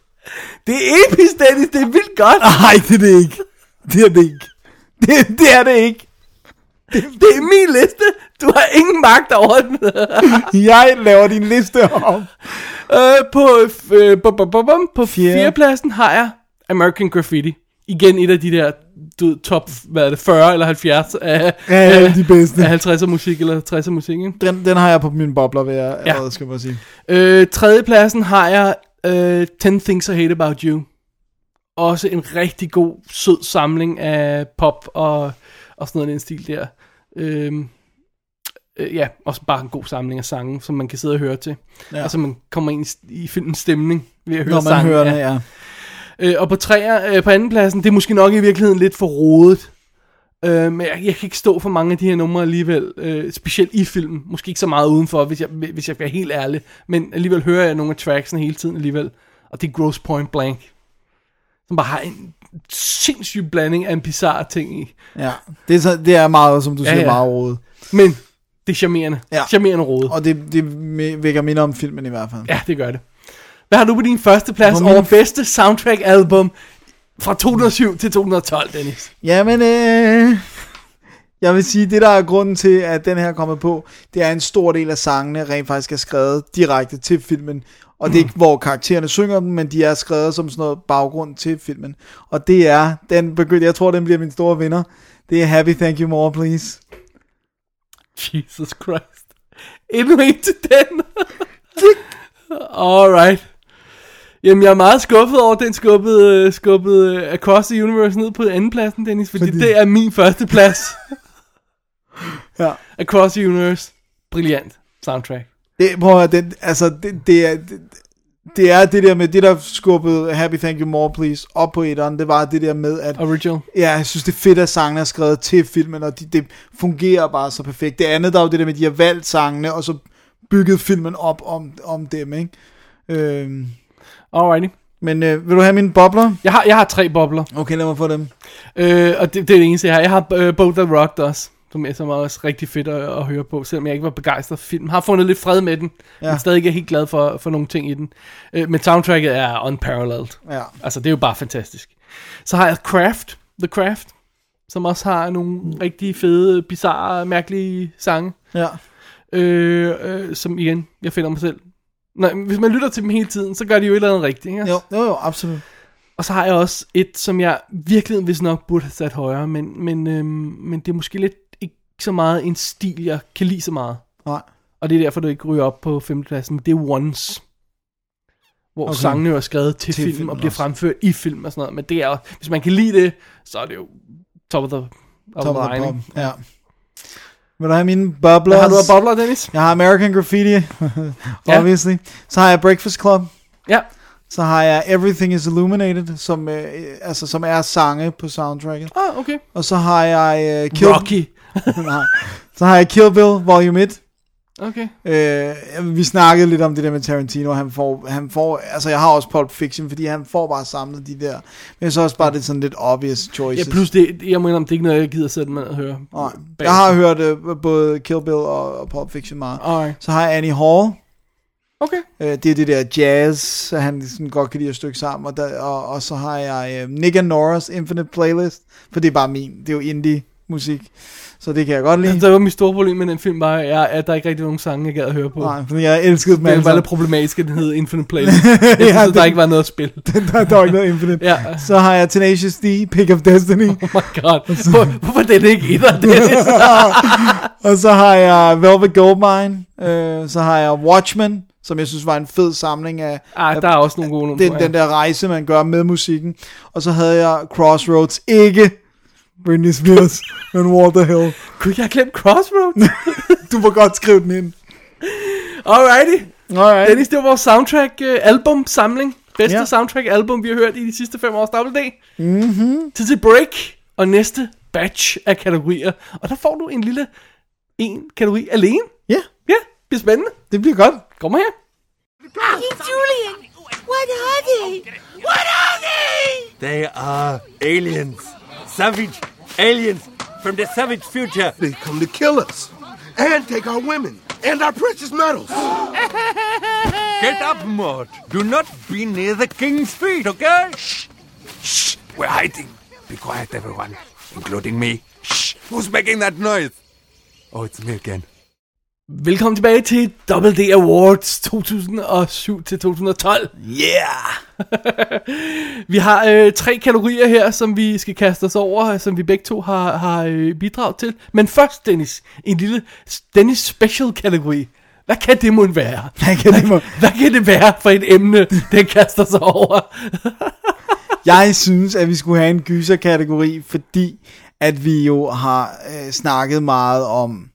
Det er episk, Dennis. Det er vildt godt. Nej, det er det ikke. Det er det ikke. Det, det er det ikke. Det er min liste. Du har ingen magt over den. Jeg laver din liste om. øh, på øh, bum, bum, bum, bum, på Fjerde. fjerdepladsen har jeg American Graffiti. Igen et af de der du, ved, top hvad er det, 40 eller 70 af, Ja, ja, de bedste. af 50'er musik eller 60'er musik. Ikke? Den, den har jeg på min bobler, vil jeg allerede, skal jeg bare sige. Øh, tredjepladsen har jeg øh, 10 Things I Hate About You. Også en rigtig god, sød samling af pop og, og sådan noget i den stil der. Øhm, øh, ja, også bare en god samling af sange, som man kan sidde og høre til. Ja. Ja. Altså man kommer ind i, st- i filmens stemning ved at høre Når man sangen. hører den, ja. Øh, og på, træer, øh, på andenpladsen, det er måske nok i virkeligheden lidt for rodet. Øh, men jeg, jeg kan ikke stå for mange af de her numre alligevel, øh, specielt i filmen. Måske ikke så meget udenfor, hvis jeg, hvis jeg skal være helt ærlig. Men alligevel hører jeg nogle af tracksene hele tiden alligevel. Og det er Gross Point Blank. Som bare har en sindssyg blanding af en bizarre ting i. ja. Det, er, så, det er meget, som du siger, ja. meget rodet. Men det er charmerende. Ja. Ja. Charmerende rode. Og det, det mi- vækker minder om filmen i hvert fald. Ja, det gør det. Hvad har du på din første plads På min- over bedste soundtrack album fra 2007 til 2012, Dennis? Jamen, øh, jeg vil sige, det der er grunden til, at den her er kommet på, det er en stor del af sangene rent faktisk er skrevet direkte til filmen. Og det er ikke, hvor karaktererne synger dem, men de er skrevet som sådan noget baggrund til filmen. Og det er, den begyndte, jeg tror, den bliver min store vinder. Det er Happy Thank You More Please. Jesus Christ. Endnu en til den. Alright. Jamen, jeg er meget skuffet over, at den skubbede, øh, skubbede øh, Across the Universe ned på andenpladsen, Dennis, fordi, Fordi- fordi... det er min første plads. Ja. Across the Universe. Brilliant soundtrack. Det, prøv at høre, den, altså, det, det, er, det, det er det der med, det der skubbede Happy Thank You More Please op på etteren, det var det der med, at Original. Ja, jeg synes, det er fedt, at sangene er skrevet til filmen, og de, det fungerer bare så perfekt. Det andet, der er jo det der med, at de har valgt sangene, og så bygget filmen op om, om dem, ikke? Øhm, Alrighty. men øh, vil du have mine bobler? Jeg har, jeg har tre bobler. Okay, lad mig få dem. Øh, og det, det er det eneste, jeg har. Jeg har øh, Boat That Rocked også, som er, som er også rigtig fedt at, at høre på, selvom jeg ikke var begejstret for filmen. Har fundet lidt fred med den, ja. Ja. men stadig ikke er helt glad for, for nogle ting i den. Øh, men soundtracket er unparalleled. Ja. Altså, det er jo bare fantastisk. Så har jeg Craft, The Craft, som også har nogle rigtig fede, bizarre, mærkelige sange, Ja. øh, øh, som igen, jeg finder mig selv. Nej, men hvis man lytter til dem hele tiden, så gør de jo et eller andet rigtigt, ikke? Jo, jo, jo, absolut. Og så har jeg også et, som jeg virkelig hvis nok burde have sat højere, men, men, øhm, men det er måske lidt ikke så meget en stil, jeg kan lide så meget. Nej. Og det er derfor, det ikke ryger op på femtepladsen. men Det er Once. Hvor Okay. okay. sangene jo er skrevet til, Til til film, filmen og bliver også. fremført i film og sådan noget. Men det er, hvis man kan lide det, så er det jo top of the, top of Top of the the line. pop. ikke? Ja. Vil du have mine bobler? Hvad har du af bobler, Dennis? Jeg har American Graffiti, Ja. obviously. Så har jeg Breakfast Club. Ja. Så har jeg Everything is Illuminated, som, øh, øh, altså, som er sange på soundtracket. Ah, okay. Og så har jeg øh, Kill, Rocky. Nej. Så har jeg Kill Bill Volume 1. Okay. Øh, vi snakkede lidt om det der med Tarantino. Han får, han får, altså jeg har også Pulp Fiction, fordi han får bare samlet de der. Men så også bare det sådan lidt obvious Ja, choices. plus det, jeg mener, om det er ikke noget, jeg gider sætte mig ned og høre. Nej. bag- Jeg har hørt øh, både Kill Bill og, og Pulp Fiction meget. Alright. Så har jeg Annie Hall. Okay. Øh, det er det der jazz, så han sådan godt kan lide at stykke sammen. Og, der, og, og så har jeg øh, Nick and Nora's Infinite Playlist, for det er bare min. Det er jo indie musik. Så det kan jeg godt lide. Altså, det var mit store problem med den film, var, er, at der ikke rigtig var nogen sange, jeg gad at høre på. Nej, fordi jeg elskede dem Men det alle var lidt sammen. problematisk, at den hed Infinite Playlist. Jeg synes, Ja, at der det- ikke var noget at spille. der, der var ikke noget Infinite. Ja. Så har jeg Tenacious D, Pick of Destiny. Oh my god. Hvor, hvorfor den ikke etter, Dennis? og så har jeg Velvet Goldmine. Øh, så har jeg Watchmen, som jeg synes var en fed samling af Ah, der er også nogle gode numre. den, den der rejse, man gør med musikken. Og så havde jeg Crossroads. Ikke Britney Spears, men Walter Hill. Kunne jeg glemme Crossroads? Du må godt skrive den ind. Alrighty. Alright. Dennis, det var vores soundtrack øh, album samling. Bedste Ja. soundtrack album, vi har hørt i de sidste fem års WD. Mm-hmm. Tid til break og næste batch af kategorier. Og der får du en lille en kategori alene. Ja, Ja, det bliver spændende. det bliver godt. Kom her. Julian, what are they? What are they? They are aliens. Savage aliens from the savage future. They come to kill us and take our women and our precious metals. Get up, Maud. Do not be near the king's feet, okay? Shh. Shh. We're hiding. Be quiet, everyone, including me. Shh. Who's making that noise? Oh, it's me again. Velkommen tilbage til Double D Awards 2007 til 2012. Yeah! vi har øh, tre kategorier her, som vi skal kaste os over, øh, som vi begge to har, har øh, bidrag til. Men først, Dennis, en lille Dennis Special kategori. Hvad kan det måtte være? Hvad kan det må- Hvad kan det være for et emne, den kaster sig over? Jeg synes, at vi skulle have en gyserkategori, fordi at vi jo har øh, snakket meget om,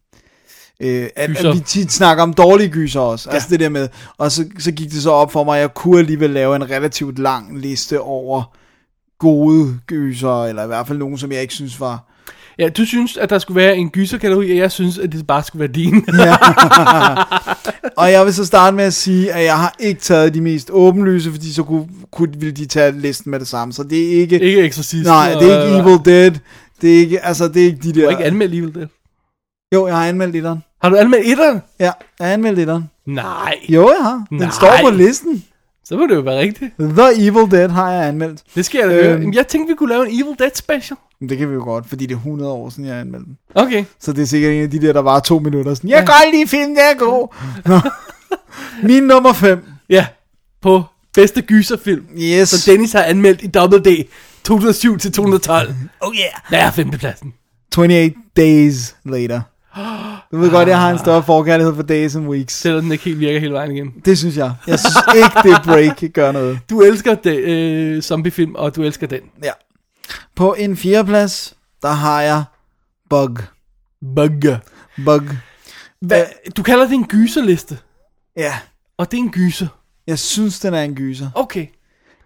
øh, at, Gyser. at vi tit snakker om dårlige gyser også. Ja. Altså det der med, og så, så gik det så op for mig, at jeg kunne alligevel lave en relativt lang liste over gode gyser, eller i hvert fald nogen, som jeg ikke synes var... ja, du synes, at der skulle være en gyserkategori, og jeg synes, at det bare skulle være din. Og jeg vil så starte med at sige, at jeg har ikke taget de mest åbenlyse, fordi så kunne, kunne, ville de tage listen med det samme. Så det er ikke... ikke øh, Exorcist. nej, det er ikke Evil Dead. Det er ikke, altså, det er ikke de der... Du har ikke anmeldt Evil Dead. Jo, jeg har anmeldt etteren. Har du anmeldt etteren? Ja, jeg har anmeldt etteren. Nej. Jo, jeg har. Den Nej. står på listen. Så må det jo være rigtigt. The Evil Dead har jeg anmeldt. Det skal jeg da Øhm. høre. Jamen, Jeg tænkte, vi kunne lave en Evil Dead special. Men Det kan vi jo godt, fordi det er 100 år siden, jeg anmeldte den. Okay. Så det er sikkert en af de der, der var to minutter. Sådan, jeg kan godt lide film, det er god. Nå. Min nummer 5. Ja. På bedste gyserfilm. Yes. Så Dennis har anmeldt i Double D. 2007 til 212. Oh yeah. Der er femtepladsen. 28 Days Later. Du ved godt, jeg har en større forkærlighed for Days and Weeks. Selvom den ikke helt virker hele vejen igen. Det synes jeg. Jeg synes ikke, det break gør noget. Du elsker det, øh, zombiefilm, og du elsker den. Ja. På en fjerdeplads, der har jeg Bug. Bugger. Bug. Øh, Hva? Du kalder det en gyserliste. Ja, Og det er en gyser. jeg synes, den er en gyser. Okay.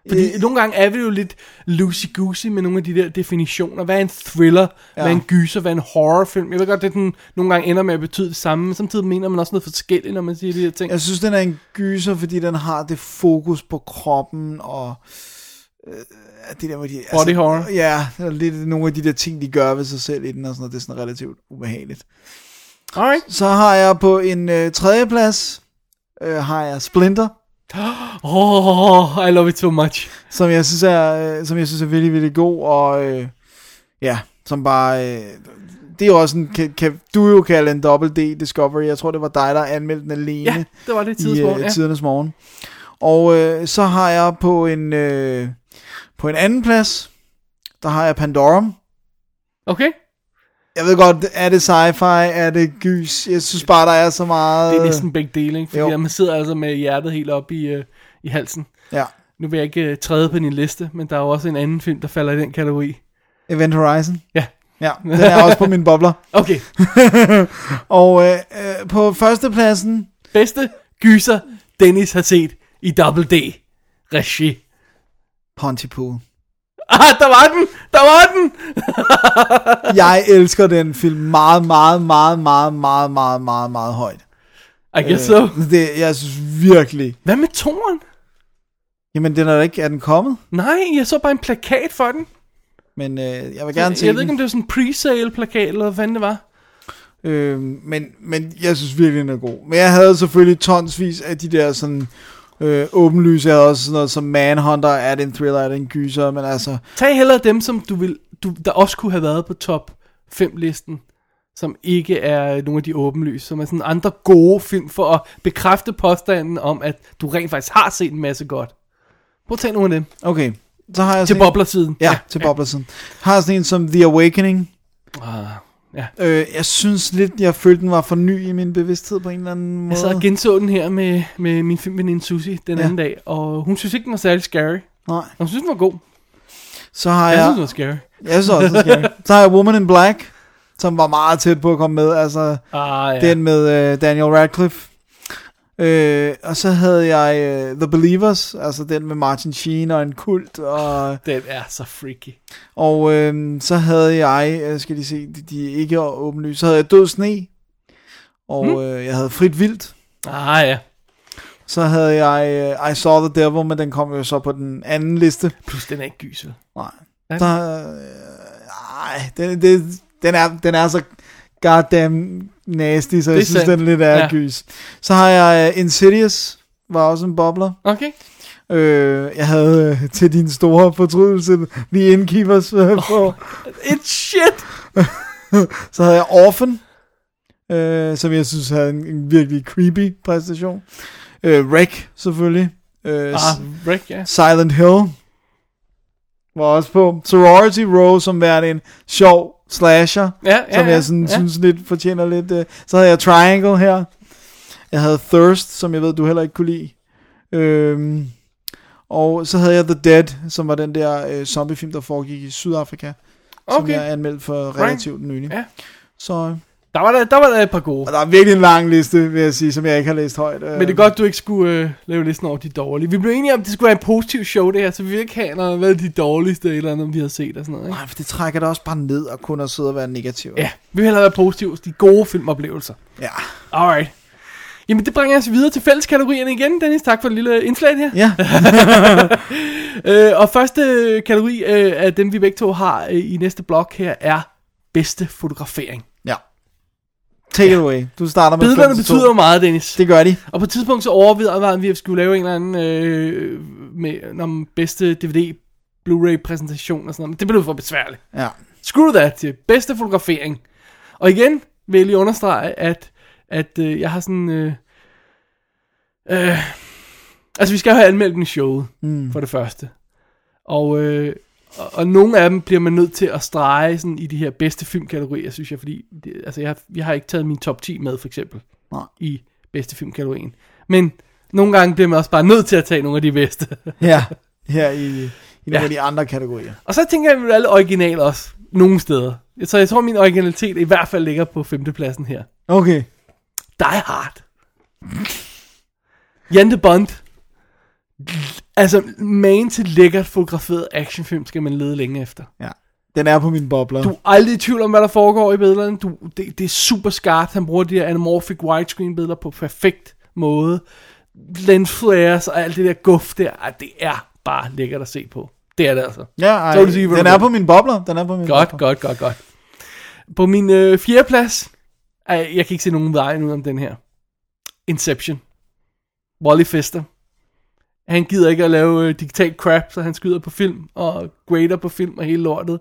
Fordi øh, nogle gange er vi jo lidt loosey-goosey med nogle af de der definitioner. Hvad er en thriller? Ja. Hvad er en gyser? Hvad er en horrorfilm? Jeg ved godt, det den nogle gange ender med at betyde det samme, men samtidig mener man også noget forskelligt, når man siger de her ting. Jeg synes, den er en gyser, fordi den har det fokus på kroppen og... Øh, det der, hvor de, Body horror. Ja, og lidt nogle af de der ting, de gør ved sig selv i den, og sådan noget, det er sådan relativt ubehageligt. Alright. Så har jeg på en øh, tredjeplads, øh, har jeg Splinter, Oh, I love it so much. som jeg synes er, øh, som jeg synes er virkelig, virkelig god, og øh, ja, som bare, øh, det er jo også en, kan, kan, du jo kalde en dobbelt D Discovery, jeg tror det var dig, der anmeldte den alene. Ja, det var det i tidspunkt. øh, Ja. tidernes morgen. Og øh, så har jeg på en øh, på en anden plads, der har jeg Pandorum. Okay. Jeg ved godt, er det sci-fi, er det gys? Jeg synes bare, der er så meget... Det er næsten begge dele, ikke? Fordi Jo. man sidder altså med hjertet helt op i, øh, i halsen. Ja, Nu vil jeg ikke øh, træde på din liste, men der er jo også en anden film, der falder i den kategori. Event Horizon. Ja. Ja, den er også på min bobler. Okay. Og øh, øh, på førstepladsen, Bedste gyser, Dennis har set i Double D. Regi. Pontypool. Ah, der var den! Der var den! Jeg elsker den film meget, meget, meget, meget, meget, meget, meget, meget højt. Øh, I guess so. Det, jeg synes virkelig... Hvad med toren? Jamen, den er da ikke... Er den kommet? Nej, jeg så bare en plakat for den. Men øh, jeg vil Jeg, gerne se jeg den. ved ikke, om det var sådan en pre-sale plakat, eller hvad fanden det var. Øh, men, men jeg synes virkelig, den er god. Men jeg havde selvfølgelig tonsvis af de der sådan... Øh, åbenlyse er også sådan noget som Manhunter, er det en thriller, er det en gyser, men altså, Tag hellere dem, som du vil, du, der også kunne have været på top 5-listen, som ikke er nogle af de åbenlyse, som er sådan andre gode film for at bekræfte påstanden om, at du rent faktisk har set en masse godt. Prøv at tage nogle af dem. okay. Så har jeg Til sådan- boblersiden. Ja, ja, til boblersen. Har sådan en som The Awakening. Ah, ja. Øh, jeg synes lidt, jeg følte, den var for ny i min bevidsthed på en eller anden måde. Jeg sad og genså den her med, med min filmveninde Susie den Ja. anden dag, og hun synes ikke, den var særlig scary. Nej, Hun synes, den var god. så har Jeg jeg... synes, den var scary. jeg synes også, det skal. Så har jeg Woman in Black, som var meget tæt på at komme med. Altså, Ah, ja. Ja. Den med øh, Daniel Radcliffe. Øh, og så havde jeg øh, The Believers, altså den med Martin Sheen og en kult. Og, den er så freaky. og øh, så havde jeg, øh, skal de se, de, de er ikke åbenlyst, så havde jeg Død Sne. Og mm. øh, jeg havde Frit Vildt. Ah, ja. Så havde jeg øh, I Saw the Devil, men den kom jo så på den anden liste. Plus, den er ikke gysel. Nej. Ja. Så, øh, ej, den, den, den, er, den er så goddamn nasty, så er jeg synes, sandt. den lidt er Ja. ja. gys. Så har jeg øh, Insidious, var også en bobler. Okay. Øh, jeg havde øh, til din store fortrydelse The Innkeepers øh, på. It's shit! Så havde jeg Orphan, øh, som jeg synes havde en, en virkelig creepy præstation. Øh, Wreck, selvfølgelig. Øh, Ah, S- Rick, ja. Silent Hill var også på. Sorority Row, som var en sjov slasher, Ja, ja, som ja, jeg sådan, ja. synes lidt fortjener lidt. Øh. Så havde jeg Triangle her. Jeg havde Thirst, som jeg ved, du heller ikke kunne lide. Øhm, og så havde jeg The Dead, som var den der øh, zombiefilm, der foregik i Sydafrika, okay. som Okay. jeg anmeldte for relativt nylig. Ja. Så øh, Der var der, der var der et par gode. og der er virkelig en lang liste, vil jeg sige, som jeg ikke har læst højt. Øh. Men det er godt, du ikke skulle øh, lave listen over de dårlige. Vi blev enige om, at det skulle være en positiv show, det her, så vi vil ikke have noget, hvad de dårligste eller andet, om de har set og sådan noget. Ikke? Nej, for det trækker det også bare ned og kun at sidde og være negativ. Ja, vi vil hellere være positive. De gode filmoplevelser. Ja. Alright. Jamen, det bringer os videre til fælleskategorierne igen, Dennis. Tak for det lille indslag her. ja. Øh, og første øh, kategori øh, af dem, vi begge to har øh, i næste blok her, er bedste fotografering. Ja. Take it away. Du starter med Billederne 5 til betyder jo meget, Dennis. Det gør de. Og på et tidspunkt så overvejede vi, at vi skulle lave en eller anden øh, med, om bedste DVD Blu-ray præsentation og sådan noget. Men det blev for besværligt. Ja. Screw that til bedste fotografering. Og igen vil jeg lige understrege, at, at øh, jeg har sådan... Øh, øh, altså, vi skal jo have anmeldt i showet, mm. for det første. Og, øh, og, og nogle af dem bliver man nødt til at strege sådan, i de her bedste filmkategorier, synes jeg. Fordi det, altså, jeg, har, jeg har ikke taget min top 10 med, for eksempel, Nej. i bedste filmkategorien. Men nogle gange bliver man også bare nødt til at tage nogle af de bedste. Ja. Her i, i nogle af de andre kategorier. Og så tænker jeg, at vi er alle originale også. Nogle steder. Så jeg tror, min originalitet i hvert fald ligger på femtepladsen her. Okay. Die Hard. Jante Bond. Altså, man til lækkert fotograferet actionfilm skal man lede længe efter. Ja. Den er på min bobler. Du er aldrig i tvivl om, hvad der foregår i billederne. Du, det, det er super skarpt. Han bruger de her anamorphic widescreen billeder på perfekt måde. Lens flares og alt det der guf der. Ej, det er bare lækkert at se på. Det er det altså. Ja, ej, Så vil du sige, hvad den du er vil. på min bobler. Den er på min Godt, bobler. godt, godt, godt. På min øh, fjerde plads, ej, jeg kan ikke se nogen vejen ud om den her. Inception. Wally Fester. Han gider ikke at lave øh, digital crap, så han skyder på film, og grader på film og hele lortet,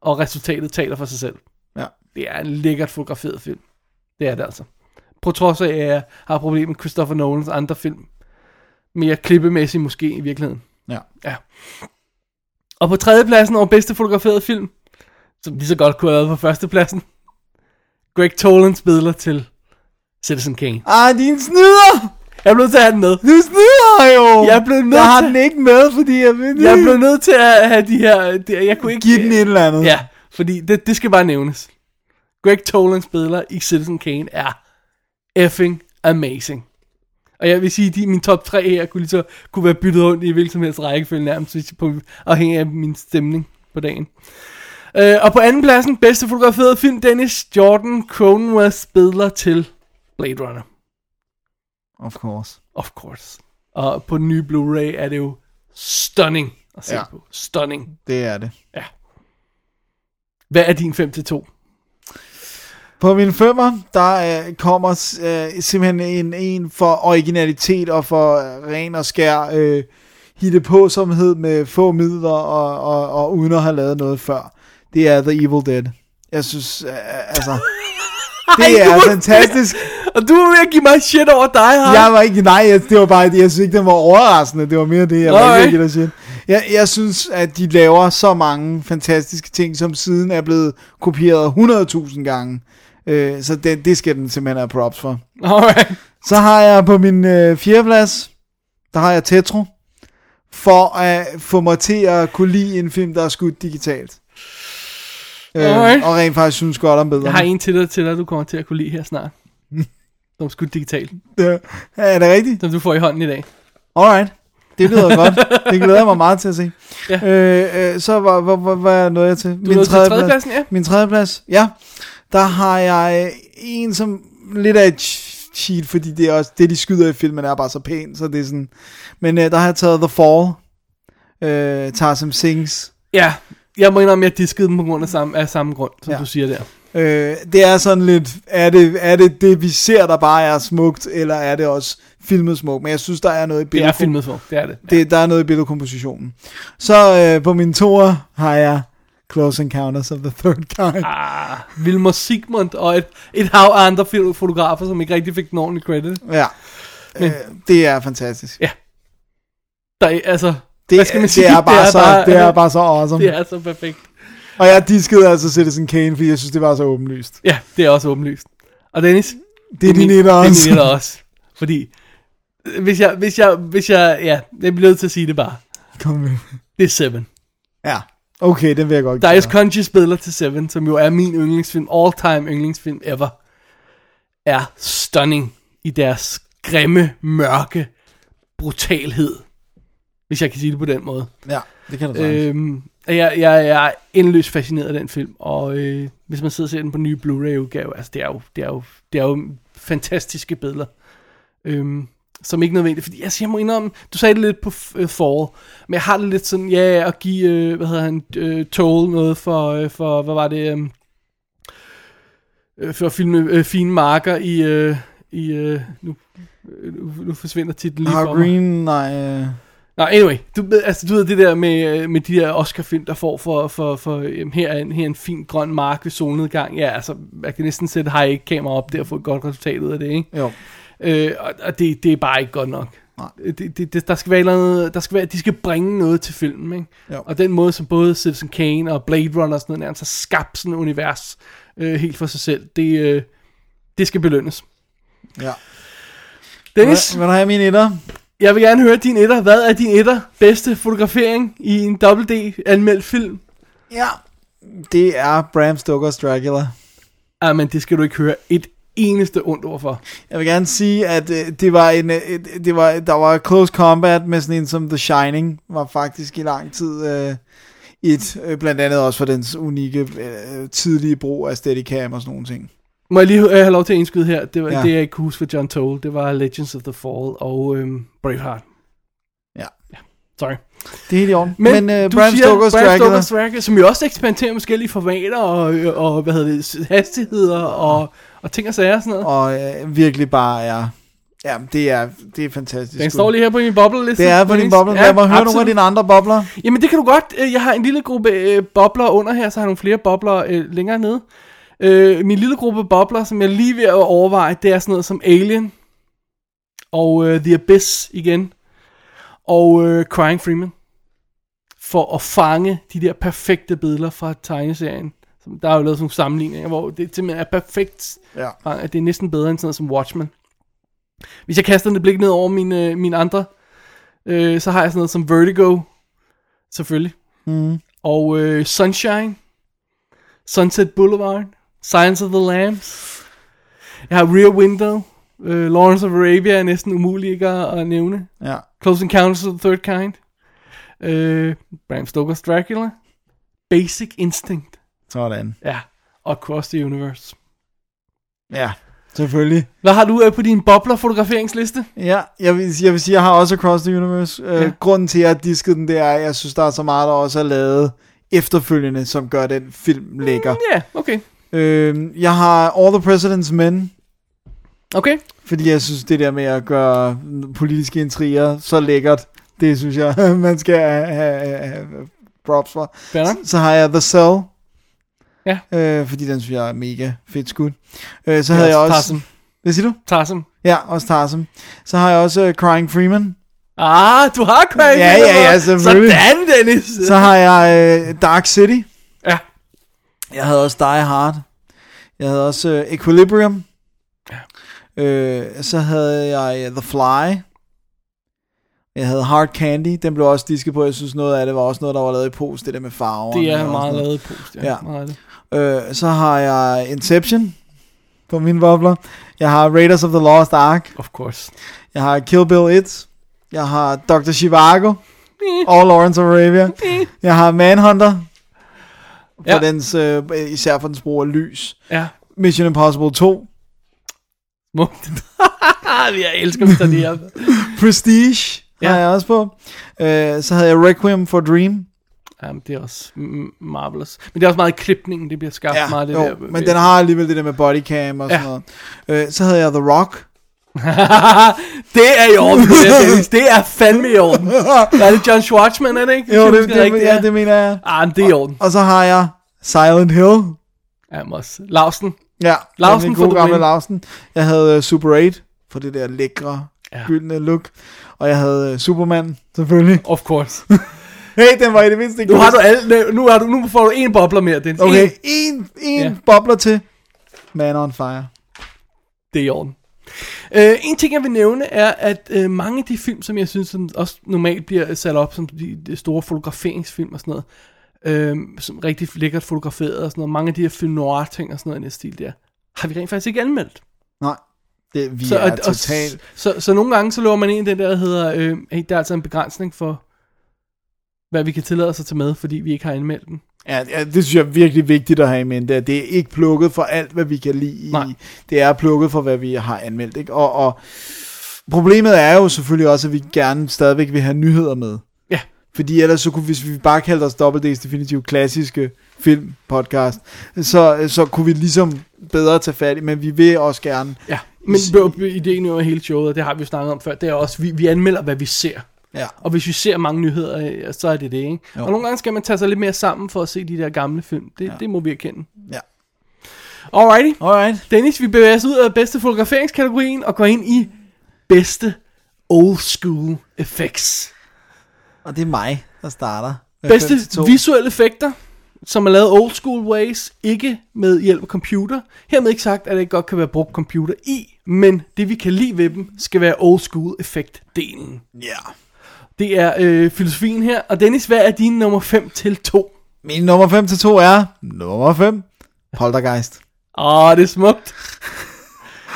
og resultatet taler for sig selv. Ja. Det er en lækkert fotograferet film. Det er det altså. På trods af, at jeg har problemer med Christopher Nolans andre film. Mere klippemæssigt måske i virkeligheden. Ja. Og på tredjepladsen over bedste fotograferede film, som lige så godt kunne have været på førstepladsen, Greg Tolans billeder til Citizen Kane. Ej, din snyder! Jeg blev nødt til at have den med. Du snyder jo! Jeg blev nødt Jeg har til- den ikke med, fordi jeg vil... Jeg blev nødt til at have de her... De, jeg kunne ikke... Giv den et eller andet. Ja, fordi det, det skal bare nævnes. Greg Tolans billeder i Citizen Kane er effing amazing. Og jeg vil sige, at de, min top 3 her kunne, lige så, kunne være byttet rundt i hvilken som helst rækkefølge nærmest, hvis på, afhængig af min stemning på dagen. Øh, og på anden pladsen, bedste fotograferede film, Dennis Jordan Cronenworths billeder til Blade Runner. Of course. Of course. Og på den nye Blu-ray er det jo stunning at se Ja. ja. på. Stunning. Det er det. Hvad er din 5-2? På min femmer, der øh, kommer øh, simpelthen en, en for originalitet og for ren og skær øh, hitte på somhed med få midler og, og, og uden at have lavet noget før. Det er The Evil Dead. Jeg synes, øh, altså... Det Ej, er du er- fantastisk. Og du er ved at give mig shit over dig, her. Jeg var ikke, nej, jeg, det var bare, jeg synes ikke, den var overraskende. Det var mere det, jeg var Alright. ikke rigtig shit. Jeg, jeg synes, at de laver så mange fantastiske ting, som siden er blevet kopieret 100.000 gange. Øh, så det, det skal den simpelthen have props for. Alright. Så har jeg på min øh, fjerdeplads, der har jeg Tetro, for at få mig til at kunne lide en film, der er skudt digitalt. Øh, Alright. og rent faktisk synes godt om bedre. Jeg har en til dig, til dig, du kommer til at kunne lide her snart. Som skudt digitalt. Er det rigtigt? Som du får i hånden i dag. Alright. Det lyder godt. Det glæder jeg mig meget til at se. Ja. Øh, øh, så var, var, var, var nåede jeg til? Du nåede til tredjepladsen, ja. Min tredjeplads, ja. Der har jeg øh, en, som lidt af et cheat, fordi det er også det, de skyder i filmen, er bare så pænt, så det er sådan... Men øh, der har jeg taget The Fall, øh, Tarsem Sings. Ja. Jeg må indrømme, at jeg diskede dem på grund af samme, af samme grund, som Ja. ja. du siger der. Øh, det er sådan lidt, er det, er det det, vi ser, der bare er smukt, eller er det også filmet smukt? Men jeg synes, der er noget i Det er billedkom- filmet for. Det er det. det, der er noget i billedkompositionen. Så øh, på min toer har jeg Close Encounters of the Third Kind. Ah. Vilmar Sigmund og et, et hav af andre fil- fotografer, som ikke rigtig fik den ordentlige credit. Ja. Øh, det er fantastisk. Der er, altså, Det, hvad skal man sige? Det er bare, så, det er bare så awesome. det er så perfekt. Og jeg diskede altså Citizen Kane, fordi jeg synes, det var så åbenlyst. Ja, det er også åbenlyst. Og Dennis, Det er din min- etter også. Det er min etter også. Fordi, øh, hvis jeg, hvis jeg, hvis jeg, ja, jeg bliver nødt til at sige det bare. Kom med. Det er Seven. Ja. Okay, den vil jeg godt Der er Conscious billeder til Seven, som jo er min yndlingsfilm, all time yndlingsfilm ever, er stunning i deres grimme, mørke brutalhed. Hvis jeg kan sige det på den måde. Ja, det kan du øh, Øhm, jeg, jeg, jeg er endeløst fascineret af den film, og øh, hvis man sidder og ser den på den nye Blu-ray-udgave, altså det er jo, det er jo, det er jo fantastiske billeder, øhm, som ikke nødvendigt, fordi altså, jeg må indrømme, du sagde det lidt på f- øh, Fall, men jeg har det lidt sådan, ja, at give, øh, hvad hedder han, øh, Toll noget for, øh, for, hvad var det, øh, øhm, øh, for at filme øh, fine marker i... Øh, i øh, nu, øh, nu, nu forsvinder titlen lige Har for mig. Green, nej. øh. Nå, anyway, du, ved- altså, du ved det der med, øh, med de der Oscar-film, der får for, for, for jamen, her, er en, her er en fin grøn mark ved solnedgang. Ja, altså, man kan næsten sætte high kamera op der og få et godt resultat ud af det, ikke? Jo. Øh, og og det, det er bare ikke godt nok. Øh, Nej. Det, det, det, der skal være et eller andet, der skal være, de skal bringe noget til filmen, ikke? Jo. Og den måde, som både Citizen Kane og Blade Runner og sådan noget nærmest har skabt sådan et univers øh, helt for sig selv, det, øh, det skal belønnes. Ja. Dennis? Vil, vil du have min etter? Jeg vil gerne høre din etter. Hvad er din etter bedste fotografering i en dobbelt D anmeldt film? Ja. Det er Bram Stoker's Dracula. Jamen, Ah, det skal du ikke høre et eneste ondt ord for. Jeg vil gerne sige, at øh, det var en, øh, et- det var, der var close combat med sådan en som The Shining, var faktisk i lang tid øh, et, øh, blandt andet også for dens unikke øh, tidlige brug af Steadicam og sådan nogle ting. Må jeg lige øh, have lov til at indskyde her? Det var ja. Ja. det, jeg ikke kunne huske for John Toll. Det var Legends of the Fall og øhm, Braveheart. Ja. Sorry. Det er helt i orden. Men, Men, øh, du Bram siger, Stoker's Bram Dracula, Stoker's Dracula, som jo også eksperimenterer med forskellige formater og, øh, og hvad hedder det, hastigheder og, og ting og sager og sådan noget. og øh, virkelig bare er, ja, det er, det er fantastisk. Den står lige her på min bobleliste. Det er på din boble. Lad mig høre nogle af dine andre bobler. Jamen det kan du godt. Øh, Jeg har en lille gruppe øh, bobler under her, så har jeg nogle flere bobler øh, længere nede. Øh, min lille gruppe bobler, som jeg lige ved at overveje, det er sådan noget som Alien og øh, The Abyss igen og øh, Crying Freeman for at fange de der perfekte billeder fra tegneserien. Som- Der er jo lavet sådan nogle sammenligninger, hvor det simpelthen er perfekt. Ja. fanget. Det er næsten bedre end sådan noget som Watchmen. Hvis jeg kaster et blik ned over mine, øh, mine andre, øh, så har jeg sådan noget som Vertigo, selvfølgelig. Mm. Og øh, Sunshine, Sunset Boulevard, Science of the Lambs. Jeg har Rear Window, øh, Lawrence of Arabia er næsten umulig ikke at, at nævne. Ja. Close Encounters of the Third Kind, øh, Bram Stoker's Dracula, Basic Instinct, Sådan. ja, og Across the Universe. Ja, selvfølgelig. Hvad har du øh, på din bobler-fotograferingsliste? Ja, jeg vil, jeg vil sige, jeg har også Across the Universe. Øh, Ja. ja. Grunden til, at jeg diskede den, det er, at jeg synes, der er så meget, der også er lavet efterfølgende, som gør den film lækker. Ja, yeah, okay. Øh, jeg har All the President's Men, Okay, fordi jeg synes, det der med at gøre politiske intriger så lækkert, det synes jeg, man skal have, have, have props for. fair nok. Så har jeg The Cell. Ja. Øh, fordi den synes jeg er mega fedt skud. Øh, så Det er havde jeg også også... Tarzan. Hvad siger du? Tarsum. Ja, også Tarzan. Så har jeg også uh, Crying Freeman. Ah, du har Craig. Ja, ja, ja, selvfølgelig. Sådan, Dennis. Så har jeg uh, Dark City. Ja. Jeg havde også Die Hard. Jeg havde også uh, Equilibrium. Ja. Øh, så havde jeg uh, The Fly. Jeg havde Hard Candy. Den blev også disket på. Jeg synes, noget af det var også noget, der var lavet i pose. Det der med farver. Det er meget lavet post, ja. ja. Ja. Meget af det. Øh, så har jeg Inception på mine bobler. Jeg har Raiders of the Lost Ark. Of course. Jeg har Kill Bill 1. Jeg har Dr. Chivago. Og Lawrence of Arabia. Jeg har Manhunter. For Ja. ja. dens, øh, især for dens brug af lys. Ja. Mission Impossible 2. Smukt. jeg elsker, hvis der lige er. Prestige ja. Ja. har jeg også på. Øh, så havde jeg Requiem for Dream. Jamen, det er også mm, marvelous. Men det er også meget i klipningen, det bliver skabt Ja, meget. Det jo, der, men den har alligevel det der med bodycam og sådan Ja. ja. noget. Øh, så havde jeg The Rock. det er i orden, det der, Dennis. Det er fandme i orden. Hvad er det John Schwartzman, er det ikke? Jo, Jeg det, husker det, det, rigtigt, ja, det mener jeg. Ah, men det er i orden. Og så har jeg Silent Hill. Jamen også. Lausen. Ja, Lausen Lausen min for gode the gamle win. Lausen. Jeg havde øh, Super 8 for det der lækre, Ja. ja. gyldne look. Og jeg havde øh, Superman, selvfølgelig. Of course. Hey, den var i det mindste ikke Nu har du løst. alle, nu, har du, nu får du en bobler mere, Dennis. Okay, Én. en, en Ja. ja. bobler til. Man on fire. Det er i orden. Øh, en ting jeg vil nævne er, at øh, mange af de film, som jeg synes som også normalt bliver sat op som de, de store fotograferingsfilm og sådan noget, øh, som rigtig lækkert fotograferet og sådan noget, mange af de her film noir ting og sådan noget i den stil der, har vi rent faktisk ikke anmeldt. Nej, det, vi Så, så, er og, og, totalt... så, så nogle gange så lover man ind i den der, der hedder, øh, hey, der er altså en begrænsning for, hvad vi kan tillade os at tage med, fordi vi ikke har anmeldt den. Ja, ja, det synes jeg er virkelig vigtigt at have i mente. at Det er ikke plukket for alt, hvad vi kan lide. i. Nej. Det er plukket for, hvad vi har anmeldt. Ikke? Og, og problemet er jo selvfølgelig også, at vi gerne stadigvæk vil have nyheder med. Ja. Fordi ellers så kunne, hvis vi bare kaldte os Dobbeltd's definitive klassiske filmpodcast, så, så kunne vi ligesom bedre tage fat i, men vi vil også gerne. Ja, men b- b- ideen over hele showet, og det har vi jo snakket om før, det er også, vi, vi anmelder, hvad vi ser. Ja. Og hvis vi ser mange nyheder, øh, så er det det, ikke? Jo. Og nogle gange skal man tage sig lidt mere sammen for at se de der gamle film. Det, ja. det må vi erkende. Ja. Alrighty. Alright. Dennis, vi bevæger os ud af bedste fotograferingskategorien og går ind i bedste old school effects. Og det er mig, der starter. Bedste 5-2. visuelle effekter, som er lavet old school ways, ikke med hjælp af computer. Hermed ikke sagt, at det godt kan være brugt computer i, men det vi kan lide ved dem, skal være old school effektdelen. Ja. Det er øh, filosofien her. Og Dennis, hvad er din nummer 5 til 2? Min nummer 5 til 2 er nummer 5. Poltergeist. Åh, det er smukt.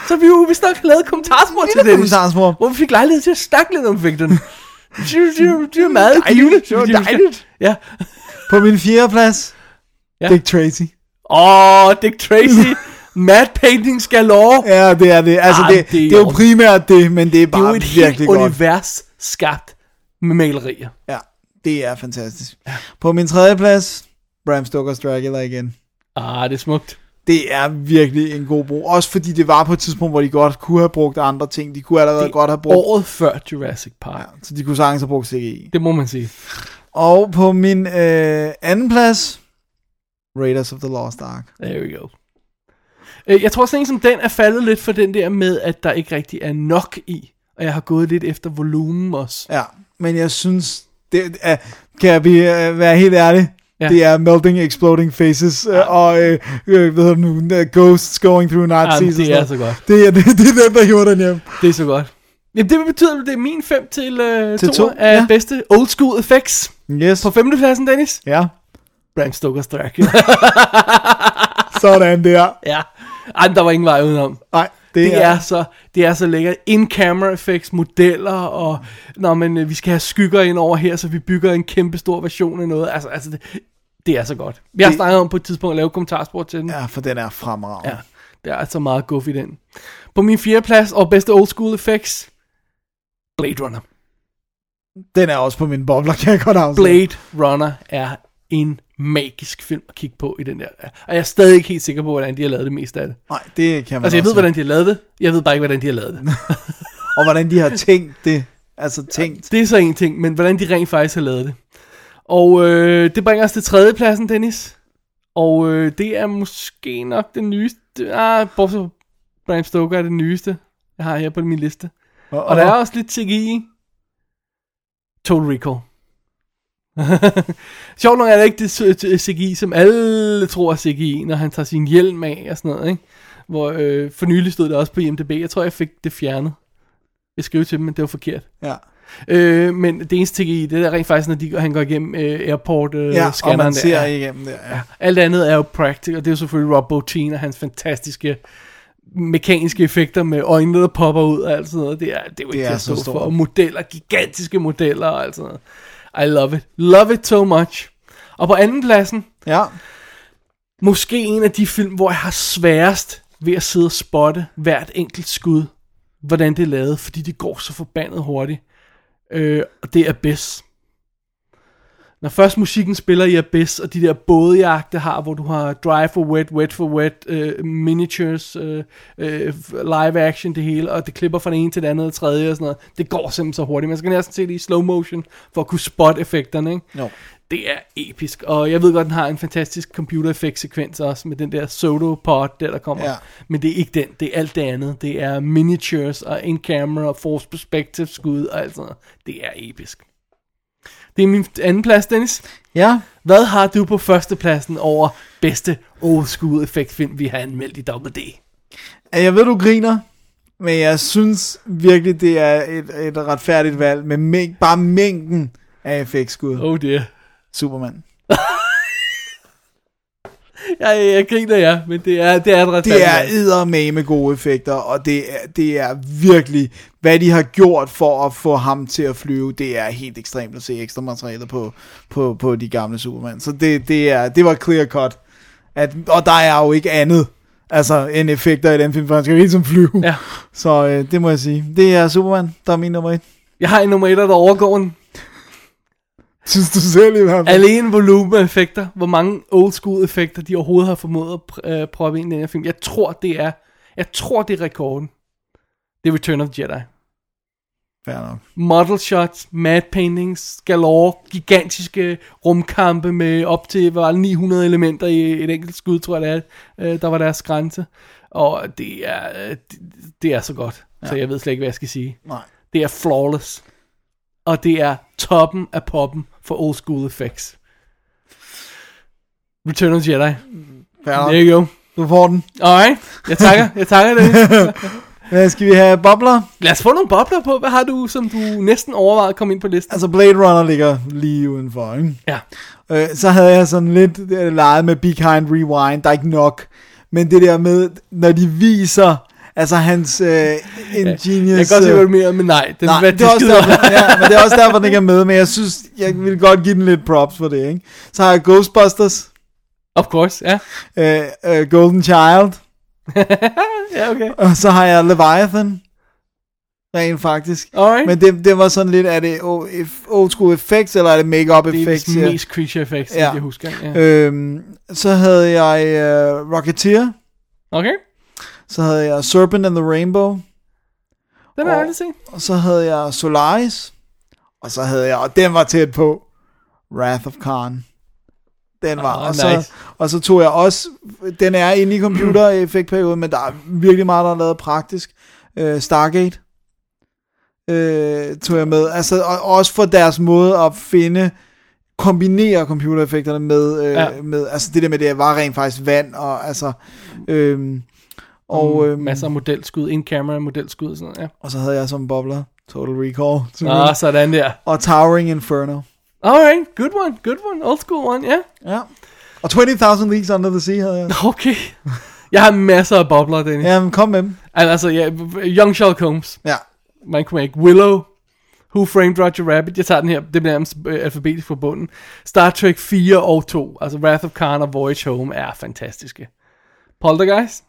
Så vi jo vist nok lavet kommentarspor til Lille Dennis. kommentarsmor. Hvor vi fik lejlighed til at snakke lidt om effekterne. Det er- det er- det er meget Dejligt. givende. Det var dejligt. Ja. På min fjerde plads, Ja. ja. Dick Tracy. Åh, Dick Tracy. Mad painting galore. Ja, det er det. Altså, Ah, det, det er det, det er jo jo- primært det, men det er Det er bare jo et helt virkelig godt. univers skabt med malerier. Ja, det er fantastisk. På min tredje plads, Bram Stoker's Dracula igen. Ah, det er smukt. Det er virkelig en god brug. Også fordi det var på et tidspunkt, hvor de godt kunne have brugt andre ting. De kunne allerede Det det godt have brugt... Året før Jurassic Park. Ja, så de kunne sagtens have brugt CGI. Det må man sige. Og på min øh, anden plads, Raiders of the Lost Ark. There we go. Øh, Jeg tror sådan en som den er faldet lidt for den der med, at der ikke rigtig er nok i. Og jeg har gået lidt efter volumen også. Ja, men jeg synes... Det er, kan jeg blive, øh, være helt ærlig? Ja. Ja. Det er melting, exploding faces, ja. og øh, øh, hvad hedder det nu, øh, ghosts going through Nazis. Jamen, og det sådan er noget. så godt. Det er, det, det er den, der hiver den hjem. Det er så godt. Jamen, det betyder, at det er min 5 til 2 øh, Til to to, af ja. ja. bedste old school effects. Yes. På femtepladsen, Dennis. Ja. Bram Stoker's Dracula. Sådan der. ja. Ej, men der var ingen vej udenom. Nej, det, Det er, så, det er så lækkert. In-camera effects, modeller, og når man, øh, vi skal have skygger ind over her, så vi bygger en kæmpe stor version af noget. Altså, altså det, det er så godt. Vi har Det- snakket om på et tidspunkt at lave kommentarspor til den. Ja, for den er fremragende. ja. Der er altså meget guff i den. På min fjerde plads, og bedste old school effects, Blade Runner. Den er også på min bobler, kan jeg godt afsløre. Blade Runner er en magisk film at kigge på i den der. Og jeg er stadig ikke helt sikker på, hvordan de har lavet det meste af det. Nej, det kan man Altså, jeg også. ved, hvordan de har lavet det. Jeg ved bare ikke, hvordan de har lavet det. Og hvordan de har tænkt det. Altså tænkt. Det er så en ting, men hvordan de rent faktisk har lavet det. Og øh, det bringer os til tredjepladsen, Dennis. Og øh, det er måske nok den nyeste. Ah, bortset fra Bram Stoker er det nyeste, jeg har her på min liste. Og, Og der er også lidt CGI. i. Total Recall. Sjovt nok er det ikke det s- t- CGI, som alle tror er CGI, når han tager sin hjelm af og sådan noget, ikke? Hvor øh, for nylig stod det også på IMDb. Jeg tror, jeg fik det fjernet. Jeg skrev til dem, men det var forkert. Ja. Øh, men det eneste CGI, det er rent faktisk, når de, han går igennem øh, airport øh, Ja, og scanneren man ser der. igennem det. Ja. Alt andet er jo practical, og det er jo selvfølgelig Rob Bottin og hans fantastiske mekaniske effekter med øjnene, der popper ud og alt sådan noget. Det er, det er jo ikke er til at så stå for. stort. Og modeller, gigantiske modeller og alt sådan noget. I love it. Love it so much. Og på anden pladsen, ja. måske en af de film, hvor jeg har sværest ved at sidde og spotte hvert enkelt skud, hvordan det er lavet, fordi det går så forbandet hurtigt. Øh, og det er Abyss. Når først musikken spiller i Abyss, og de der bådejagte har, hvor du har dry for wet, wet for wet, øh, miniatures, øh, øh, live action, det hele, og det klipper fra den ene til den anden og tredje og sådan noget. Det går simpelthen så hurtigt. Man skal næsten se det i slow motion, for at kunne spotte effekterne, ikke? Jo. Det er episk, og jeg ved godt, den har en fantastisk computer effect sekvens også, med den der sodopod, der der kommer. Ja. Men det er ikke den, det er alt det andet. Det er miniatures og in-camera og force perspective skud og alt sådan noget. Det er episk. Det er min anden plads, Dennis. ja. Hvad har du på førstepladsen over bedste old school effektfilm, vi har anmeldt i WD? Jeg ved, du griner, men jeg synes virkelig, det er et, et retfærdigt valg. Med mæng, bare mængden af effektskud. Oh dear. Superman. Jeg, jeg griner, ja, men det er, det er et ret Det er eddermame gode effekter, og det er, det er virkelig, hvad de har gjort for at få ham til at flyve, det er helt ekstremt at se ekstra materialet på, på, på de gamle Superman. Så det, det, er, det var clear cut. At, og der er jo ikke andet altså, end effekter i den film, for han skal jo hele tiden flyve. Ja. Så øh, det må jeg sige. Det er Superman, der er min nummer et. Jeg har en nummer et, der overgår den. Synes du selv i hvert fald? Alene volumen af effekter, hvor mange old school effekter, de overhovedet har formået at pr- øh, proppe ind i den her film. Jeg tror, det er, jeg tror, det er rekorden. Det er Return of the Jedi. Fair nok. Model shots, mad paintings, galore, gigantiske rumkampe med op til hvad var det, 900 elementer i et enkelt skud, tror jeg det er, øh, der var deres grænse. Og det er, øh, det, det er så godt, ja. så jeg ved slet ikke, hvad jeg skal sige. Nej. Det er flawless. Og det er toppen af poppen for old school effects. Return of the Jedi. Fair There nok. you go. Du får den. Alright. Jeg takker. Jeg takker det. Hvad skal vi have? Bobler? Lad os få nogle bobler på. Hvad har du, som du næsten overvejede at komme ind på listen? Altså Blade Runner ligger lige udenfor, ikke? Ja. Øh, så havde jeg sådan lidt øh, leget med Be Kind Rewind, der er ikke nok. Men det der med, når de viser, altså hans øh, ingenious... Jeg kan godt se, øh, hvad du mener, men nej. Den Nej, hvad det er, også skider- derfor, ja, men det er også derfor, den ikke er med, men jeg synes, jeg vil godt give den lidt props for det, ikke? Så har jeg Ghostbusters, Of course, ja. øh, øh, Golden Child, Ja, okay. og så har jeg Leviathan, rent faktisk. Alright. Men Men det, det var sådan lidt, er det o- if- old school effects, eller er det makeup det er effects? de ja? mest creature effects, Ja. ja. jeg husker. Ja. Øhm, så havde jeg øh, Rocketeer, Okay. så havde jeg Serpent and the Rainbow, Den har jeg aldrig set. og så havde jeg Solaris, og så havde jeg, og den var tæt på, Wrath of Khan. Den var, Ah, og, så, nice. og så tog jeg også, den er inde i computereffektperioden, men der er virkelig meget, der er lavet praktisk. Øh, Stargate øh, tog jeg med, altså og, og også for deres måde at finde, kombinere computereffekterne med, øh, ja. Ja. med, altså det der med, det var rent faktisk vand, og altså, øh, og, øh, Mm, Masser af modelskud, in-camera modelskud og sådan noget, ja. og så havde jeg som bobler Total Ah, Recall. selvfølgelig. Nå, sådan der. og Towering Inferno. Alright, good one, good one, old school one, ja. Ja. Og 20.000 Leagues Under the Sea havde jeg. Okay. Jeg har masser af bobler, Dennis. Ja. Ja, men kom med dem. Altså, ja, Young Sherlock Holmes. Ja. man kunne ikke. Willow, Who Framed Roger Rabbit, jeg tager den her, det bliver nærmest øh, alfabetisk fra bunden. Star Trek 4 og 2, altså Wrath of Khan og Voyage Home er fantastiske. Poltergeist,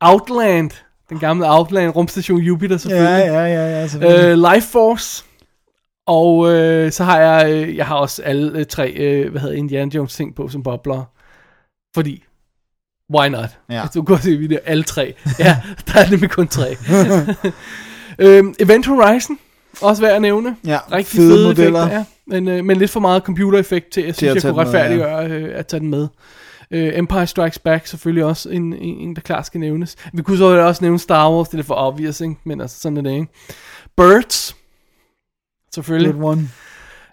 Outland, den gamle Outland, rumstation Jupiter Ja, selvfølgelig. ja, ja, ja selvfølgelig. Øh, Øh, Life Force. Og øh, så har jeg, øh, jeg har også alle øh, tre, øh, hvad hedder Indiana Jones ting på som bobler. Fordi, why not? Ja. Hvis du går til video, alle tre. Ja, der er nemlig kun tre. øhm, Event Horizon, også værd at nævne. ja, Rigtig fede, fede modeller. Effekter, ja. men, øh, men lidt for meget computereffekt til, jeg synes, at jeg tage kunne den med, ja. retfærdiggøre øh, at tage den med. Øh, Empire Strikes Back selvfølgelig også en, en, en, der klart skal nævnes. Vi kunne så også nævne Star Wars, det er lidt for obvious, ikke? men altså sådan er det, ikke? Birds, selvfølgelig. Good one.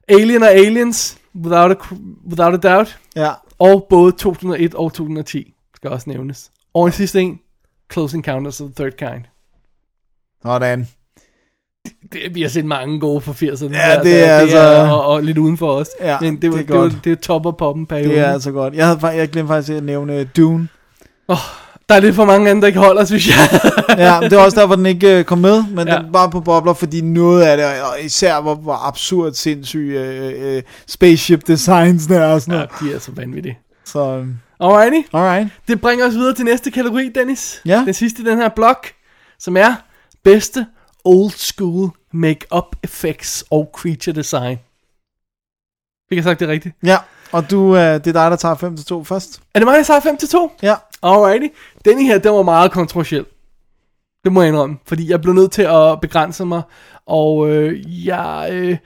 Alien og Aliens, without a, cr- without a doubt. Ja, Og både 2001 og 2010 skal også nævnes. Og en sidste en, Close Encounters of the Third Kind. sådan. Det, vi har set mange gode fra 80'erne. Ja, der- det der- er altså- og, og, lidt udenfor os. Ja, Men det, var, det det, er det, var, godt. det er top og poppen perioden. Det er altså godt. Jeg, havde, fa- jeg glemte faktisk at nævne øh, Dune. Der er lidt for mange andre, der ikke holder, synes jeg. Ja, men det var også derfor, den ikke øh, kom med, men ja. Ja. den var på bobler, fordi noget af det, og især hvor, hvor absurd sindssyg øh, øh, spaceship designs der er og sådan Nå, noget. de er så vanvittige. Så, øh, Alrighty, alright. det bringer os videre til næste kategori, Dennis. Ja. Den sidste i den her blok, som er bedste old school make-up effects og creature design. Fik jeg sagt det rigtigt? Ja, og du, øh, det er dig, der tager 5 til 2 først. Er det mig, der tager 5 til 2? Ja, Alrighty. Denne her, den var meget kontroversiel. Det må jeg indrømme, fordi jeg blev nødt til at begrænse mig, og øh, jeg, øh,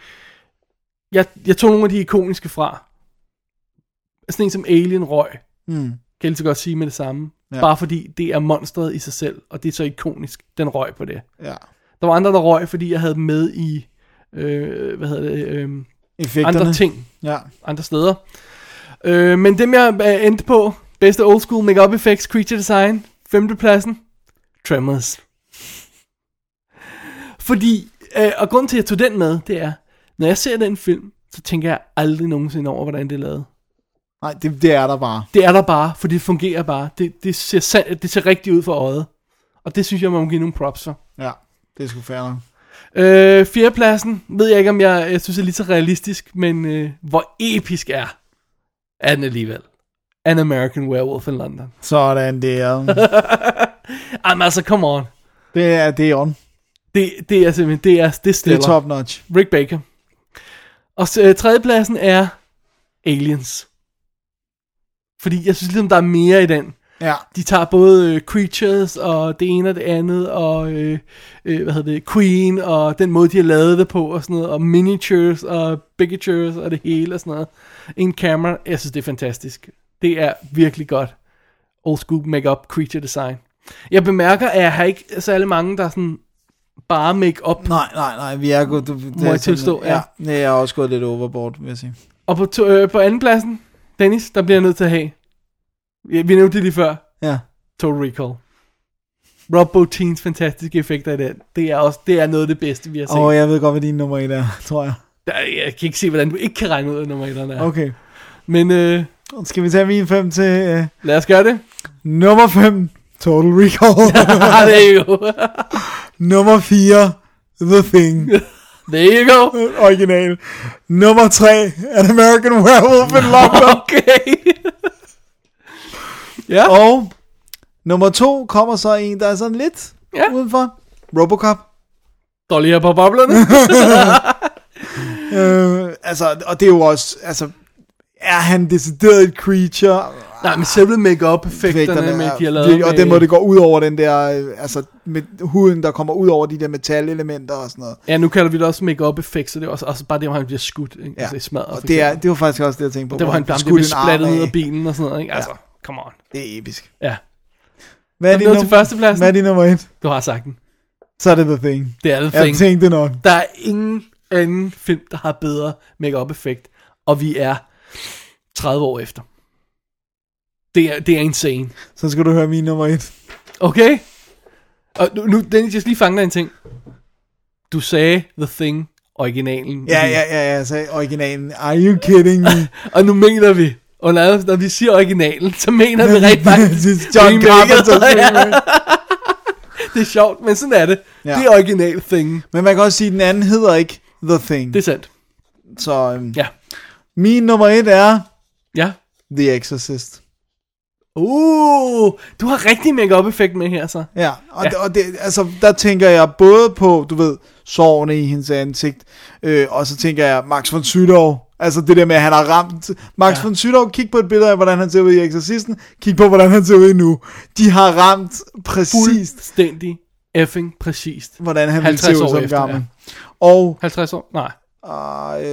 jeg, jeg tog nogle af de ikoniske fra. Sådan en som Alien Røg, kan mm. jeg lige så godt sige med det samme. Ja. Ja. Bare fordi det er monstret i sig selv, og det er så ikonisk, den røg på det. ja. Der var andre, der røg, fordi jeg havde dem med i, øh, hvad hedder det, øh, Effekterne. andre ting Ja. andre steder. Øh, men dem jeg øh, endte på, bedste old school makeup effects, creature design, femtepladsen, Tremors. Fordi, øh, og grunden til at jeg tog den med, det er, når jeg ser den film, så tænker jeg aldrig nogensinde over, hvordan det er lavet. Nej, det, det er der bare. Det er der bare, for det fungerer bare. Det, det, ser, sand, det ser rigtigt ud for øjet. Og det synes jeg, man må give nogle props for. Ja, det er sgu fair nok. Øh, fjerdepladsen, ved jeg ikke, om jeg, jeg synes er lige så realistisk, men øh, hvor episk er, er den alligevel. An American Werewolf in London. Sådan der. Jamen altså, come on. Det er det er on. Det, det er simpelthen, det er, det er Det stiller. er top notch. Rick Baker. Og så, øh, tredjepladsen er Aliens. Fordi jeg synes ligesom, der er mere i den. Ja. De tager både øh, Creatures og det ene og det andet, og øh, øh, hvad hedder det, Queen, og den måde, de har lavet det på, og sådan noget, og miniatures, og bigatures, og det hele, og sådan noget. En camera, jeg synes, det er fantastisk. Det er virkelig godt. Old school makeup creature design. Jeg bemærker, at jeg har ikke særlig mange, der sådan bare make-up Nej, nej, nej, vi er gået... Det, det jeg er sådan- tilstå, ja. ja. Nej, jeg er også gået lidt overboard, vil jeg sige. Og på, to, øh, på anden pladsen, Dennis, der bliver jeg nødt til at have. Vi, vi nævnte det lige før. Ja. Total Recall. Rob Botins fantastiske effekter i den. Det er, også, det er noget af det bedste, vi har set. Åh, oh, jeg ved godt, hvad din nummer 1 er, tror jeg. Der, jeg kan ikke se, hvordan du ikke kan regne ud, at nummer 1 er. Okay. Men øh, Skal vi tage min 5 til... Øh, lad os gøre det. nummer 5, Total Recall. Ah, there you go. nummer 4, The Thing. There you go. Original. Nummer 3, An American Werewolf in London. Okay. ja, Og nummer 2 kommer så en, der er sådan lidt Ja. ja. udenfor. Robocop. står lige her på boblerne. Øh, altså, og det er jo også... Altså, er han decideret et creature? Nej, men selve make-up-effekterne, med, de har lavet virkelig- Og den med- måde, det går ud over den der, øh, altså med huden, der kommer ud over de der metalelementer og sådan noget. Ja, nu kalder vi det også make-up effekt, så det er også, også bare det, hvor han bliver skudt. Ikke? Ja. Ja. Altså, det smadrer. og det, er, det var faktisk også det, jeg tænkte på. det var han, han skudt blev en arm splattet ud af af. bilen og sådan noget. Ikke? Altså, come on. Det er episk. Ja, Hvad er er, din nået til nummer, førstepladsen. hvad er din nummer et? du har sagt den. Så er det The Thing. Det er det Jeg thing. tænkte nok. Der er ingen anden film, der har bedre make-up effekt, og vi er 30 år efter. Det er, det er insane. Så skal du høre min nummer et. Okay? Og nu, nu Dennis, jeg skal lige fange dig en ting. Du sagde The Thing, originalen. Ja, ja, ja, ja, så originalen. Are you kidding me? Og nu mener vi, og når, når vi siger originalen, så mener vi rigtig faktisk John remaket. Carpenter. ja. Det er sjovt, men sådan er det. Ja. Ja. Det er original thing. Men man kan også sige, at den anden hedder ikke The Thing. Det er sandt. Så øhm, Ja. min nummer et er Ja. The Exorcist. Uh, du har rigtig make-up effekt med her, så. Ja, og, Ja. ja. og det, altså, der tænker jeg både på, du ved, sårene i hendes ansigt, øh, og så tænker jeg Max von Sydow. Altså det der med, at han har ramt... Max Ja. ja. von Sydow, kig på et billede af, hvordan han ser ud i Exorcisten. Kig på, hvordan han ser ud nu. De har ramt præcis, Fuldstændig effing præcist. hvordan han ville 50 se år ud som efter, gammel. Og 50 år? Nej,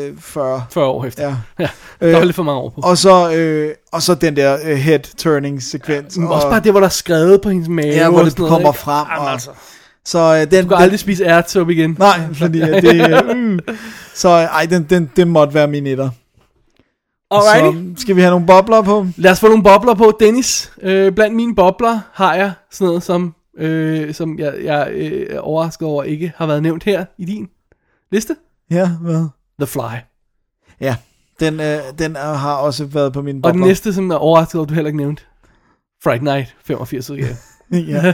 øh, 40. 40 år efter. Ja. Øh, ja. Der var lidt for mange år på. Og så, øh, og så den der øh, head-turning-sekvens. Og, også bare det, hvor der er skrevet på hendes mave. Ja, hvor og det sådan noget, kommer ikke? frem. Jamen, og- altså, Så øh, den, du kan aldrig spise ærtsup igen. Nej, fordi at det... øh, mm. Så øh, ej, den, den, den måtte være min etter. Alrighty. Så skal vi have nogle bobler på? Lad os få nogle bobler på. Dennis, øh, blandt mine bobler har jeg sådan noget, som, øh, som jeg, jeg øh, er overrasket over ikke har været nævnt her i din liste. Ja, hvad? The Fly. Ja, den, øh, den er, har også været på min Og bobler. den næste, som jeg er overrasket over, du heller ikke nævnte. Fright Night 85 udgave. ja,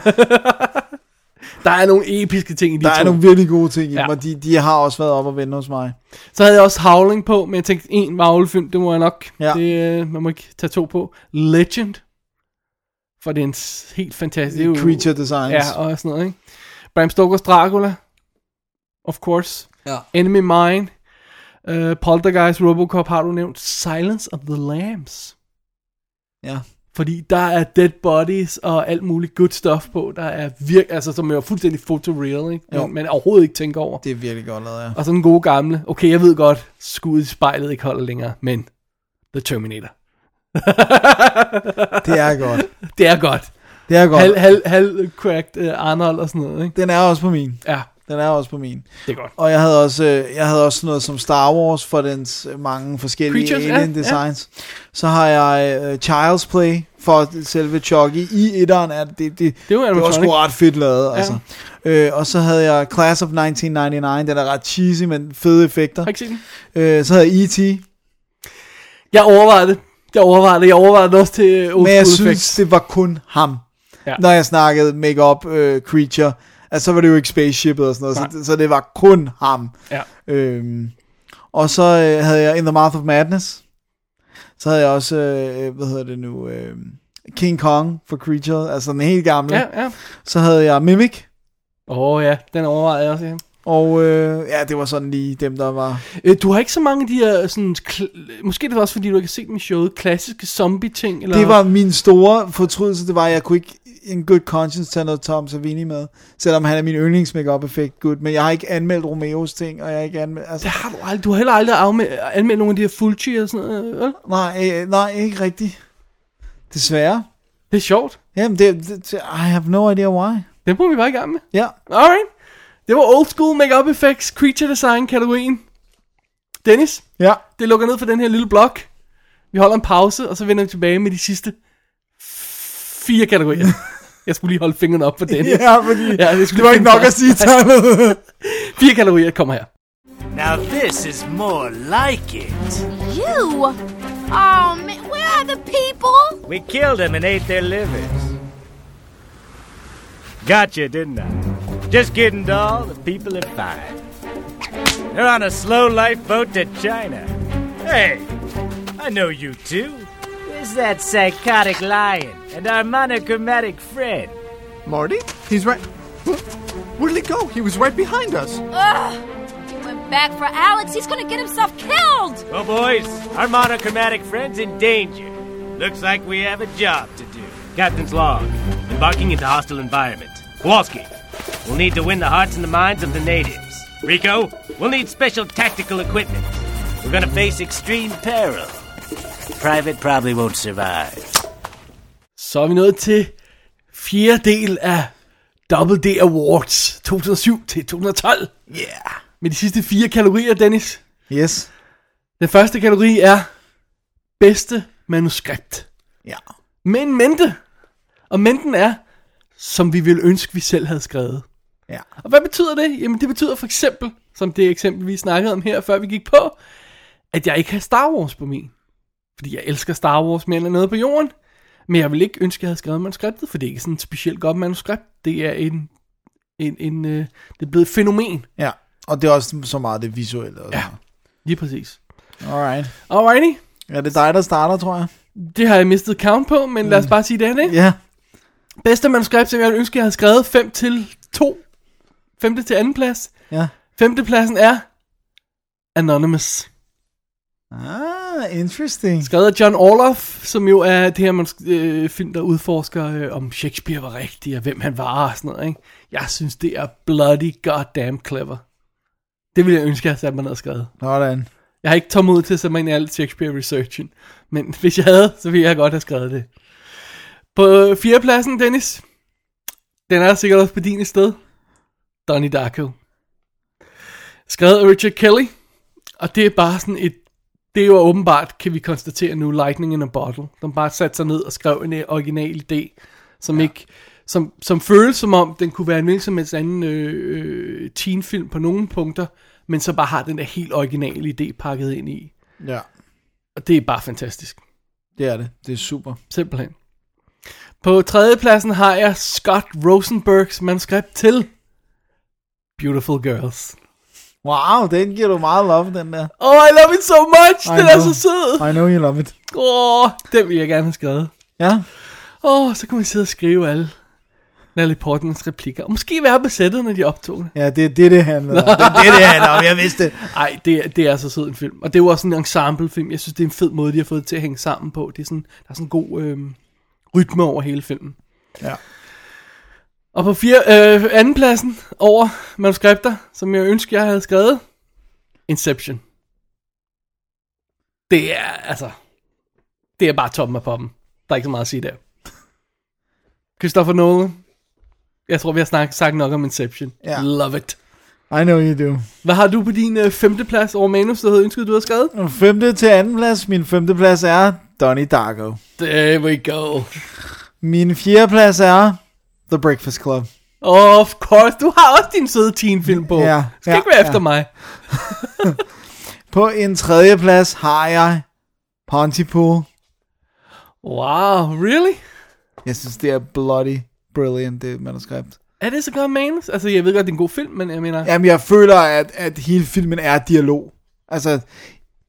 Der er nogle episke ting i de der to. er nogle virkelig gode ting i Ja. dem, og de, de har også været op og vende hos mig. Så havde jeg også Howling på, men jeg tænkte, en Marvel-film, det må jeg nok. Ja. Det, øh, man må ikke tage to på. Legend. For det er en s- helt fantastisk... det er jo- Creature Designs. Ja, og sådan noget, ikke? Bram Stoker's Dracula, of course. Ja. Enemy Mine, uh, Poltergeist, Robocop har du nævnt. Silence of the Lambs. ja. Fordi der er dead bodies og alt muligt good stuff på, der er virk, altså som er fuldstændig photoreal, ikke? Jo. Men man overhovedet ikke tænker over. Det er virkelig godt lavet, ja. Og sådan en god gamle, okay, jeg ved godt, skuddet i spejlet ikke holder længere, men The Terminator. Det er godt. Det er godt. Det er godt. Halv, halv, halv cracked uh, Arnold og sådan noget, ikke? Den er også på min. Ja, Den er også på min. det er godt. Og jeg havde også, øh, jeg havde også noget som Star Wars for dens øh, mange forskellige Creatures, ja, alien ja. designs. Så har jeg øh, Child's Play for selve Chucky. I etteren er det, det, det, Det var det var animatronic. sgu ret fedt lavet. Ja. Altså. Øh, og så havde jeg Class of 1999. Den er ret cheesy, men fede effekter. Har I ikke set den? Øh, så havde jeg E.T. Jeg overvejede det. Jeg overvejede det. Jeg overvejede det også til øh, old Men jeg school synes, effects. det var kun ham. Ja. Ja. Når jeg snakkede make-up øh, creature, altså så var det jo ikke spaceshipet og sådan noget, Nej. så, så det var kun ham. Ja. Øhm, og så øh, havde jeg In the Mouth of Madness. Så havde jeg også, øh, hvad hedder det nu, øh, King Kong for Creature, altså den helt gamle. Ja, ja. Så havde jeg Mimic, Åh oh, ja, den overvejede jeg også, ja. Og øh, ja, det var sådan lige dem, der var... Øh, du har ikke så mange af de her, sådan, kl- måske det er også fordi, du ikke har set dem i showet, klassiske zombie-ting? Eller? Det var min store fortrydelse, det var, at jeg kunne ikke en good conscience tage noget Tom Savini med, selvom han er min yndlings up effekt good, men jeg har ikke anmeldt Romeos ting, og jeg har ikke anmeldt... Altså, Det har du aldrig. Du har heller aldrig afme- anmeldt nogle af de her Fulci og sådan noget, vel? nej, øh, nej, ikke rigtigt. Desværre. Det er sjovt. Jamen, det, det, I have no idea why. Det må vi bare i gang med. Ja, Alright. Det var old school makeup effects, creature design kategorien. Dennis, ja. det lukker ned for den her lille blok. Vi holder en pause, og så vender vi tilbage med de sidste fire kategorier. Jeg skulle lige holde fingeren op for Dennis. Ja, fordi Ja, det skulle det var ikke nok at sige tallet. Fire kategorier kommer her. Now this is more like it. You? Oh, man, where are the people? We killed them and ate their livers. Gotcha, didn't I? Just kidding, doll. The people are fine. They're on a slow lifeboat to China. Hey, I know you too. Where's that psychotic lion and our monochromatic friend? Marty? He's right. Where'd he go? He was right behind us. He went back for Alex. He's gonna get himself killed. Well, boys, our monochromatic friend's in danger. Looks like we have a job to do. Captain's log. Embarking into hostile environment. Kowalski. We'll need to win the hearts and the minds of the natives. Rico, we'll need special tactical equipment. We're gonna face extreme peril. Private probably won't survive. Så er vi nået til fjerde del af Double D Awards 2007 til 2012. Yeah. Med de sidste fire kategorier, Dennis. Yes. Den første kategori er bedste manuskript. Ja. Men mente. Og menten er, som vi ville ønske, vi selv havde skrevet. Ja. Og hvad betyder det? Jamen det betyder for eksempel, som det eksempel vi snakkede om her, før vi gik på, at jeg ikke har Star Wars på min. Fordi jeg elsker Star Wars mere end noget på jorden. Men jeg vil ikke ønske, at jeg havde skrevet manuskriptet, for det er ikke sådan et specielt godt manuskript. Det er en, en, en øh, det er blevet et fænomen. Ja. Og det er også så meget det visuelle. Og Ja. Lige præcis. Alright. Alrighty. Ja, det er dig, der starter, tror jeg. Det har jeg mistet count på, men lad os bare sige det, ikke? Ja. Bedste manuskript, som jeg ville ønske, jeg havde skrevet 5 til 2. Femte til anden plads. Ja. Femte pladsen er Anonymous. Ah, interesting. Skrevet af John Orloff, som jo er det her man, øh, film, der udforsker, øh, om Shakespeare var rigtig, og hvem han var og sådan noget. Ikke? Jeg synes, det er bloody goddamn clever. Det ville jeg ønske, jeg havde sat mig ned og skrevet. Sådan. Jeg har ikke tålmodighed til at sætte mig ind i alt Shakespeare researchen, men hvis jeg havde, så ville jeg godt have skrevet det. På fjerdepladsen, Dennis, den er sikkert også på din et sted. Donnie Darko. Skrevet af Richard Kelly, og det er bare sådan et, det er jo åbenbart, kan vi konstatere nu, lightning in a bottle. Den bare satte sig ned og skrev en øh, original idé, som ja. ikke, som, som føles som om, den kunne være en hvilken som helst anden øh, øh, teenfilm på nogle punkter, men så bare har den der helt originale idé pakket ind i. Ja. Og det er bare fantastisk. Det er det. Det er super. Simpelthen. På tredjepladsen har jeg Scott Rosenbergs manuskript til Beautiful Girls. Wow, den giver du meget love, den der. Oh, I love it so much! I den er know. så sød! I know you love it. Åh, oh, den vil jeg gerne have skrevet. Ja. Åh, oh, så kan man sidde og skrive alle Natalie Portmans replikker. Og måske være på sættet, når de optog det. Ja, det er det, det handler om. Det er det, det handler om. Jeg vidste det. Ej, det, er- det er så sød en film. Og det er jo også en ensemblefilm. Jeg synes, det er en fed måde, de har fået det til at hænge sammen på. Det er sådan, der er sådan en god øh, rytme over hele filmen. Ja. Og på fire, øh, andenpladsen over manuskripter, som jeg ønsker, jeg havde skrevet, Inception. Det er, altså, det er bare toppen af poppen. Der er ikke så meget at sige der. Christopher Nolan. Jeg tror, vi har snak, sagt nok om Inception. Ja. Love it. I know you do. Hvad har du på din øh, femteplads over manus, der havde ønsket, du havde skrevet? Og Femte til anden plads. Min femte plads er Donnie Darko. There we go. Min fjerde plads er The Breakfast Club. Of course, du har også din søde teenfilm på. Ja, Skal ja, ikke være ja. efter mig. På en tredje plads har jeg Pontypool. Wow, really? Jeg synes, det er bloody brilliant, det manuskript. Er det så godt manus? Altså, jeg ved godt, det er en god film, men jeg mener... Jamen, jeg føler, at, at hele filmen er dialog. Altså,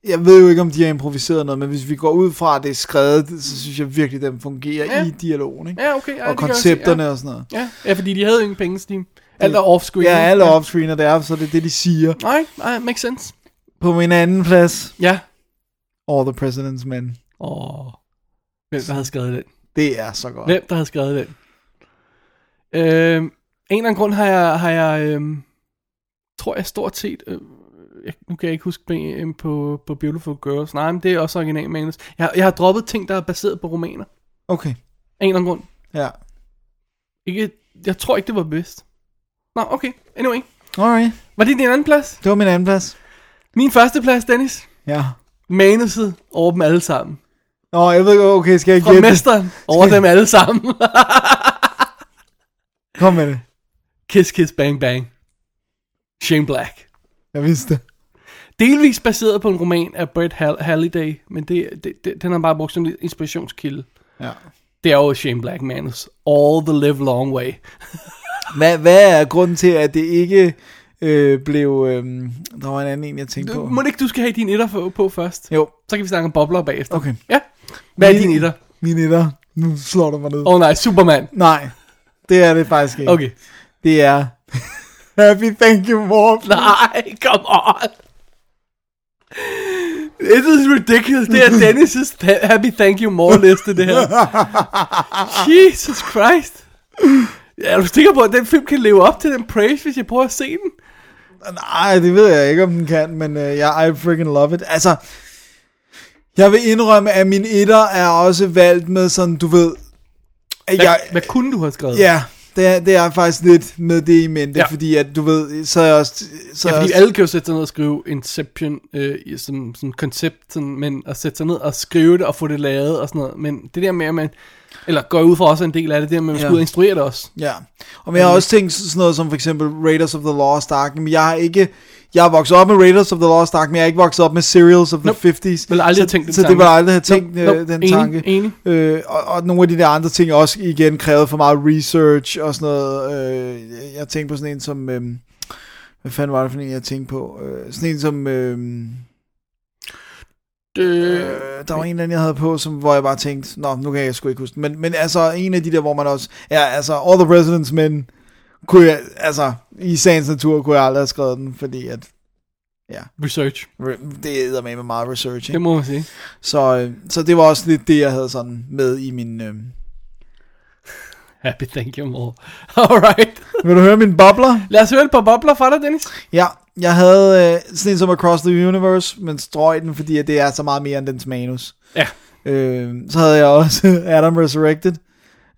jeg ved jo ikke, om de har improviseret noget, men hvis vi går ud fra, at det er skrevet, så synes jeg virkelig, at den fungerer Ja. ja. i dialogen, ikke? Ja, okay. Ej, og det kan jeg koncepterne også og sådan noget. se. Ja. ja. ja, fordi de havde jo ingen penge, Steam. Alt er off-screen. Ja, alle er offscreen, og det er, så det er det, de siger. Nej, nej, makes sense. På min anden plads, Ja. All the President's Men. Åh. Hvem der havde skrevet den? Det er så godt. Hvem der havde skrevet den? Øhm, en eller anden grund har jeg, har jeg øhm, tror jeg stort set, øh, jeg, nu kan jeg ikke huske BM på, på Beautiful Girls. Nej, men det er også original manus. Jeg, jeg har droppet ting, der er baseret på romaner. Okay, Af en eller anden grund. ja. Ikke, jeg tror ikke, det var bedst. Nå, okay. Anyway. Alright, Var det din anden plads? det var min anden plads. Min første plads, Dennis. Ja. Manuset over dem alle sammen. Nå, jeg ved ikke, okay, skal jeg Fra gætte? mesteren over dem alle sammen. Kom med det. kiss, kiss, bang, bang. Shane Black. Jeg vidste det. Delvis baseret på en roman af Brett Hall- Halliday, men det, det, det, den har bare brugt som en inspirationskilde. Ja. Det er jo Shane Black Manus. All the live long way. Hvad, hvad er grunden til, at det ikke øh, blev... Øh, der var en anden en, jeg tænkte på. Må det ikke, du skal have din etter på, på først? Jo, Så kan vi snakke om bobler bagefter. Okay. Ja. Hvad er Min- din etter? min etter. Nu slår du mig ned. Åh oh, nej, Superman. Nej, det er det faktisk ikke. Okay. Det er... Happy Thank You Mom. Nej, come on. This is ridiculous. Det er Dennis' th- happy thank you more liste, det her. Jesus Christ. Er du sikker på, at den film kan leve op til den praise, hvis jeg prøver at se den? Nej, det ved jeg ikke, om den kan, men øh, jeg I freaking love it. Altså, jeg vil indrømme, at min etter er også valgt med sådan, du ved... At Hvad, jeg, hvad kunne du have skrevet? ja, det er, det er faktisk lidt med det i mente, Ja. ja. fordi at, du ved, så er jeg også... Så er Ja, jeg fordi også, alle kan jo sætte sig ned og skrive Inception øh, i- som, som koncept, sådan, men at sætte sig ned og skrive det og få det lavet og sådan noget. Men det der med, at man, eller går jeg ud fra også er en del af det, det der med, at man ja. Ja. skulle ud og instruere det også. Ja, og men jeg har også tænkt sådan noget som for eksempel Raiders of the Lost Ark, men jeg har ikke, jeg har vokset op med Raiders of the Lost Ark, men jeg har ikke vokset op med Serials of the Nope. 50s. Ville aldrig så, have tænkt den Så det tanke. var aldrig have tænkt Nope, nope, nope. øh, den Enig, tanke. enig. Øh, og, og, nogle af de der andre ting også igen krævede for meget research og sådan noget. Øh, jeg tænkte på sådan en som, øh, hvad fanden var det for en, jeg tænkte på? Øh, sådan en som, øh, Øh, Øh, der var en eller anden, jeg havde på, som, hvor jeg bare tænkte, nå, nu kan jeg sgu ikke huske den. Men, men altså, en af de der, hvor man også, ja, altså, All the President's Men, kunne jeg, altså, i sagens natur, kunne jeg aldrig have skrevet den, fordi at, research, re- det æder med meget research, det ikke? må man sige. Så, øh, så det var også lidt det, jeg havde sådan med i min, øh... Happy thank you more. Alright. vil du høre min bobler? Lad os høre et par bobler fra dig, Dennis. Ja, jeg havde øh, sådan en som Across the Universe, men strøg den, fordi at det er så meget mere end dens manus. Ja. Øh, så havde jeg også Adam Resurrected,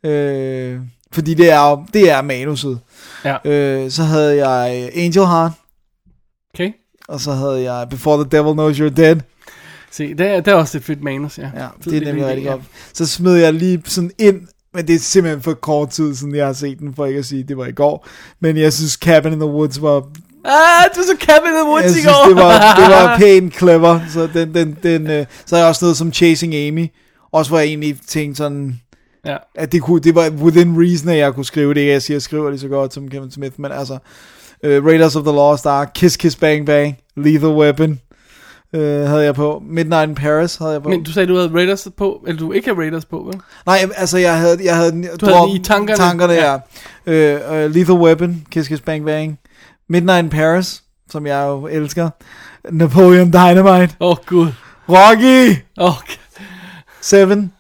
øh, fordi det er, jo- det er manuset. Ja. Øh, så havde jeg øh, Angel Heart, Okay. og så havde jeg Before the Devil Knows You're Dead. Se, det er, det er også et fedt manus, ja. Ja, Fed det er lille nemlig idé, rigtig ja. godt. Så smed jeg lige sådan ind, men det er simpelthen for kort tid siden, jeg har set den, for ikke at sige, at det var i går. Men jeg synes, Cabin in the Woods var Ah, du er så Cabin in the jeg Woods i synes, går. det var, det var pænt clever. Så, den, den, den, øh, så er jeg også noget som Chasing Amy. Også hvor jeg egentlig tænkte sådan, Ja. at det, kunne, det var within reason, at jeg kunne skrive det. Ikke at Jeg siger, jeg skriver det så godt som Kevin Smith, men altså... Øh, Raiders of the Lost Ark, Kiss Kiss Bang Bang, Lethal Weapon øh, havde jeg på. Midnight in Paris havde jeg på. Men du sagde, du havde Raiders på, eller du ikke havde Raiders på, vel? Nej, altså jeg havde, jeg havde, den- Du havde drop- den i tankerne? tankerne Ja. ja. Øh, øh, Lethal Weapon, Kiss Kiss Bang Bang, Midnight in Paris, som jeg jo elsker, Napoleon Dynamite, Åh, oh, gud. Rocky! Okay. Seven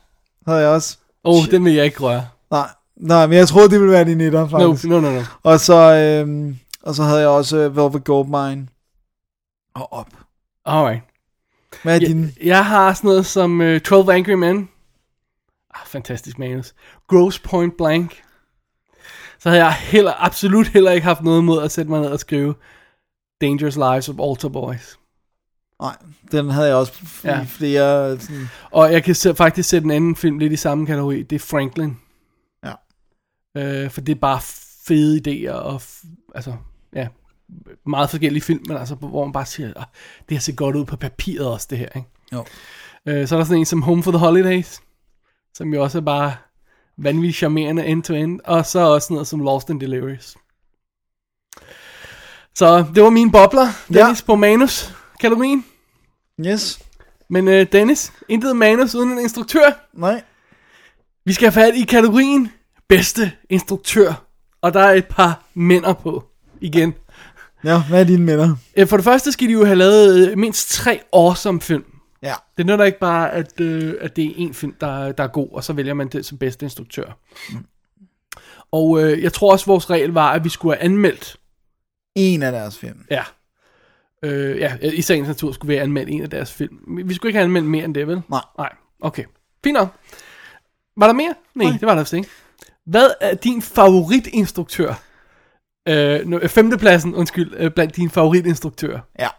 havde jeg også. Åh, oh, den vil jeg ikke røre. Nej, nej, men jeg troede, det ville være din etter, No, faktisk. no, no, no. Og så, øhm, og så havde jeg også øh, Velvet Goldmine. Og op. Alright. Hvad er ja. din? Jeg, jeg har sådan noget som uh, 12 Angry Men. Ah, fantastisk manus. Gross Point Blank. Så havde jeg heller, absolut heller ikke haft noget imod at sætte mig ned og skrive Dangerous Lives of Altar Boys. Nej, den havde jeg også f- Ja. ja. flere. Sådan, Og jeg kan sæ- faktisk sætte en anden film lidt i samme kategori. Det er Franklin. Ja. Øh, for det er bare fede idéer og f- altså, ja, meget forskellige film, men altså, hvor man bare siger, "Ah, det har set godt ud på papiret også, det her, ikke? Jo. Øh, så er der sådan en som Home for the Holidays, som jo også er bare vanvittigt charmerende end-to-end, og så også sådan noget som Lost and Delirious. Så det var mine bobler, Dennis, ja. på manus, kan du mene? yes. Men øh, Dennis, intet manus uden en instruktør. Nej. Vi skal have fat i kategorien bedste instruktør og der er et par mænder på. Igen. Ja, hvad er dine minder? Øh, For det første skal de jo have lavet øh, mindst tre awesome film. Ja. Det nytter ikke bare, at, øh, at det er en film, der, der er god, og så vælger man det som bedste instruktør. Og øh, jeg tror også, vores regel var, at vi skulle have anmeldt. En af deres film. Ja. Øh, ja, i sagens natur skulle vi have anmeldt en af deres film. Vi- Vi skulle ikke have anmeldt mere end det, vel? Nej. Nej, okay. Fint nok. Var der mere? Nej, Nej. det var der vist ikke. Hvad er din favoritinstruktør? Øh, nu- øh, femtepladsen, undskyld, øh, blandt dine favoritinstruktører. Ja.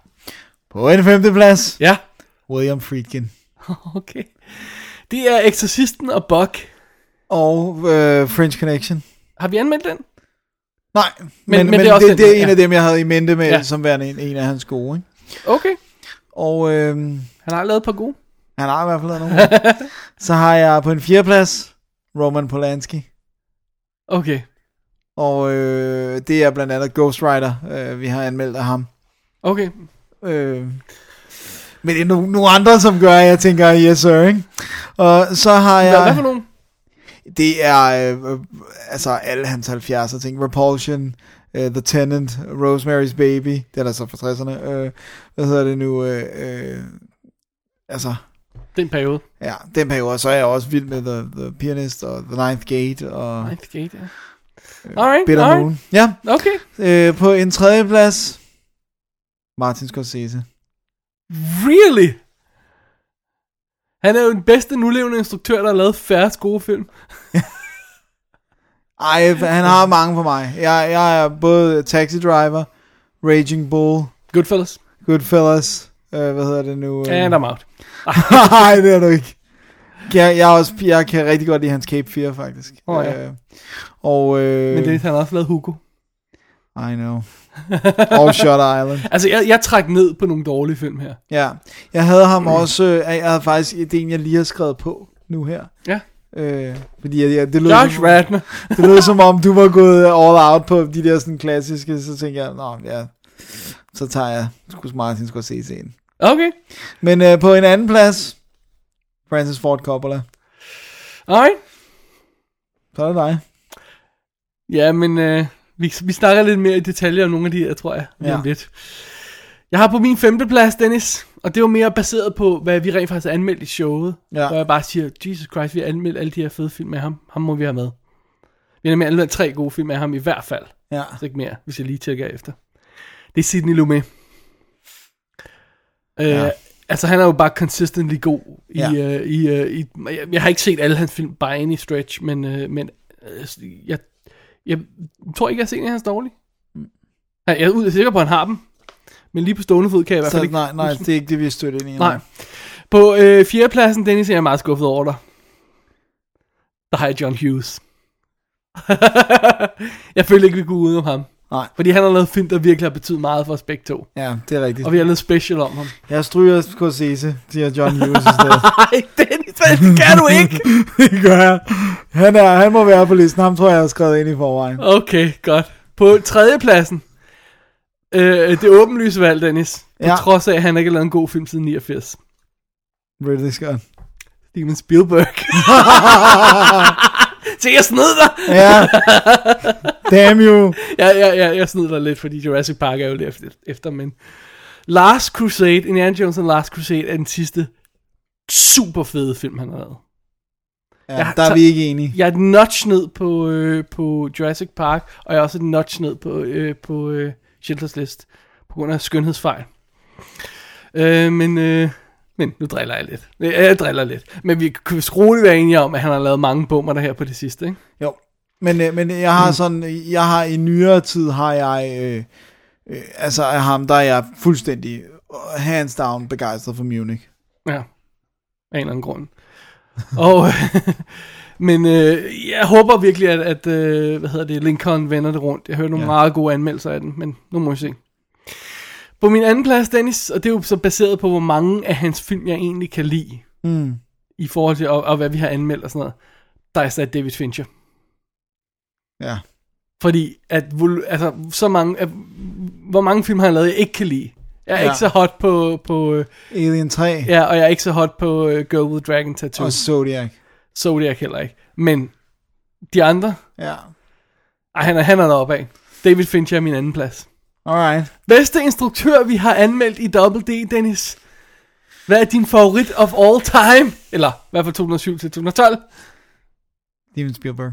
På en femteplads, Ja. William Friedkin. Okay. Det er Exorcisten og Buck. Og øh, French Connection. Har vi anmeldt den? Nej, men, men men, det men er det, også den, det, det er en ja. af dem, jeg havde i mente med, Ja. ja. som værende en, en af hans gode. Ikke? Okay. Og øh, Han har lavet et par gode. han har i hvert fald lavet nogle. Så har jeg på en fjerdeplads, Roman Polanski. Okay. Og øh, det er blandt andet Ghost Rider, øh, vi har anmeldt af ham. Okay. Øh, men det er no- nogle andre, som gør, at jeg tænker, yes sir, ikke? Og så har Hvad, hvad for jeg, nogen? det er øh, øh, altså alle hans 70'er ting, Repulsion, uh, The Tenant, Rosemary's Baby, den er så fra 60'erne, øh, hvad hedder det nu, øh, øh, altså, Den periode. ja, den periode, så er jeg også vild med The, The Pianist, og The Ninth Gate, og Ninth Gate, ja. Alright, Bitter alright. Moon. Ja, Okay. øh, på en tredje plads, Martin Scorsese. Really? Han er jo den bedste nulevende instruktør, der har lavet færrest gode film. Ej, han har mange for mig. Jeg, jeg er både Taxi Driver, Raging Bull, Goodfellas. Goodfellas, øh, hvad hedder det nu? And I'm out. Nej, det er du ikke. Jeg, jeg, er også, jeg kan rigtig godt lide hans Cape Fear, faktisk. Åh, ja. øh, og, øh, Men det, han har også lavet Hugo. I know. Og Shot Island. Altså, jeg, jeg træk ned på nogle dårlige film her. Ja. Jeg havde ham også, øh, jeg havde faktisk ideen, jeg lige har skrevet på nu her. Ja. Øh, fordi jeg, jeg, det lød Josh som, Radner. Det lød som om, du var gået all out på de der sådan klassiske, så tænkte jeg, nå ja, så tager jeg sgu Martin Scorsese ind. Okay. Men øh, på en anden plads, Francis Ford Coppola. Alright. Så er det dig. Ja, men øh, vi, vi snakker lidt mere i detaljer om nogle af de her, tror jeg. Ja. Ja. Om lidt. Jeg har på min femte plads, Dennis, og det var mere baseret på, hvad vi rent faktisk har anmeldt i showet. Ja. Hvor jeg bare siger, Jesus Christ, vi har anmeldt alle de her fede film med ham. Ham må vi have med. Vi har nemlig anmeldt tre gode film af ham i hvert fald. Ja. Altså ikke mere, hvis jeg lige tjekker efter. Det er Sidney Lumet. Øh, ja. Altså han er jo bare consistently god i, Ja. ja. øh, i, øh, i jeg, jeg har ikke set alle hans film by any stretch, men, øh, men øh, jeg, jeg tror ikke, jeg har set en af hans dårlige. Jeg jeg er ud- sikker på, at han har dem, men lige på stående fod kan jeg i hvert fald Så, ikke nej, nej, det er ikke det, vi har stødt ind i. Nej. På øh, fjerdepladsen, Dennis, jeg er meget skuffet over dig. Der har jeg John Hughes. jeg føler ikke, vi kunne udenom ham. Nej. Fordi han har lavet film, der virkelig har betydet meget for os begge to. Ja, det er rigtigt. Og vi har lavet special om ham. Jeg stryger Scorsese, siger John Hughes i stedet. Ej, Dennis, hvad- det kan du ikke! det gør jeg. Han, er, han må være på listen. Ham tror jeg, jeg har skrevet ind i forvejen. Okay, godt. På tredjepladsen. Øh, det åbenlyse valg, Dennis. På ja. Ja. trods af, at han ikke har lavet en god film siden 89. Ridley Scott. Steven Spielberg. Se, jeg snød dig! Ja. Damn you. Ja, ja, ja, jeg snyder dig lidt, fordi Jurassic Park er jo lidt efter, efter men... Last Crusade, Indiana Jones and Last Crusade, er den sidste super fede film, han har lavet. Ja, der er vi ikke enige. Jeg er et notch ned på, øh, på Jurassic Park, og jeg er også et notch ned på, øh, på øh, Schindlers List, på grund af skønhedsfejl. Øh, men, øh, men nu driller jeg lidt. Øh, Jeg driller lidt. Men vi kan roligt være enige om, at han har lavet mange bummer der her på det sidste, ikke? Jo. Men, øh, men jeg har sådan, jeg har i nyere tid, har jeg, øh, øh, altså af ham, der er jeg fuldstændig øh, hands down begejstret for Munich. Ja. Af en eller anden grund. Og, men øh, jeg håber virkelig, at, at øh, hvad hedder det, Lincoln vender det rundt. Jeg hører nogle ja. Ja. meget gode anmeldelser af den, men nu må vi se. På min anden plads, Dennis, og det er jo så baseret på, hvor mange af hans film, jeg egentlig kan lide, Mm. i forhold til, og, og hvad vi har anmeldt og sådan noget, der er sat David Fincher. Ja. Fordi, at, vol- altså, så mange, at, hvor mange film har han lavet, jeg ikke kan lide. Jeg er ja. Ja. ikke så hot på, på øh, Alien 3 ja. ja, og jeg er ikke så hot på øh, Girl with Dragon Tattoo. og Zodiac. Zodiac heller ikke. Men de andre, Ja. Ej, han er, han er deroppe af. David Fincher er min anden plads. Alright. Bedste instruktør, vi har anmeldt i Double D, Dennis. Hvad er din favorit of all time? Eller i hvert fald 2007 til 2012. Steven Spielberg.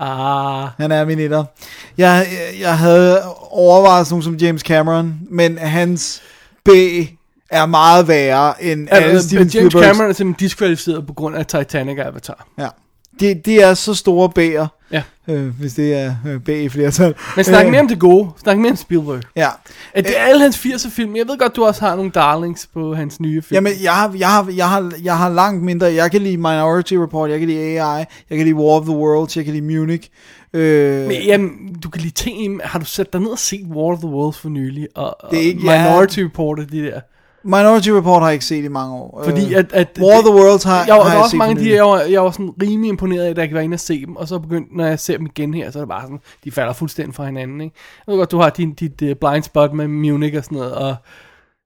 Ah, Han er min etter. Jeg, jeg, jeg havde overvejet sådan nogen som James Cameron, men hans B er meget værre end alle altså, Steven James Spielbergs. Cameron er simpelthen diskvalificeret på grund af Titanic og Avatar. Ja. De, de er så store B'er, Ja. øh, hvis det er øh, B i flertal. Men snak Øh, mere om det gode. Snak mere om Spielberg. Ja. Er det alle hans 80'er film? Jeg ved godt, du også har nogle darlings på hans nye film. Jamen, jeg har, jeg, har, jeg, har, jeg har langt mindre. Jeg kan lide Minority Report, jeg kan lide AI, jeg kan lide War of the Worlds, jeg kan lide Munich. Øh, Men, jamen, du kan lige tænke, har du sat dig ned og set War of the Worlds for nylig? Og, og Det er ikke- ja. Minority Report og de der. Minority Report har jeg ikke set i mange år. Fordi Øh, at, at War of the Worlds har, jeg, har der jeg er set også mange af for de, nylig. jeg var, jeg var sådan rimelig imponeret af, at jeg kan være inde og se dem, og så begyndte, når jeg ser dem igen her, så er det bare sådan, de falder fuldstændig fra hinanden, ikke? Jeg ved godt, du har din, dit uh, blind spot med Munich og sådan noget, og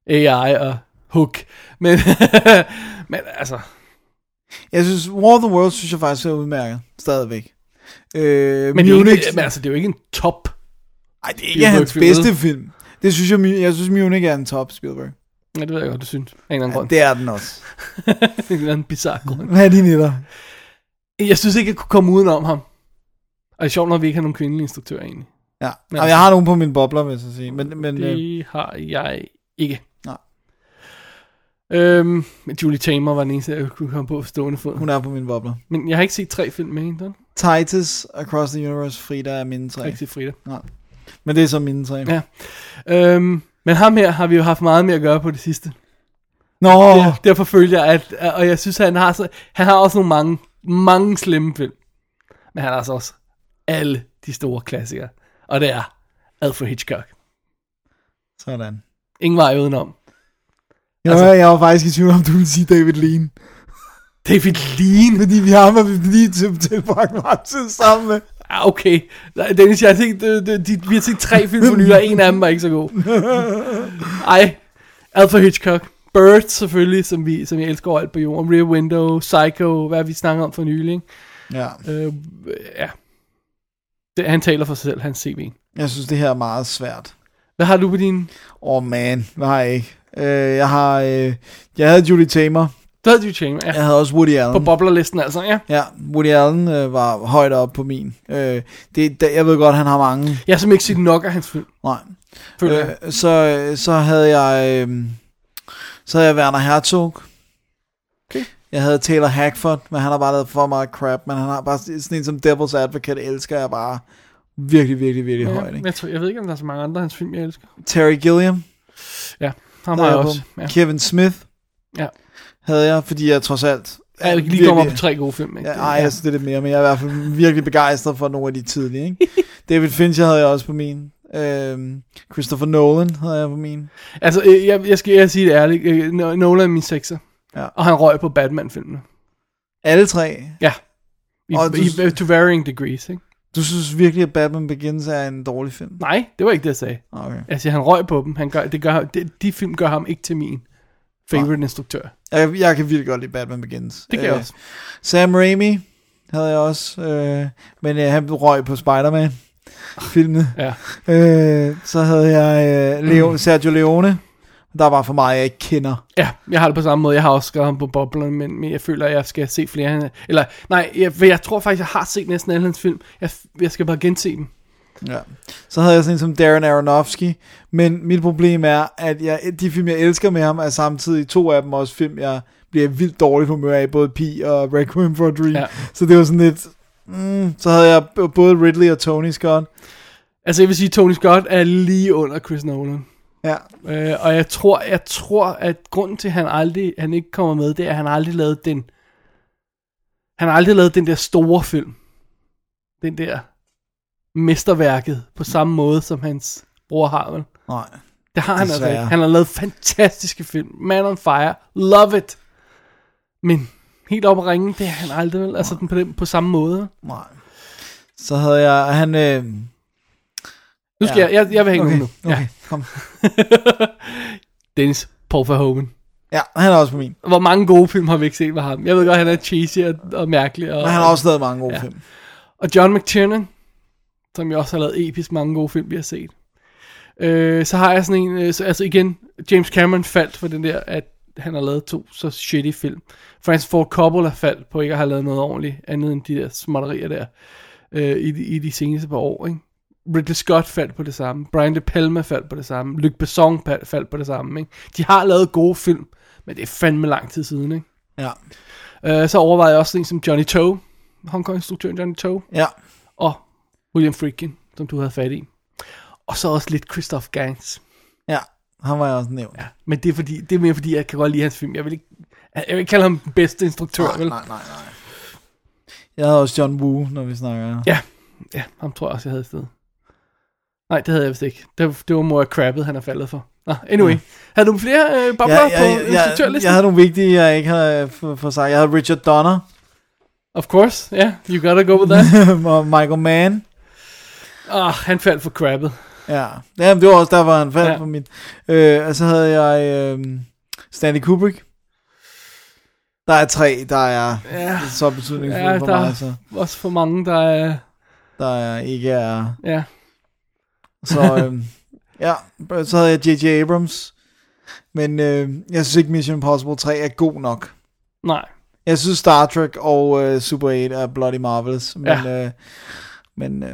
AI og Hook, men, men altså, Jeg synes, War of the Worlds synes jeg faktisk er udmærket. Stadigvæk. Øh, men, det er jo Munich, ikke, men altså, det er jo ikke en top. ej, det er ikke hans Spielberg-film, bedste film. Det synes jeg, Mu- jeg synes Munich er en top Spielberg. Ja, det ved jeg godt, du synes. Af en eller anden Ja, grund. det er den også. Det er en eller anden bizarre grund. Hvad er din etter? Jeg synes ikke, jeg kunne komme udenom ham. Og det er sjovt, når vi ikke har nogen kvindelige instruktører egentlig. Ja. Jamen, jeg har nogen på mine bobler, vil jeg så sige. Men, men øh, altså- Det har jeg ikke. Nej. Øhm, men Julie Tamer var den eneste, jeg kunne komme på på stående fod. øh, hun er på mine bobler. Men jeg har ikke set tre film med hende, der. Jeg Titus, Across the Universe, Frida er mine tre. har ikke set Frida. Men det er så mine tre. Ja. Øhm, men ham her har vi jo haft meget mere at gøre på det sidste. Nå, Oh. Derfor føler jeg, at, og jeg synes, at han har, så, han har også nogle mange, mange slemme film. Men han har altså også alle de store klassikere. Og det er Alfred Hitchcock. sådan. Ingen vej udenom. Jeg, Altså- altså, jeg var faktisk i tvivl om, du ville sige David Lean. David Lean. Fordi vi har ham, og vi lige til tilbragt meget tid sammen med. Ah, okay. Nej, Dennis, jeg har set, øh, de, de, vi har set tre film for nylig, og en af dem var ikke så god. Ej, Alfred Hitchcock. Bird selvfølgelig, som, vi, som jeg elsker over alt på jorden. Rear Window, Psycho, hvad vi snakker om for nylig. ikke? Ja, Øh, ja. Det, han taler for sig selv, hans CV. jeg synes, det her er meget svært. Hvad har du på din... Åh oh, man, hvad har jeg ikke? Øh, jeg har, øh, jeg havde Julie Tamer. Du havde du Chamber, ja. Jeg havde også Woody Allen. På boblerlisten altså, ja. ja, Woody Allen øh, var højt op på min. Øh, det, det, jeg ved godt, han har mange. Jeg har simpelthen ikke set nok af hans film, Nej. føler øh. jeg. Øh, så, så havde jeg øh, så havde jeg Werner Herzog. Okay. Jeg havde Taylor Hackford, men han har bare lavet for meget crap, men han har bare sådan en som Devil's Advocate, elsker jeg bare virkelig, virkelig, virkelig ja, højt. Ja, Ikke? jeg, tror, jeg ved ikke, om der er så mange andre af hans film, jeg elsker. Terry Gilliam Ja, ham har havde jeg jeg også. på. Ja. Kevin Smith Ja. havde jeg, fordi jeg trods alt... Jeg kan lige virkelig- komme op på tre gode film, ikke? Ja, ej, jeg synes, det er lidt mere, men jeg er i hvert fald virkelig begejstret for nogle af de tidlige. Ikke? David Fincher havde jeg også på min. Øhm, Christopher Nolan havde jeg på min. Altså, øh, jeg, jeg skal jeg sige det ærligt. øh, No- Nolan er min sekser. Ja. Og han røg på Batman-filmene. Alle tre Ja. I, Og du- i, to varying degrees, ikke? Du synes virkelig, at Batman Begins er en dårlig film? Nej, det var ikke det, jeg sagde. Okay. Jeg siger, han røg på dem. Han gør, det gør, de, de film gør ham ikke til min favorite instruktør. Jeg, jeg kan virkelig godt lide Batman Begins. Øh, Det kan jeg også. Sam Raimi havde jeg også, øh, men øh, han røg på Spider-Man. Filmene. Ja. Øh, så havde jeg øh, Leo, Sergio Leone. Der er bare for meget, jeg ikke kender. Ja, jeg har det på samme måde. Jeg har også skrevet ham på boblen, men, men jeg føler, at jeg skal se flere. af hans- Eller, nej, jeg, for jeg tror faktisk, jeg har set næsten alle hans film. Jeg, jeg skal bare gense dem. Ja. Så havde jeg sådan en som Darren Aronofsky. Men mit problem er, at jeg, de film, jeg elsker med ham, er samtidig to af dem også film, jeg bliver i vildt dårligt humør af, både Pi og Requiem for a Dream. Ja. Ja. Så det var sådan lidt... Mm, så havde jeg b- både Ridley og Tony Scott. Altså, jeg vil sige, Tony Scott er lige under Chris Nolan. Ja, Øh, og jeg tror, jeg tror, at grunden til, at han, aldrig, han ikke kommer med, det er, at han aldrig lavede den... Han har aldrig lavet den der store film. Den der mesterværket på samme måde, som hans bror har, vel? nej. Det har han altså Desværre. ikke. Han har lavet fantastiske film. Man on Fire. Love it. Men helt op at ringe, det er han aldrig, vel? Altså den på, den, på samme måde. Nej. Så havde jeg... Han... Øh, Nu skal ja. jeg, Ja. jeg, jeg vil hænge okay. okay, nu. okay, Ja. kom. Dennis Paul Verhoeven. Ja, han er også på min. Hvor mange gode film har vi ikke set med ham? Jeg ved godt, han er cheesy og, og mærkelig. Og, Men han har også lavet mange gode Ja. ja. film. og John McTiernan. som jeg også har lavet episk mange gode film, vi har set. Øh, så har jeg sådan en, øh, så, altså igen, James Cameron faldt for den der, at han har lavet to så shitty film. Francis Ford Coppola faldt på ikke at have lavet noget ordentligt, andet end de der småtterier der, øh, i, de, i de seneste par år, ikke? Ridley Scott faldt på det samme, Brian De Palma faldt på det samme, Luc Besson fal- faldt på det samme, ikke? De har lavet gode film, men det er fandme lang tid siden, ikke? Ja. Øh, så overvejede jeg også sådan en som Johnny Toe, Hongkong-instruktøren Johnny Toe, Ja. og William Friedkin, som du havde fat i. Og så også lidt Christoph Gans. Ja. Han var jeg også nævnt. Ja. Men det er, fordi, det er mere fordi, jeg kan godt lide hans film. Jeg vil ikke, jeg vil ikke kalde ham den bedste instruktør, Nej, vel? nej, nej, nej. Jeg havde også John Woo, når vi snakker. Ja, ja, ham tror jeg også, jeg havde et sted. Nej, det havde jeg vist ikke. Det, var- det var Moira Crabbet, han er faldet for. Nå, anyway. Havde du flere øh, bobler jeg, på jeg, jeg, instruktørlisten? jeg havde nogle vigtige, jeg ikke havde øh, fået for sagt. Jeg havde Richard Donner Of course, ja. Yeah, you gotta go with that. og Michael Mann. Ah, han faldt for Crabbet. Ja, Jamen, det var også der, hvor han faldt Ja. ja. på mit. Øh, og så havde jeg øh, Stanley Kubrick. Der er tre, der er Ja, så betydningsfulde Ja, for der- mig, så også for mange, der er... der er ikke er... Ja, Så øh, ja, så havde jeg J.J. Abrams. Men øh, jeg synes ikke Mission Impossible 3 er god nok. nej. Jeg synes Star Trek og øh, Super 8 er bloody marvelous, men, Ja. ja. øh, men øh,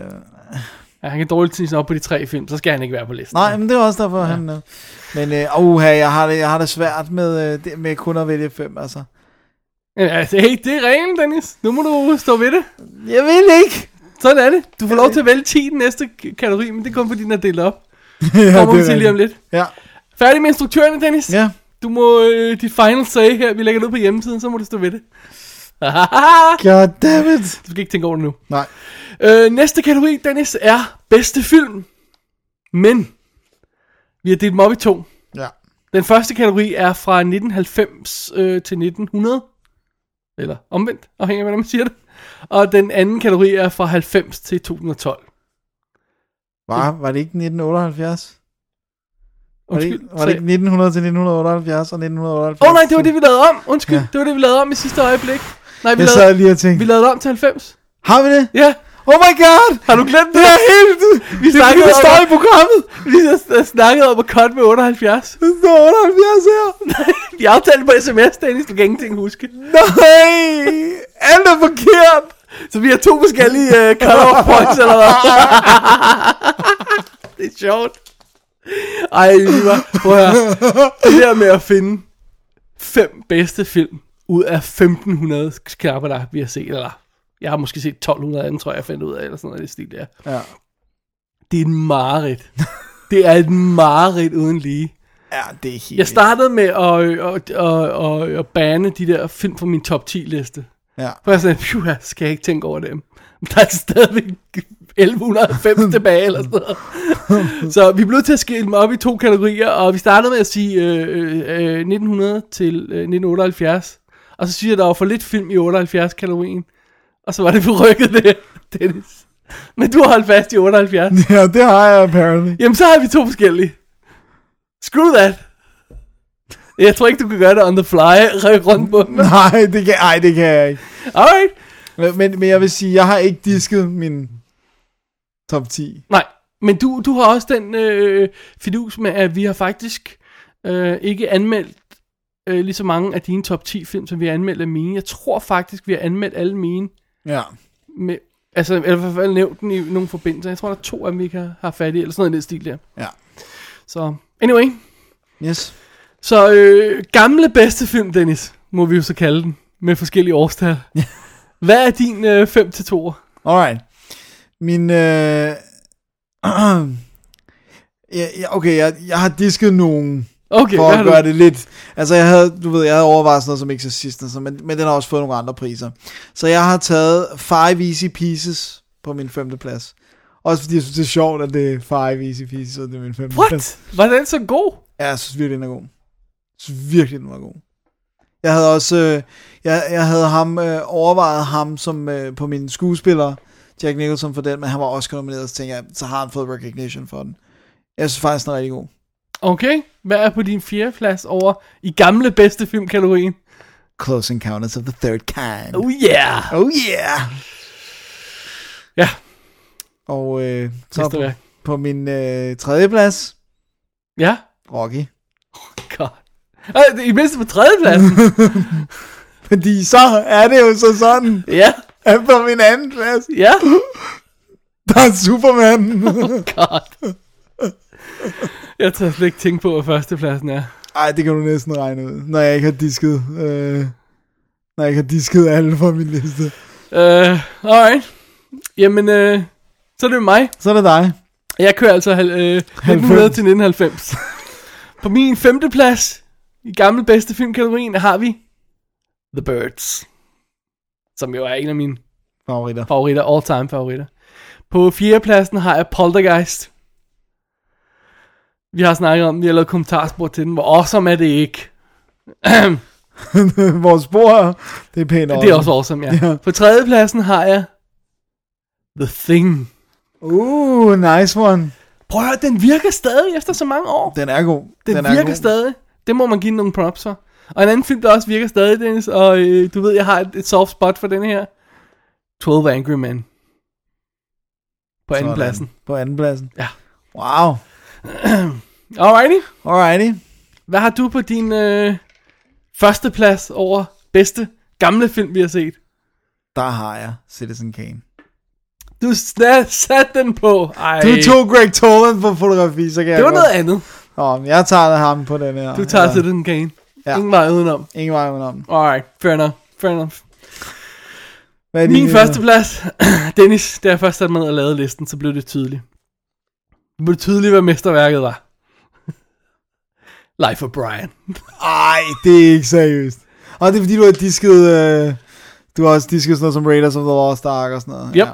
Ja, han kan dårligt tisse op på de tre film, så skal han ikke være på listen. Nej, men det er også derfor, ja. han... Øh, men øh, uha, jeg har, det, jeg har det svært med, øh, det, med kun at vælge fem, altså. Jamen, altså, hey, det er reglen, Dennis. Nu må du stå ved det. Jeg vil ikke! Sådan er det. Du får lov til at vælge 10 i den næste k- kategori, men det er kun fordi, den er delt op. ja, Kommer det vi er til lige om rigtigt. lidt. Ja, Færdig med instruktørerne, Dennis. ja. Du må øh, dit final say her. Vi lægger det ud på hjemmesiden, så må du stå ved det. God damn it. du skal ikke tænke over det nu. Nej. Øh, næste kategori, Dennis, er bedste film. Men vi har delt dem op i to. Ja. Den første kategori er fra 1990 øh, til 1900. Eller omvendt, afhængig af, hvordan man siger det. Og den anden kategori er fra 90 til 2012. Var, var det ikke 1978? Var det, Undskyld. ikke- var sagde- det ikke 1900 til 1978 og 1978? Åh oh, nej, det var det, vi lavede om. Undskyld, ja. Ja. det var det, vi lavede om i sidste øjeblik. Nej, vi Jeg lavede, sad lige og tænkte, vi lavede det om til 90. har vi det? Ja, Oh my god! har du glemt det? Det er helt... Vi det, snakkede det, om- står i programmet! Vi har s- snakket om at cut med 78. Det står 78 her! Vi aftalte på sms, Dennis, du kan ingenting huske. Nej! Alt er forkert! Så vi har to forskellige uh, cut-off points, eller hvad? det er sjovt. Ej, vi var... Prøv at høre. Det der med at finde fem bedste film ud af 1500 knapper, der vi har set, eller... Jeg har måske set 1200 af dem, tror jeg, jeg fandt ud af, eller sådan noget i den stil der. Ja. Det er et mareridt. Det er et mareridt uden lige. Ja, det er helt... Jeg startede med at, øh, at, at, at, at bane de der film fra min top 10 liste. Ja. For jeg sådan, phew, her skal jeg ikke tænke over dem. Men Der er stadigvæk 1190 tilbage eller sådan noget. Så vi blev nødt til at skille dem op i to kategorier, og vi startede med at sige øh, øh, øh, 1900 til øh, 1978. Og så siger jeg, at der var for lidt film i 78-kategorien. Og så var det forrykket det, Dennis. Men du har holdt fast i 78. Ja, det har jeg apparently. Jamen, så har vi to forskellige. Screw that. Jeg tror ikke, du kan gøre det on the fly. Ryk rundt på dem. Nej, det kan, ej, det kan jeg ikke. Alright. Men, men, men jeg vil sige, jeg har ikke disket min top 10. Nej, men du, du har også den øh, fidus med, at vi har faktisk øh, ikke anmeldt øh, lige så mange af dine top 10 film, som vi har anmeldt af mine. Jeg tror faktisk, vi har anmeldt alle mine. Ja. Med, altså, eller i hvert fald nævnt den i nogle forbindelser. Jeg tror, der er to af dem, vi ikke har, har fat i, eller sådan noget i den stil der. Ja. Så, anyway. Yes. Så øh, gamle bedste film, Dennis, må vi jo så kalde den, med forskellige årstal. Hvad er din øh, 5 til 2? Alright. Min, øh... ja, ja, okay, jeg, jeg har disket nogen, Okay, for hvad har at du? gøre det lidt. Altså, jeg havde, du ved, jeg havde overvejet sådan noget som Exorcisten, og sådan, men, men den har også fået nogle andre priser. Så jeg har taget Five Easy Pieces på min femte plads. Også fordi jeg synes, det er sjovt, at det er Five Easy Pieces, og det er min femte plads. What? Var den så god? Ja, jeg synes virkelig, den er god. Jeg synes virkelig, den var god. Jeg havde også, øh, jeg, jeg havde ham, øh, overvejet ham som øh, på mine skuespillere, Jack Nicholson for den, men han var også nomineret, så tænkte jeg, så har han fået recognition for den. Jeg synes faktisk, den er rigtig god. Okay, hvad er på din fjerde plads over i gamle bedste filmkategorien? Close Encounters of the Oh, Third Kind. Oh yeah! Oh yeah! Ja, Og øh, så på, Mesterværk. på min øh, tredje plads, Ja. Rocky. God. Ej, det er i mindste på tredjepladsen. Fordi så er det jo så sådan, ja. at på min anden plads, Ja. der er Superman. God. Jeg tør slet ikke tænke på, hvad førstepladsen er. Ej, det kan du næsten regne ud, når jeg ikke har disket, øh, når jeg ikke har disket alle fra min liste. Øh, alright. Jamen, øh, så er det mig. Så er det dig. Jeg kører altså hal- øh, 1900 til 1990. På min femte plads i gammel bedste filmkategorien har vi The Birds. Som jo er en af mine Favoritter. favoritter, all time favoritter. På fjerde pladsen har jeg Poltergeist. Vi har snakket om, den, vi har lavet kommentarspor til den, hvor awesome er det ikke. Vores spor, det er pænt Det er også awesome, ja. Ja. På tredje pladsen har jeg The Thing. Uh, nice one. Prøv at høre, den virker stadig efter så mange år. Den er god. Den, den er virker god. stadig. Det må man give den nogle props for. Og en anden film, der også virker stadig, Dennis, og øh, du ved, jeg har et, et soft spot for den her. 12 Angry Men. På anden Sådan. pladsen. På anden pladsen. Ja. Wow. Alrighty. Alrighty. Hvad har du på din øh, første plads over bedste gamle film, vi har set? Der har jeg Citizen Kane. Du sat, sat den på. Ej, Du tog Greg Toland på fotografi, så kan det jeg var godt- noget andet. Nå, men jeg tager ham på den her. Du tager Eller- ja. Citizen Kane. Ja. Ja. Ingen vej udenom. Ingen vej udenom. Alright, fair enough. Fair enough. Hvad er Min din, øh, første plads, Dennis, da jeg først satte mig ned og lavede listen, så blev det tydeligt. Det blev tydeligt, hvad mesterværket var. Life of Brian. Ej, det er ikke seriøst. Og det er fordi, du har disket... Øh, du har også disket sådan noget som Raiders of the Lost Ark og sådan noget. Yep.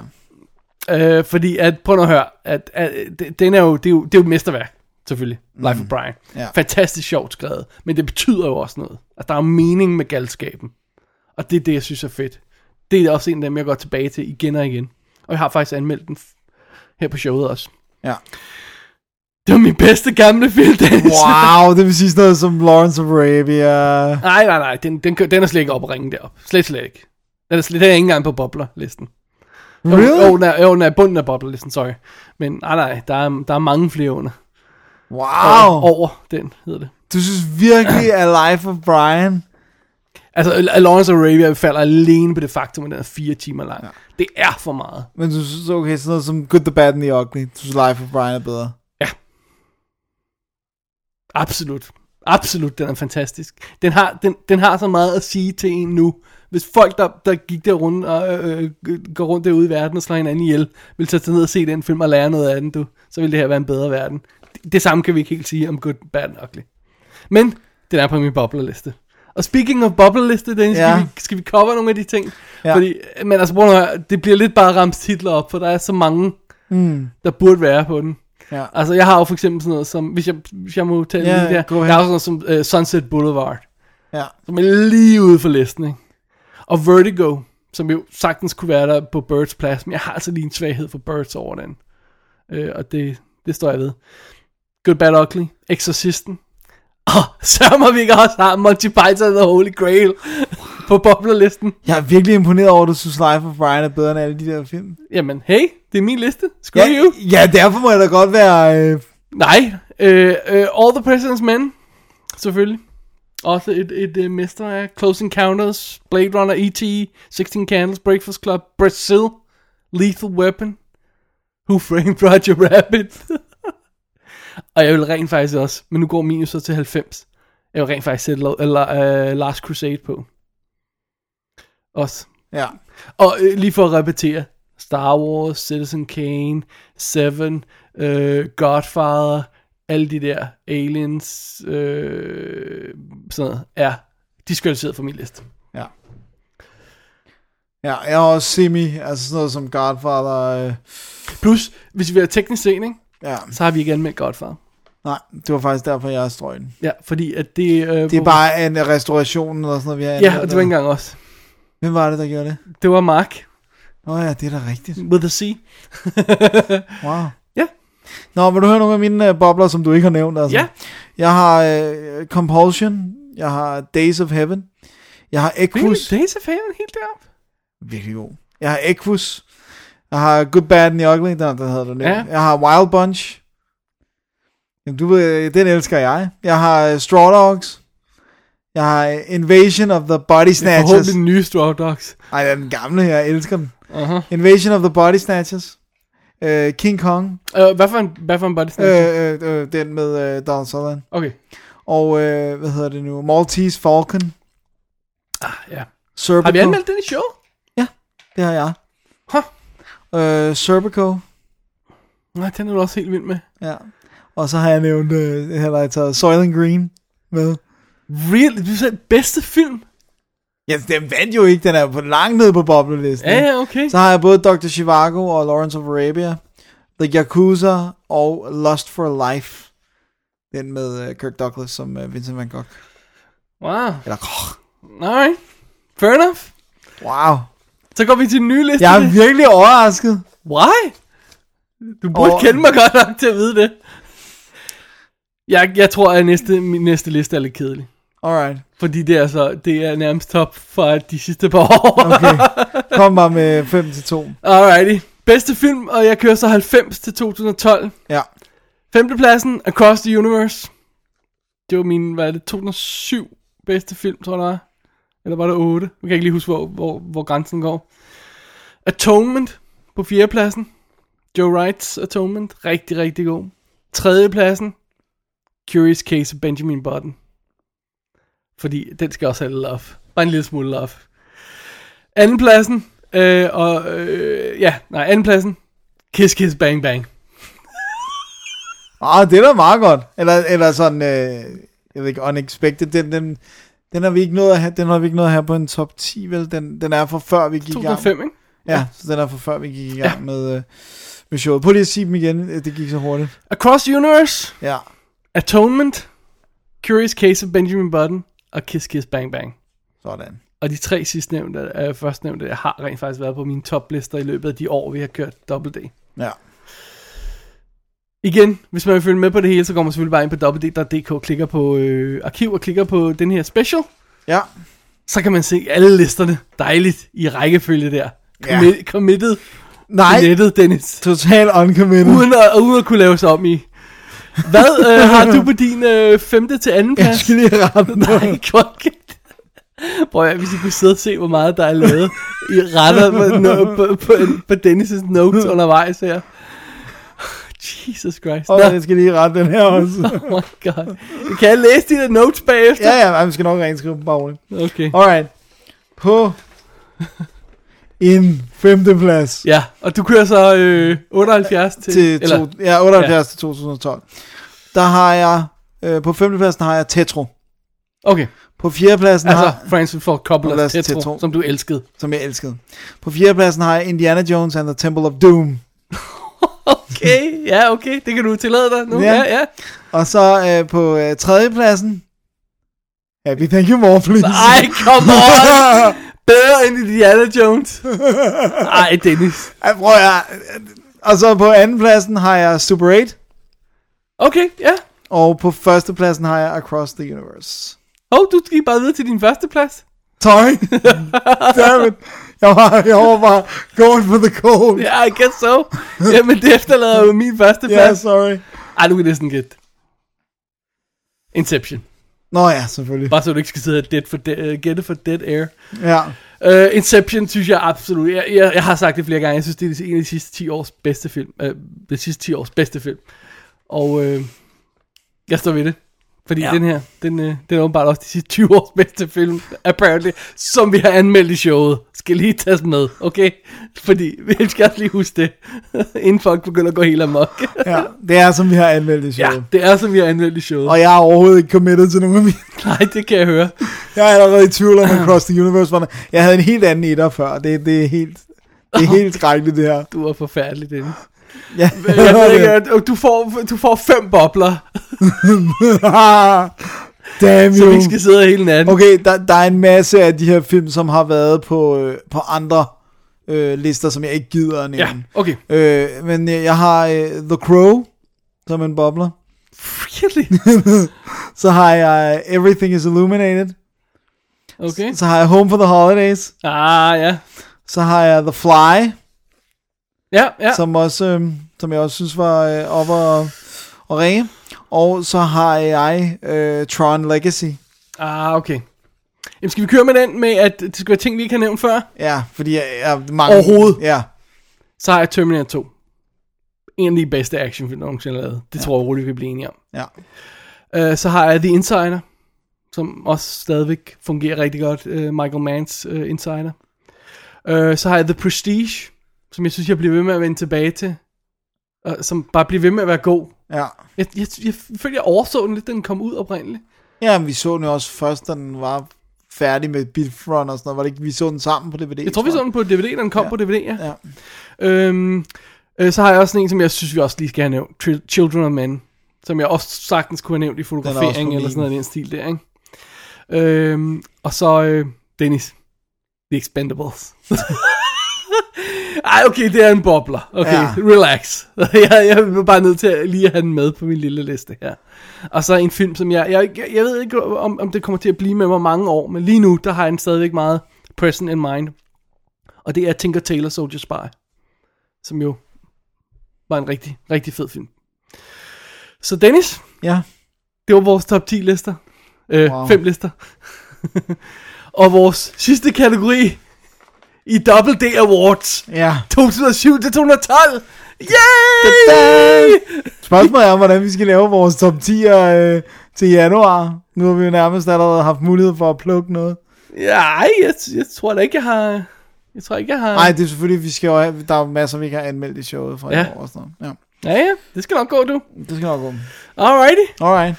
Øh, fordi, at, prøv nu at høre, at, at, at den er jo, det, er jo, det er jo et mesterværk, selvfølgelig. Life of Brian. Mm. Ja. Fantastisk sjovt skrevet, men det betyder jo også noget. At der er mening med galskaben. Og det er det, jeg synes er fedt. Det er også en af dem, jeg går tilbage til igen og igen. Og jeg har faktisk anmeldt den f- her på showet også. Ja. Det var min bedste gamle film, Dennis. Wow, det vil sige sådan noget som Lawrence of Arabia. Nej, nej, nej, den, den, kø- den er slet ikke op at ringe derop. Slet, slet ikke. Den er, slet, den er ikke engang på boblerlisten. Really? Jo, jo, den er, jo, den er i bunden af boblerlisten, sorry. Men nej, nej, der er, der er mange flere under. Wow. Over den, hedder det. Du synes virkelig, at Life of Brian... Altså, Al- Lawrence of Arabia falder alene på det faktum, at den er fire timer lang. Ja. Det er for meget. Men du synes, okay, sådan noget som Good, the Bad and the Ugly. Du synes, Life of Brian er bedre. Absolut. Absolut, den er fantastisk. Den har, den, den har så meget at sige til en nu. Hvis folk, der, der gik der rundt og øh, øh, går rundt derude i verden og slår hinanden ihjel, ville tage ned og se den film og lære noget af den, du, så ville det her være en bedre verden. Det, det samme kan vi ikke helt sige om Good, Bad and Ugly. Men den er på min boblerliste. Og speaking of boblerliste, Dennis, Ja. ja. skal, vi, skal vi cover nogle af de ting? Ja. Ja. Fordi, men altså, prøv nu at høre, det bliver lidt bare ramt titler op, for der er så mange, mm. der burde være på den. Ja. Altså, jeg har jo for eksempel sådan noget som, hvis jeg, hvis jeg må tale Ja, ja, lige der, gå der hen. er jo sådan noget som uh, Sunset Boulevard, Ja. som er lige ude for listen, ikke? Og Vertigo, som jo sagtens kunne være der på Birds plads, men jeg har altså lige en svaghed for Birds over den. Øh, og det, det står jeg ved. Good Bad Ugly, Exorcisten, og sørg mig, vi ikke også har Monty Python and the Holy Grail på boblerlisten. Jeg er virkelig imponeret over, at du synes, Life of Brian er bedre end alle de der film. Jamen, hey, det er min liste. Screw Ja, you. ja derfor må jeg da godt være... Øh, Nej, øh, øh, All the President's Men, selvfølgelig. Også et, et, et mester af Close Encounters, Blade Runner, E.T., 16 Candles, Breakfast Club, Brazil, Lethal Weapon, Who Framed Roger Rabbit. Og jeg vil rent faktisk også, men nu går min jo så til 90. Jeg vil rent faktisk sætte Lo- eller, uh, Last Crusade på. Også. ja. Og øh, lige for at repetere. Star Wars, Citizen Kane, Seven, øh, Godfather, alle de der aliens, øh, sådan noget, er diskvalificeret fra min liste. Ja. Ja, jeg har også semi, altså sådan noget som Godfather. Øh, Plus, hvis vi er teknisk set, ikke, ja, så har vi ikke anmeldt Godfather. nej, det var faktisk derfor, jeg har strøget den. Ja, fordi at det... Øh, Det er bare en restauration eller sådan noget, vi har Ja, anmeldt, og det var ikke eller- engang os. Hvem var det, der gjorde det? Det var Mark Nå ja, det er da rigtigt. with a C. Wow. Mm. Ja. Nå, vil du høre nogle af mine øh, bobler, som du ikke har nævnt? Altså? Ja. Jeg har øh, Compulsion, jeg har Days of Heaven, jeg har Equus, Really? Days of Heaven helt deroppe? virkelig god. Jeg har Equus, Jeg har Good, Bad and the Ugly, der, der havde du det. Ja. Jeg har Wild Bunch. Jamen, du ved, den elsker jeg. Jeg har øh, Straw Dogs. Jeg har øh, Invasion of the Body Snatchers. Forhåbentlig den nye Straw Dogs. Ej, den gamle her, jeg elsker den. Uh-huh. Invasion of the Body Snatchers. Øh, King Kong. Øh, hvad for en, hvad for en body snatch? Øh. Øh, øh, øh, den med øh, Donald Sutherland. Okay. Og, øh, hvad hedder det nu? Maltese Falcon. Ja. Serpico. Har vi anmeldt den i show? Det har jeg. Huh. Øh, Serpico. Nej, den er du også helt vild med. Ja. Og så har jeg nævnt, øh, her har jeg taget Soylent Green med. Really? Du sagde bedste film? Ja, den vandt jo ikke, den er jo på langt nede på boblelisten. Ja, ja, okay. Så har jeg både Dr. Chivago og Lawrence of Arabia, The Yakuza og Lust for Life. Den med øh, Kirk Douglas som øh, Vincent Van Gogh. Wow. Eller, oh, Alright. Fair enough. wow. Så går vi til den nye liste. Jeg er virkelig overrasket. Why? Du burde Over- kende mig godt nok til at vide det. Jeg, jeg tror, at næste, min næste liste er lidt kedelig. Alright. Fordi det er, så, det er nærmest top fra de sidste par år. Okay. Kom bare med 5 til 2. Alrighty. Bedste film, og jeg kører så 90 til 2012. Ja. Femtepladsen, Across the Universe. Det var min, hvad er det, 2007 bedste film, tror jeg det var. Eller var det 8? Jeg kan ikke lige huske, hvor, hvor, hvor grænsen går. Atonement på fjerdepladsen. Joe Wrights Atonement. Rigtig, rigtig god. Tredjepladsen. Curious Case of Benjamin Button. Fordi den skal også have love. Bare en lille smule love. Andenpladsen. Øh, og øh, ja, nej, andenpladsen. Kiss Kiss Bang Bang. Ah, det er da meget godt. Eller, eller sådan, øh, jeg ved ikke, unexpected. Den, den, den har vi ikke nået at have, den har vi ikke nået at have på en top 10, vel? Den, den er fra før vi gik i gang. 2005, ikke? Ja, så den er fra før vi gik i gang ja. med, øh, med showet. Prøv lige at sige dem igen, øh, det gik så hurtigt. Across the Universe. Ja, Atonement, Curious Case of Benjamin Button og Kiss Kiss Bang Bang. sådan. Og de tre sidstnævnte, øh, førstnævnte, jeg har rent faktisk været på mine toplister i løbet af de år, vi har kørt Double D. Ja. Igen, hvis man vil følge med på det hele, så går man selvfølgelig bare ind på www.dk, klikker på øh, arkiv og klikker på den her special. Ja, Så kan man se alle listerne dejligt i rækkefølge der. Ja. Commi- Committed nej, til nettet, Dennis. total uncommitted. Uden at, uden at kunne lave sig om i. Hvad øh, har du på din øh, femte til anden Jeg plads? skal lige ramme noget. Nej, klokkekæt. Prøv at hvis I kunne sidde og se, hvor meget der er lavet i retter på, no, på, på, på Dennis' notes undervejs her. Jesus Christ. Og Nå, jeg skal lige rette den her også. oh my god. Kan jeg læse dine notes bagefter? Ja, ja, ej, vi skal nok renskrive dem bare roligt. Okay. Alright. På en femteplads Ja, og du kører så øh, 78 til... til, eller, to, ja, 78 til 2012, der har jeg, øh, på femtepladsen har jeg Tetro. okay, På fjerdepladsen altså. altså har, Francis Ford Coppola's Coppola's Tetro, Tetro. som du elskede. som jeg elskede, på fjerdepladsen har jeg Indiana Jones and the Temple of Doom. Okay, ja, okay, det kan du tillade dig nu. Ja. Ja, ja. Og så øh, på øh, tredjepladsen, Happy Thank You More, please. Ej, come on! Bedre end Indiana Jones. Ej, Dennis. Ej, prøv jeg. Og så på andenpladsen har jeg Super 8, Okay, ja. og på førstepladsen har jeg Across the Universe. Åh, oh, du gik bare videre til din første plads. Sorry. Damn it. Jeg var, jeg var bare going for the cold. Ja, yeah, I guess so. Jamen, det efterlader jo min første yeah, plads. sorry. Ej, du kan næsten gætte. Inception. Nå ja, selvfølgelig. Bare så du ikke skal sidde og dead for de- øh, gætte for dead air. Ja. Uh, Inception synes jeg absolut. Jeg, jeg, jeg har sagt det flere gange. Jeg synes, det er en af de sidste 10 års bedste film. Uh, de sidste 10 års bedste film. Og øh, jeg står ved det. Fordi ja. den her, den, øh, den er åbenbart også de sidste 20 års bedste film, apparently, som vi har anmeldt i showet. Skal lige tages med, okay? Fordi vi skal også lige huske det, inden folk begynder at gå helt amok. ja. Det er, som vi har anmeldt i showet. Ja. det er, som vi har anmeldt i showet. Og jeg er overhovedet ikke committed til nogen af mine. Nej, det kan jeg høre. Jeg er allerede i tvivl om Across the Universe. var der- Jeg havde en helt anden etter før. Det, det er helt... Det er helt skrækkeligt, det her. Du er forfærdelig, Dennis. Ja, Jeg ved ikke, at- du får, du får fem bobler, Ah, Damn så you. vi ikke skal sidde hele natten. Okay, der, der er en masse af de her film, som har været på, øh, på andre øh, lister, som jeg ikke gider at Ja, nævne. okay. Ja. Øh, men jeg, jeg har øh, The Crow, som en bobler. Really? Så har jeg øh, Everything is Illuminated. Okay. Så har jeg Home for the Holidays. Ah, ja. Så har jeg The Fly. Ja, ja. Så. som, også, øh, som jeg også synes var øh, op og, og ringe. Og så har jeg øh, Tron Legacy. Ah, okay. Jamen, skal vi køre med den med, at det skal være ting, vi ikke har nævnt før? Ja, fordi jeg, jeg mange... Overhovedet. Ja. Så har jeg Terminator 2. En af de bedste actionfilm, der nogensinde er lavet. Det ja. tror jeg roligt, vi bliver enige om. ja. Øh, så har jeg The Insider, som også stadigvæk fungerer rigtig godt. Øh, Michael Manns øh, Insider. Øh, så har jeg The Prestige, som jeg synes, jeg bliver ved med at vende tilbage til. Og som bare bliver ved med at være god. Ja. Jeg, jeg, jeg føler, jeg overså den lidt, da den kom ud oprindeligt. Ja, men vi så den jo også først, da den var færdig med Bitfront og sådan noget. Var det ikke, vi så den sammen på DVD? Jeg tror, vi så den på DVD, da den kom ja. på DVD, ja. Ja. Øhm, øh, så har jeg også sådan en, som jeg synes, vi også lige skal have nævnt. Tri- Children of Men. Som jeg også sagtens kunne have nævnt i også på fotografering min. eller sådan noget i den stil der, ikke? Øhm, og så øh, Dennis. The Expendables. Ej, okay, det er en bobler. Okay, Ja. ja. relax. jeg, jeg er bare nødt til at lige at have den med på min lille liste her. Og så en film, som jeg... Jeg, jeg, jeg ved ikke, om, om det kommer til at blive med mig mange år, men lige nu, der har jeg den stadigvæk meget present in mind. Og det er Tinker Tailor Soldier Spy. Som jo var en rigtig, rigtig fed film. Så Dennis, Ja. det var vores top 10 lister. Øh, Wow. wow. Fem lister. og vores sidste kategori i Double D Awards. Ja. 2007 til 212. Yay! Spørgsmålet er, hvordan vi skal lave vores top 10'er øh, til januar. Nu har vi jo nærmest allerede haft mulighed for at plukke noget. Ja, ej, jeg, jeg tror da ikke, jeg har... Jeg tror ikke, jeg har... Nej, det er selvfølgelig, vi skal jo have, der er jo masser, vi ikke har anmeldt i showet fra ja. Ja. i år og sådan noget. Ja, Ja, ja, det skal nok gå, du. det skal nok gå. Alrighty. Alright.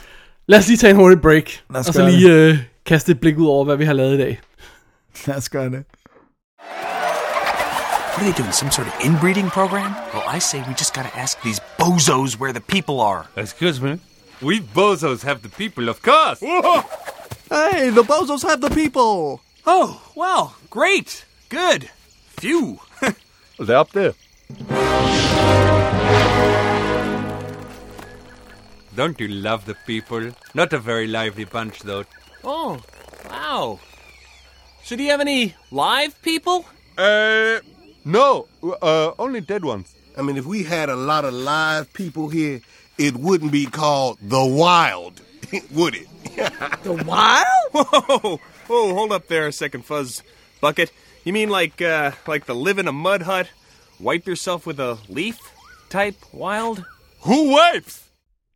Lad os lige tage en hurtig break. Lad os og så gøre lige øh, kaste et blik ud over, hvad vi har lavet i dag. Lad os gøre det. What are they doing? Some sort of inbreeding program? Well, I say we just gotta ask these bozos where the people are. Excuse me? We bozos have the people, of course! Hey, the bozos have the people! Oh, well, great. Good. Phew. They're up there. Don't you love the people? Not a very lively bunch, though. Oh, wow. So, do you have any live people? Uh, no. Uh, only dead ones. I mean, if we had a lot of live people here, it wouldn't be called the wild, would it? Whoa, whoa, hold up there a second, Fuzz Bucket. You mean like, uh, like the live in a mud hut, wipe yourself with a leaf type wild? Who wipes?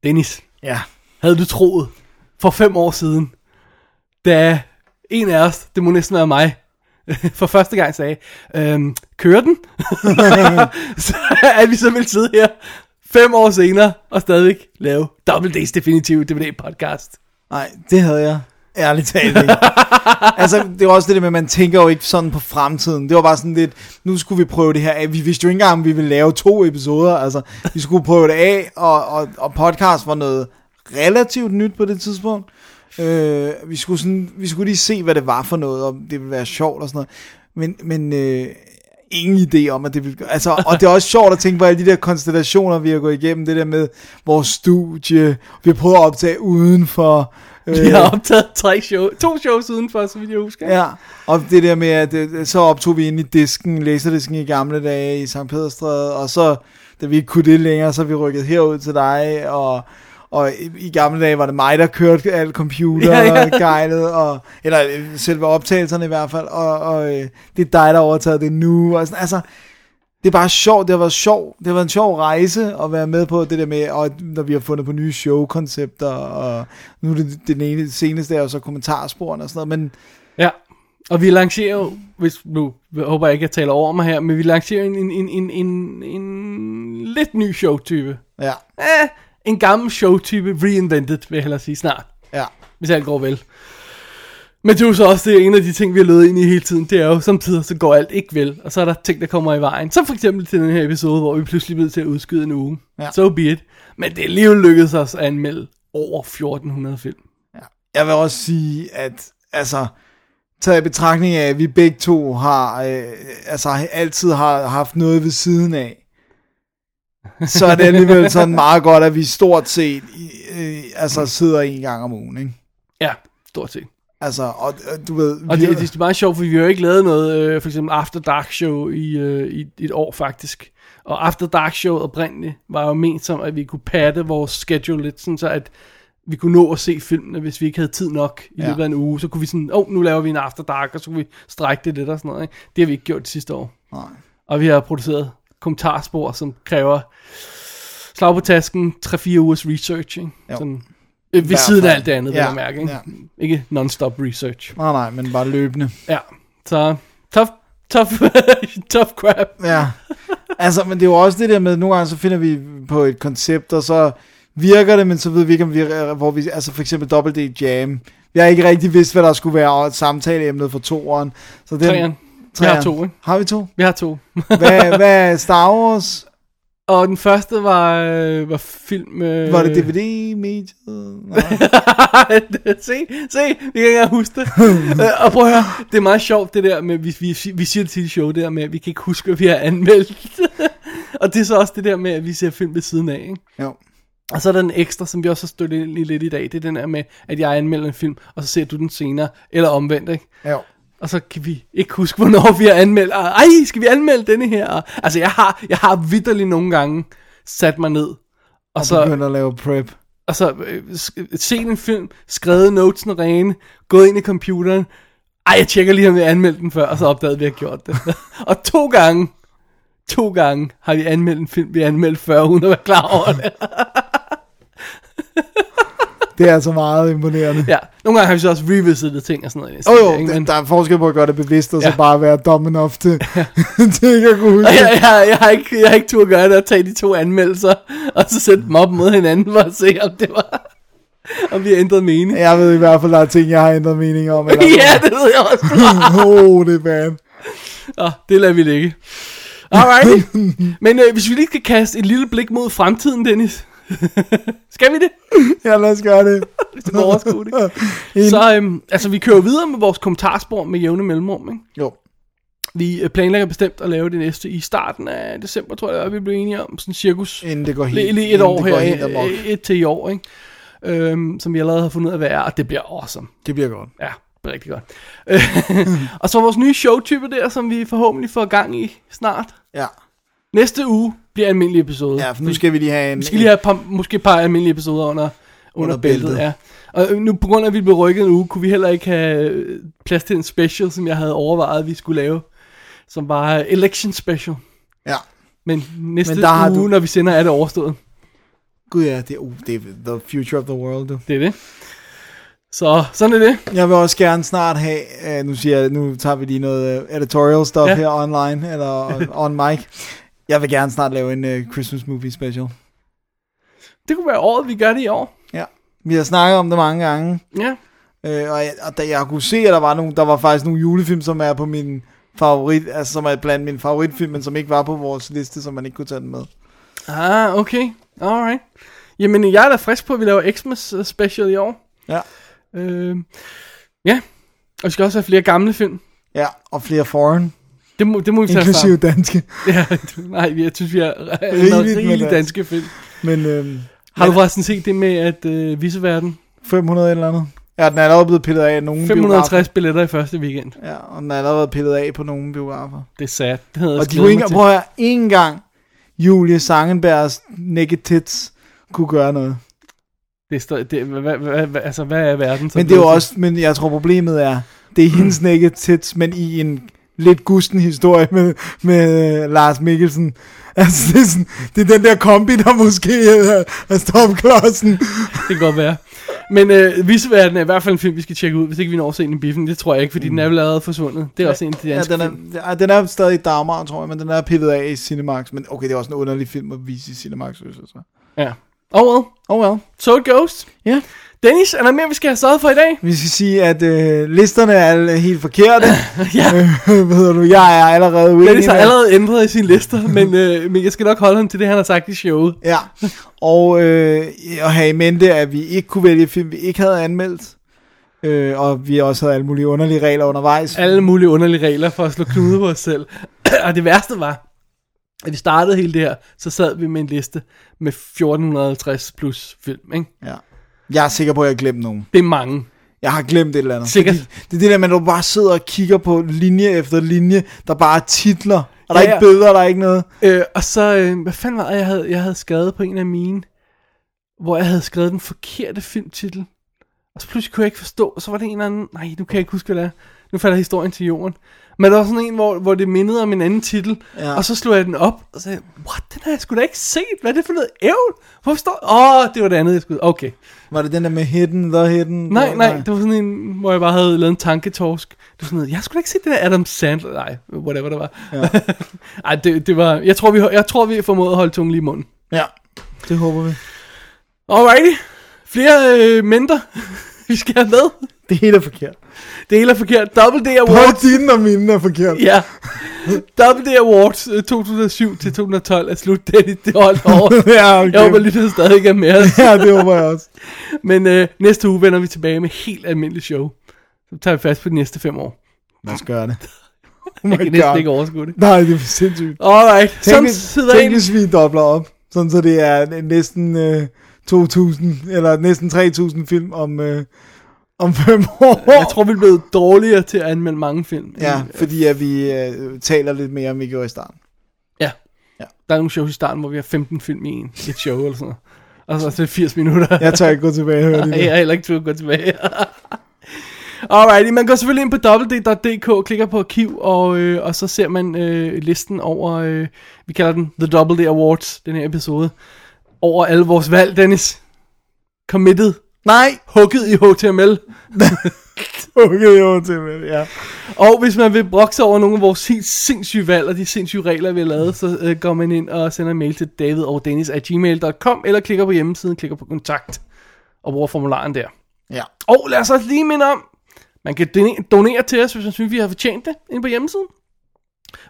Dennis, Ja. havde du troet for fem år siden, da en af os, det må næsten være mig, for første gang sagde, øhm, kører den? så at vi så ville sidde her fem år senere og stadigvæk lave Double D's Definitive DVD podcast. Nej, det havde jeg. Ærligt talt ikke. altså, det var også det der med, at man tænker jo ikke sådan på fremtiden. Det var bare sådan lidt, nu skulle vi prøve det her af. Vi vidste jo ikke engang, om vi ville lave to episoder. Altså, vi skulle prøve det af, og, og, og podcast var noget relativt nyt på det tidspunkt. Øh, vi, skulle sådan, vi skulle lige se, hvad det var for noget, om det ville være sjovt og sådan noget. Men, men øh, ingen idé om, at det ville gøre. Altså, og det er også sjovt at tænke på alle de der konstellationer, vi har gået igennem. Det der med vores studie, vi har prøvet at optage udenfor. Øh, Vi har optaget tre show, to shows udenfor, så vidt jeg husker. Ja, og det der med, at øh, så optog vi ind i disken, laserdisken i gamle dage i St. Pederstræde, og så, da vi ikke kunne det længere, så er vi rykket herud til dig, og, og i- i gamle dage var det mig, der kørte alt computer ja, Ja, ja. ja. gejlet, og, eller øh, selve optagelserne i hvert fald, og, og øh, det er dig, der har overtaget det nu, og sådan, altså, det er bare sjovt, det har været sjovt, det har været en sjov rejse at være med på det der med, og når vi har fundet på nye showkoncepter, og nu er det den ene, seneste er jo så kommentarsporene og sådan noget, men Ja, og vi lancerer jo, hvis nu jeg håber jeg ikke, jeg taler over mig her, men vi lancerer en, en, en, en, en, en lidt ny showtype. ja, Eh, en gammel showtype reinvented, vil jeg hellere sige snart, ja. hvis alt går vel. Men det er jo så også det, en af de ting, vi har løbet ind i hele tiden, det er jo, samtidig så går alt ikke vel, og så er der ting, der kommer i vejen. Som for eksempel til den her episode, hvor vi pludselig blev til at udskyde en uge. Ja. Ja. So be it. Men det er alligevel lykkedes os at anmelde over 1400 film. Jeg vil også sige, at altså, taget i betragtning af, at vi begge to har, øh, altså, altid har haft noget ved siden af, så er det alligevel sådan meget godt, at vi stort set øh, altså, sidder en gang om ugen. Ikke? Ja, stort set. Altså, og, og du ved... Og vi- det, det er meget sjovt, for vi har jo ikke lavet noget, øh, for eksempel After Dark Show i, øh, i et år faktisk. Og After Dark Show oprindeligt var jo ment som, at vi kunne patte vores schedule lidt, sådan så at vi kunne nå at se filmene, hvis vi ikke havde tid nok i Ja. løbet af en uge. Så kunne vi sådan, åh, oh, nu laver vi en After Dark, og så kunne vi strække det lidt og sådan noget. Ikke? Det har vi ikke gjort det sidste år. Nej. Og vi har produceret kommentarspor, som kræver slag på tasken, 3-4 ugers research, ikke? Jo. Sådan, øh, ved hvert siden af fald. alt det andet, vil Ja, jeg mærke. Ikke, ja. ikke non-stop research. Nej, nej, men bare løbende. Ja, så tough, tough, tough crap. Ja. Altså, men det er jo også det der med, nogle gange så finder vi på et koncept, og så virker det, men så ved vi ikke, om vi, hvor vi, altså for eksempel Double D Jam. Jeg har ikke rigtig vidst, hvad der skulle være og samtaleemnet for toeren. Så den, Træeren. Vi har to, ikke? Har vi to? Vi har to. Hvad, hvad er Star Wars? Og den første var, øh, var film... Øh... Var det DVD-mediet? se, se, vi kan ikke engang huske det. Øh, og prøv at høre, det er meget sjovt det der med, vi, vi, vi siger det til de show der med, at vi kan ikke huske, hvad vi har anmeldt. og det er så også det der med, at vi ser film ved siden af, ikke? Jo. Og så er der den ekstra, som vi også har støttet ind i lidt i dag, det er den der med, at jeg anmelder en film, og så ser du den senere, eller omvendt, ikke? Jo. Og så kan vi ikke huske, hvornår vi har anmeldt. Og, Ej, skal vi anmelde denne her? Og, altså, jeg har, jeg har vidderligt nogle gange sat mig ned. Og, Og så så, begynder at lave prep. og så øh, sk- set en film, skrevet notesen rene, gået ind i computeren. Ej, jeg tjekker lige, om jeg anmeldte den før, og så opdagede vi, at jeg gjort det. og to gange, to gange har vi anmeldt en film, vi anmeldte før, uden at være klar over det. Det er altså meget imponerende. Ja, nogle gange har vi så også revisitet ting og sådan noget. i den Åh stil, oh, jo, ikke? der- Men- der er forskel på at gøre det bevidst, og så Ja. bare være dum enough til, til ikke at kunne huske. Og jeg, jeg, jeg, har ikke, jeg har ikke tur at gøre det at tage de to anmeldelser, og så sætte dem op mod hinanden for at se, om det var... Om vi har ændret mening. Ja, Jeg ved i hvert fald, der er ting, jeg har ændret mening om. Eller ja det ved jeg også. oh, det er bad. Nå, det lader vi ligge. Alright. Men øh, hvis vi lige skal kaste et lille blik mod fremtiden, Dennis. skal vi det? Ja, lad os gøre det. Hvis du kan overskue det. Så øhm, altså, vi kører videre med vores kommentarspor med jævne mellemrum, ikke? Jo. Vi øh, planlægger bestemt at lave det næste i starten af december, tror jeg, vi blev enige om. Sådan cirkus. Inden det går helt Lige, lige et inden år det her, Øh, går helt amok. et, et til i år, ikke? Øhm, som vi allerede har fundet ud af, hvad er, og det bliver awesome. Det bliver godt. Ja, det er rigtig godt. Øh, og så vores nye showtype der, som vi forhåbentlig får gang i snart. Ja. Næste uge bliver en almindelig episode. ja, for nu skal vi lige have en... vi skal lige have et par, måske et par almindelige episoder under, under, Under bæltet. bæltet. Ja. Og øh, nu på grund af, at vi blev rykket en uge, kunne vi heller ikke have øh, plads til en special, som jeg havde overvejet, at vi skulle lave. Som var øh, election special. Ja. Men næste Men Men der har uge, du- du... når vi sender, er det overstået. Gud ja, det, uh, det er the future of the world. du. Det er det. Så sådan er det. Jeg vil også gerne snart have... Uh, nu siger jeg, nu tager vi lige noget uh, editorial stuff ja. Ja. her online, eller on, on mic. Jeg vil gerne snart lave en uh, Christmas movie special. Det kunne være året, vi gør det i år. Ja. Vi har snakket om det mange gange. Ja. Øh, og, jeg, og da jeg kunne se, at der var, nogle, der var faktisk nogle julefilm, som er på min favorit, altså som er blandt mine favoritfilm, men som ikke var på vores liste, så man ikke kunne tage den med. Ah, okay. Alright. Jamen, jeg er da frisk på, at vi laver Xmas øh, special i år. Ja. Øh, ja. Og vi skal også have flere gamle film. Ja, og flere foreign, Det må, det må vi tage inklusive danske. frem. Ja, du- nej, vi- jeg synes, vi har Rigeligt med rigtig rigeligt dansk. danske film. Men øhm, Har du forresten set det med, at øh, viseverden 500 et eller andet. Ja, den er allerede blevet pillet af i nogle 560 billetter i første weekend. biografer. Ja, og den er allerede pillet af på nogle biografer. Det er sad. Det havde jeg Og de glædet kunne mig ikke, til. prøv at høre, ikke engang Julie Sangenbergs Naked Tits kunne gøre noget. Det er stadig, det, hvad, hvad, hvad, hvad, altså, hvad er verden? som Men det er jo blevet til? også, men jeg tror problemet er, det er hendes naked tits, men i en lidt gusten historie med, med øh, Lars Mikkelsen. Altså, det er, sådan, det er den der kombi, der måske er, er stopklodsen. Det kan godt være. Men øh, Viseverden er i hvert fald en film, vi skal tjekke ud, hvis ikke vi når at se den i biffen. Det tror jeg ikke, fordi mm. den er vel allerede forsvundet. Det er også en af de Ja, danske den film. er, ja, den er stadig i Dagmar, tror jeg, men den er pillet af i Cinemax. Men okay, det er også en underlig film at vise i Cinemax, synes jeg. så. Ja. Oh well. Oh well. So it goes. Ja. Dennis, er der mere, vi skal have sørget for i dag? Vi skal sige, at øh, listerne er helt forkerte. Ja. Øh, Hvad hedder du? Jeg er allerede uenig. Dennis har med- allerede ændret i sine lister, men, øh, men jeg skal nok holde ham til det, han har sagt i showet. Ja, og øh, at have i mente, at vi ikke kunne vælge film, vi ikke havde anmeldt. Øh, og vi også havde alle mulige underlige regler undervejs. Alle mulige underlige regler for at slå knude på os selv. Og det værste var, at vi startede hele det her, så sad vi med en liste med 1450 plus film, ikke? Ja. Jeg er sikker på, at jeg glemte nogen. Det er mange. Jeg har glemt et eller andet. Sikkert. Fordi det er det der, man du bare sidder og kigger på linje efter linje, der bare er titler. Og der Ja, er ikke ja. billeder, der er ikke noget. Øh, og så, øh, hvad fanden var det, jeg havde, jeg havde skrevet på en af mine, hvor jeg havde skrevet den forkerte filmtitel. Og så pludselig kunne jeg ikke forstå, og så var det en eller anden, nej, nu kan jeg ikke huske, hvad det er. Nu falder historien til jorden. Men der var sådan en, hvor, hvor det mindede om en anden titel, Ja. ja. og så slog jeg den op, og så sagde, jeg, what, den har jeg sgu da ikke set, hvad er det for noget ævl? Hvorfor står, åh, oh, det var det andet, jeg skulle, okay. Var det den der med hidden, the hidden? Nej, nej, det var sådan en, hvor jeg bare havde lavet en tanketorsk. Det var sådan noget, jeg skulle da ikke se den der Adam Sandler. Nej, whatever det var. Ja. Ej, det, det var, jeg tror, vi, jeg tror, vi formåede at holde tungen lige i munden. Ja, det håber vi. Alrighty. Flere øh, mindre, vi skal have med. Det hele er forkert. Det hele er forkert. Double D Både Awards. dine og mine er forkert. Ja. Double D Awards øh, 2007 til 2012 er slut. Det er det holdt over. ja, okay. Jeg håber, lytterne stadig er med os. Ja, det håber jeg også. Men øh, næste uge vender vi tilbage med helt almindelig show. Så tager vi fast på de næste fem år. Lad os gøre det. Oh Jeg my kan næsten ikke God. overskue det. Nej, det er sindssygt. Alright, som Tænk, sidder tænk ind. hvis vi dobler op, sådan så det er næsten øh, 2.000, eller næsten 3.000 film om, øh, om fem år. Jeg tror, vi er blevet dårligere til at anmelde mange film. Ja, End- fordi at vi øh, taler lidt mere, om vi gjorde i starten. ja. Ja. Der er nogle shows i starten, hvor vi har 15 film i en, et show eller sådan noget. Og så er det 80 minutter. Jeg tør ikke gå tilbage og høre det. Ej, Jeg har heller ikke tur at gå tilbage. Alrighty, man går selvfølgelig ind på www.dk, klikker på arkiv, og, øh, og så ser man øh, listen over, øh, vi kalder den The Double D Awards, den her episode, over alle vores valg, Dennis. Committed, Nej! hugget i HTML. Okay, jo, til ja. Og hvis man vil brokse over nogle af vores helt sindssyge valg og de sindssyge regler, vi har lavet, så øh, går man ind og sender en mail til davidogdennis.gmail.com eller klikker på hjemmesiden, klikker på kontakt og bruger formularen der. Ja. Og lad os også lige minde om, man kan done- donere til os, hvis man synes, vi har fortjent det, inde på hjemmesiden.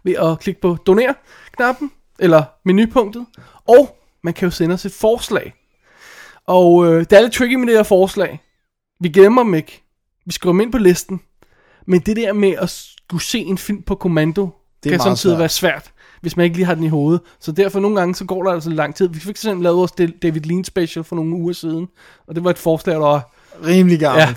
Ved at klikke på doner-knappen, eller menupunktet. Og man kan jo sende os et forslag. Og øh, det er lidt tricky med det her forslag. Vi gemmer dem ikke. Vi skriver dem ind på listen. Men det der med at skulle se en film på kommando, det kan meget samtidig svært. være svært, hvis man ikke lige har den i hovedet. Så derfor nogle gange, så går der altså lang tid. Vi fik eksempel lavet vores David Lean special for nogle uger siden, og det var et forslag, der var Rimelig gammelt. Ja.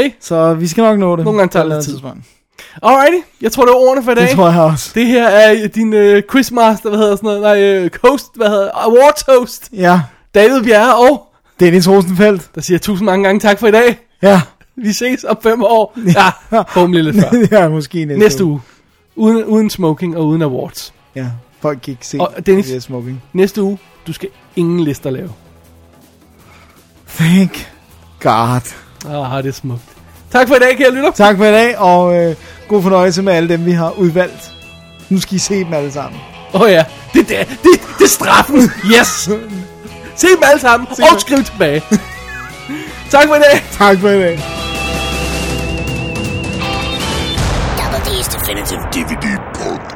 Ja. Hey, Så vi skal nok nå det. Nogle gange tager På et det eller andet tid. tidspunkt. alrighty. Jeg tror, det var ordene for i dag. Det tror jeg også. Det her er din øh, quizmaster, hvad hedder sådan noget? Nej, øh, host, hvad hedder Awards host, Ja. David Bjerre. Og Dennis Rosenfeldt. der siger jeg tusind mange gange tak for i dag. Ja. Vi ses om fem år. Ja, forhåbentlig lidt før. ja, måske næste, Næste uge. Uden, uden smoking og uden awards. Ja, folk kan ikke se Og Dennis- det der smoking. Næste uge, du skal ingen lister lave. Thank God. Ah, det er smukt. Tak for i dag, kære lytter. Tak for i dag, og øh, god fornøjelse med alle dem, vi har udvalgt. Nu skal I se dem alle sammen. Åh oh, ja, det, det, det, det er straffen. Yes. Se dem alle sammen, og skriv tilbage. tak for i dag. Tak for i dag. Double D's Definitive DVD podcast.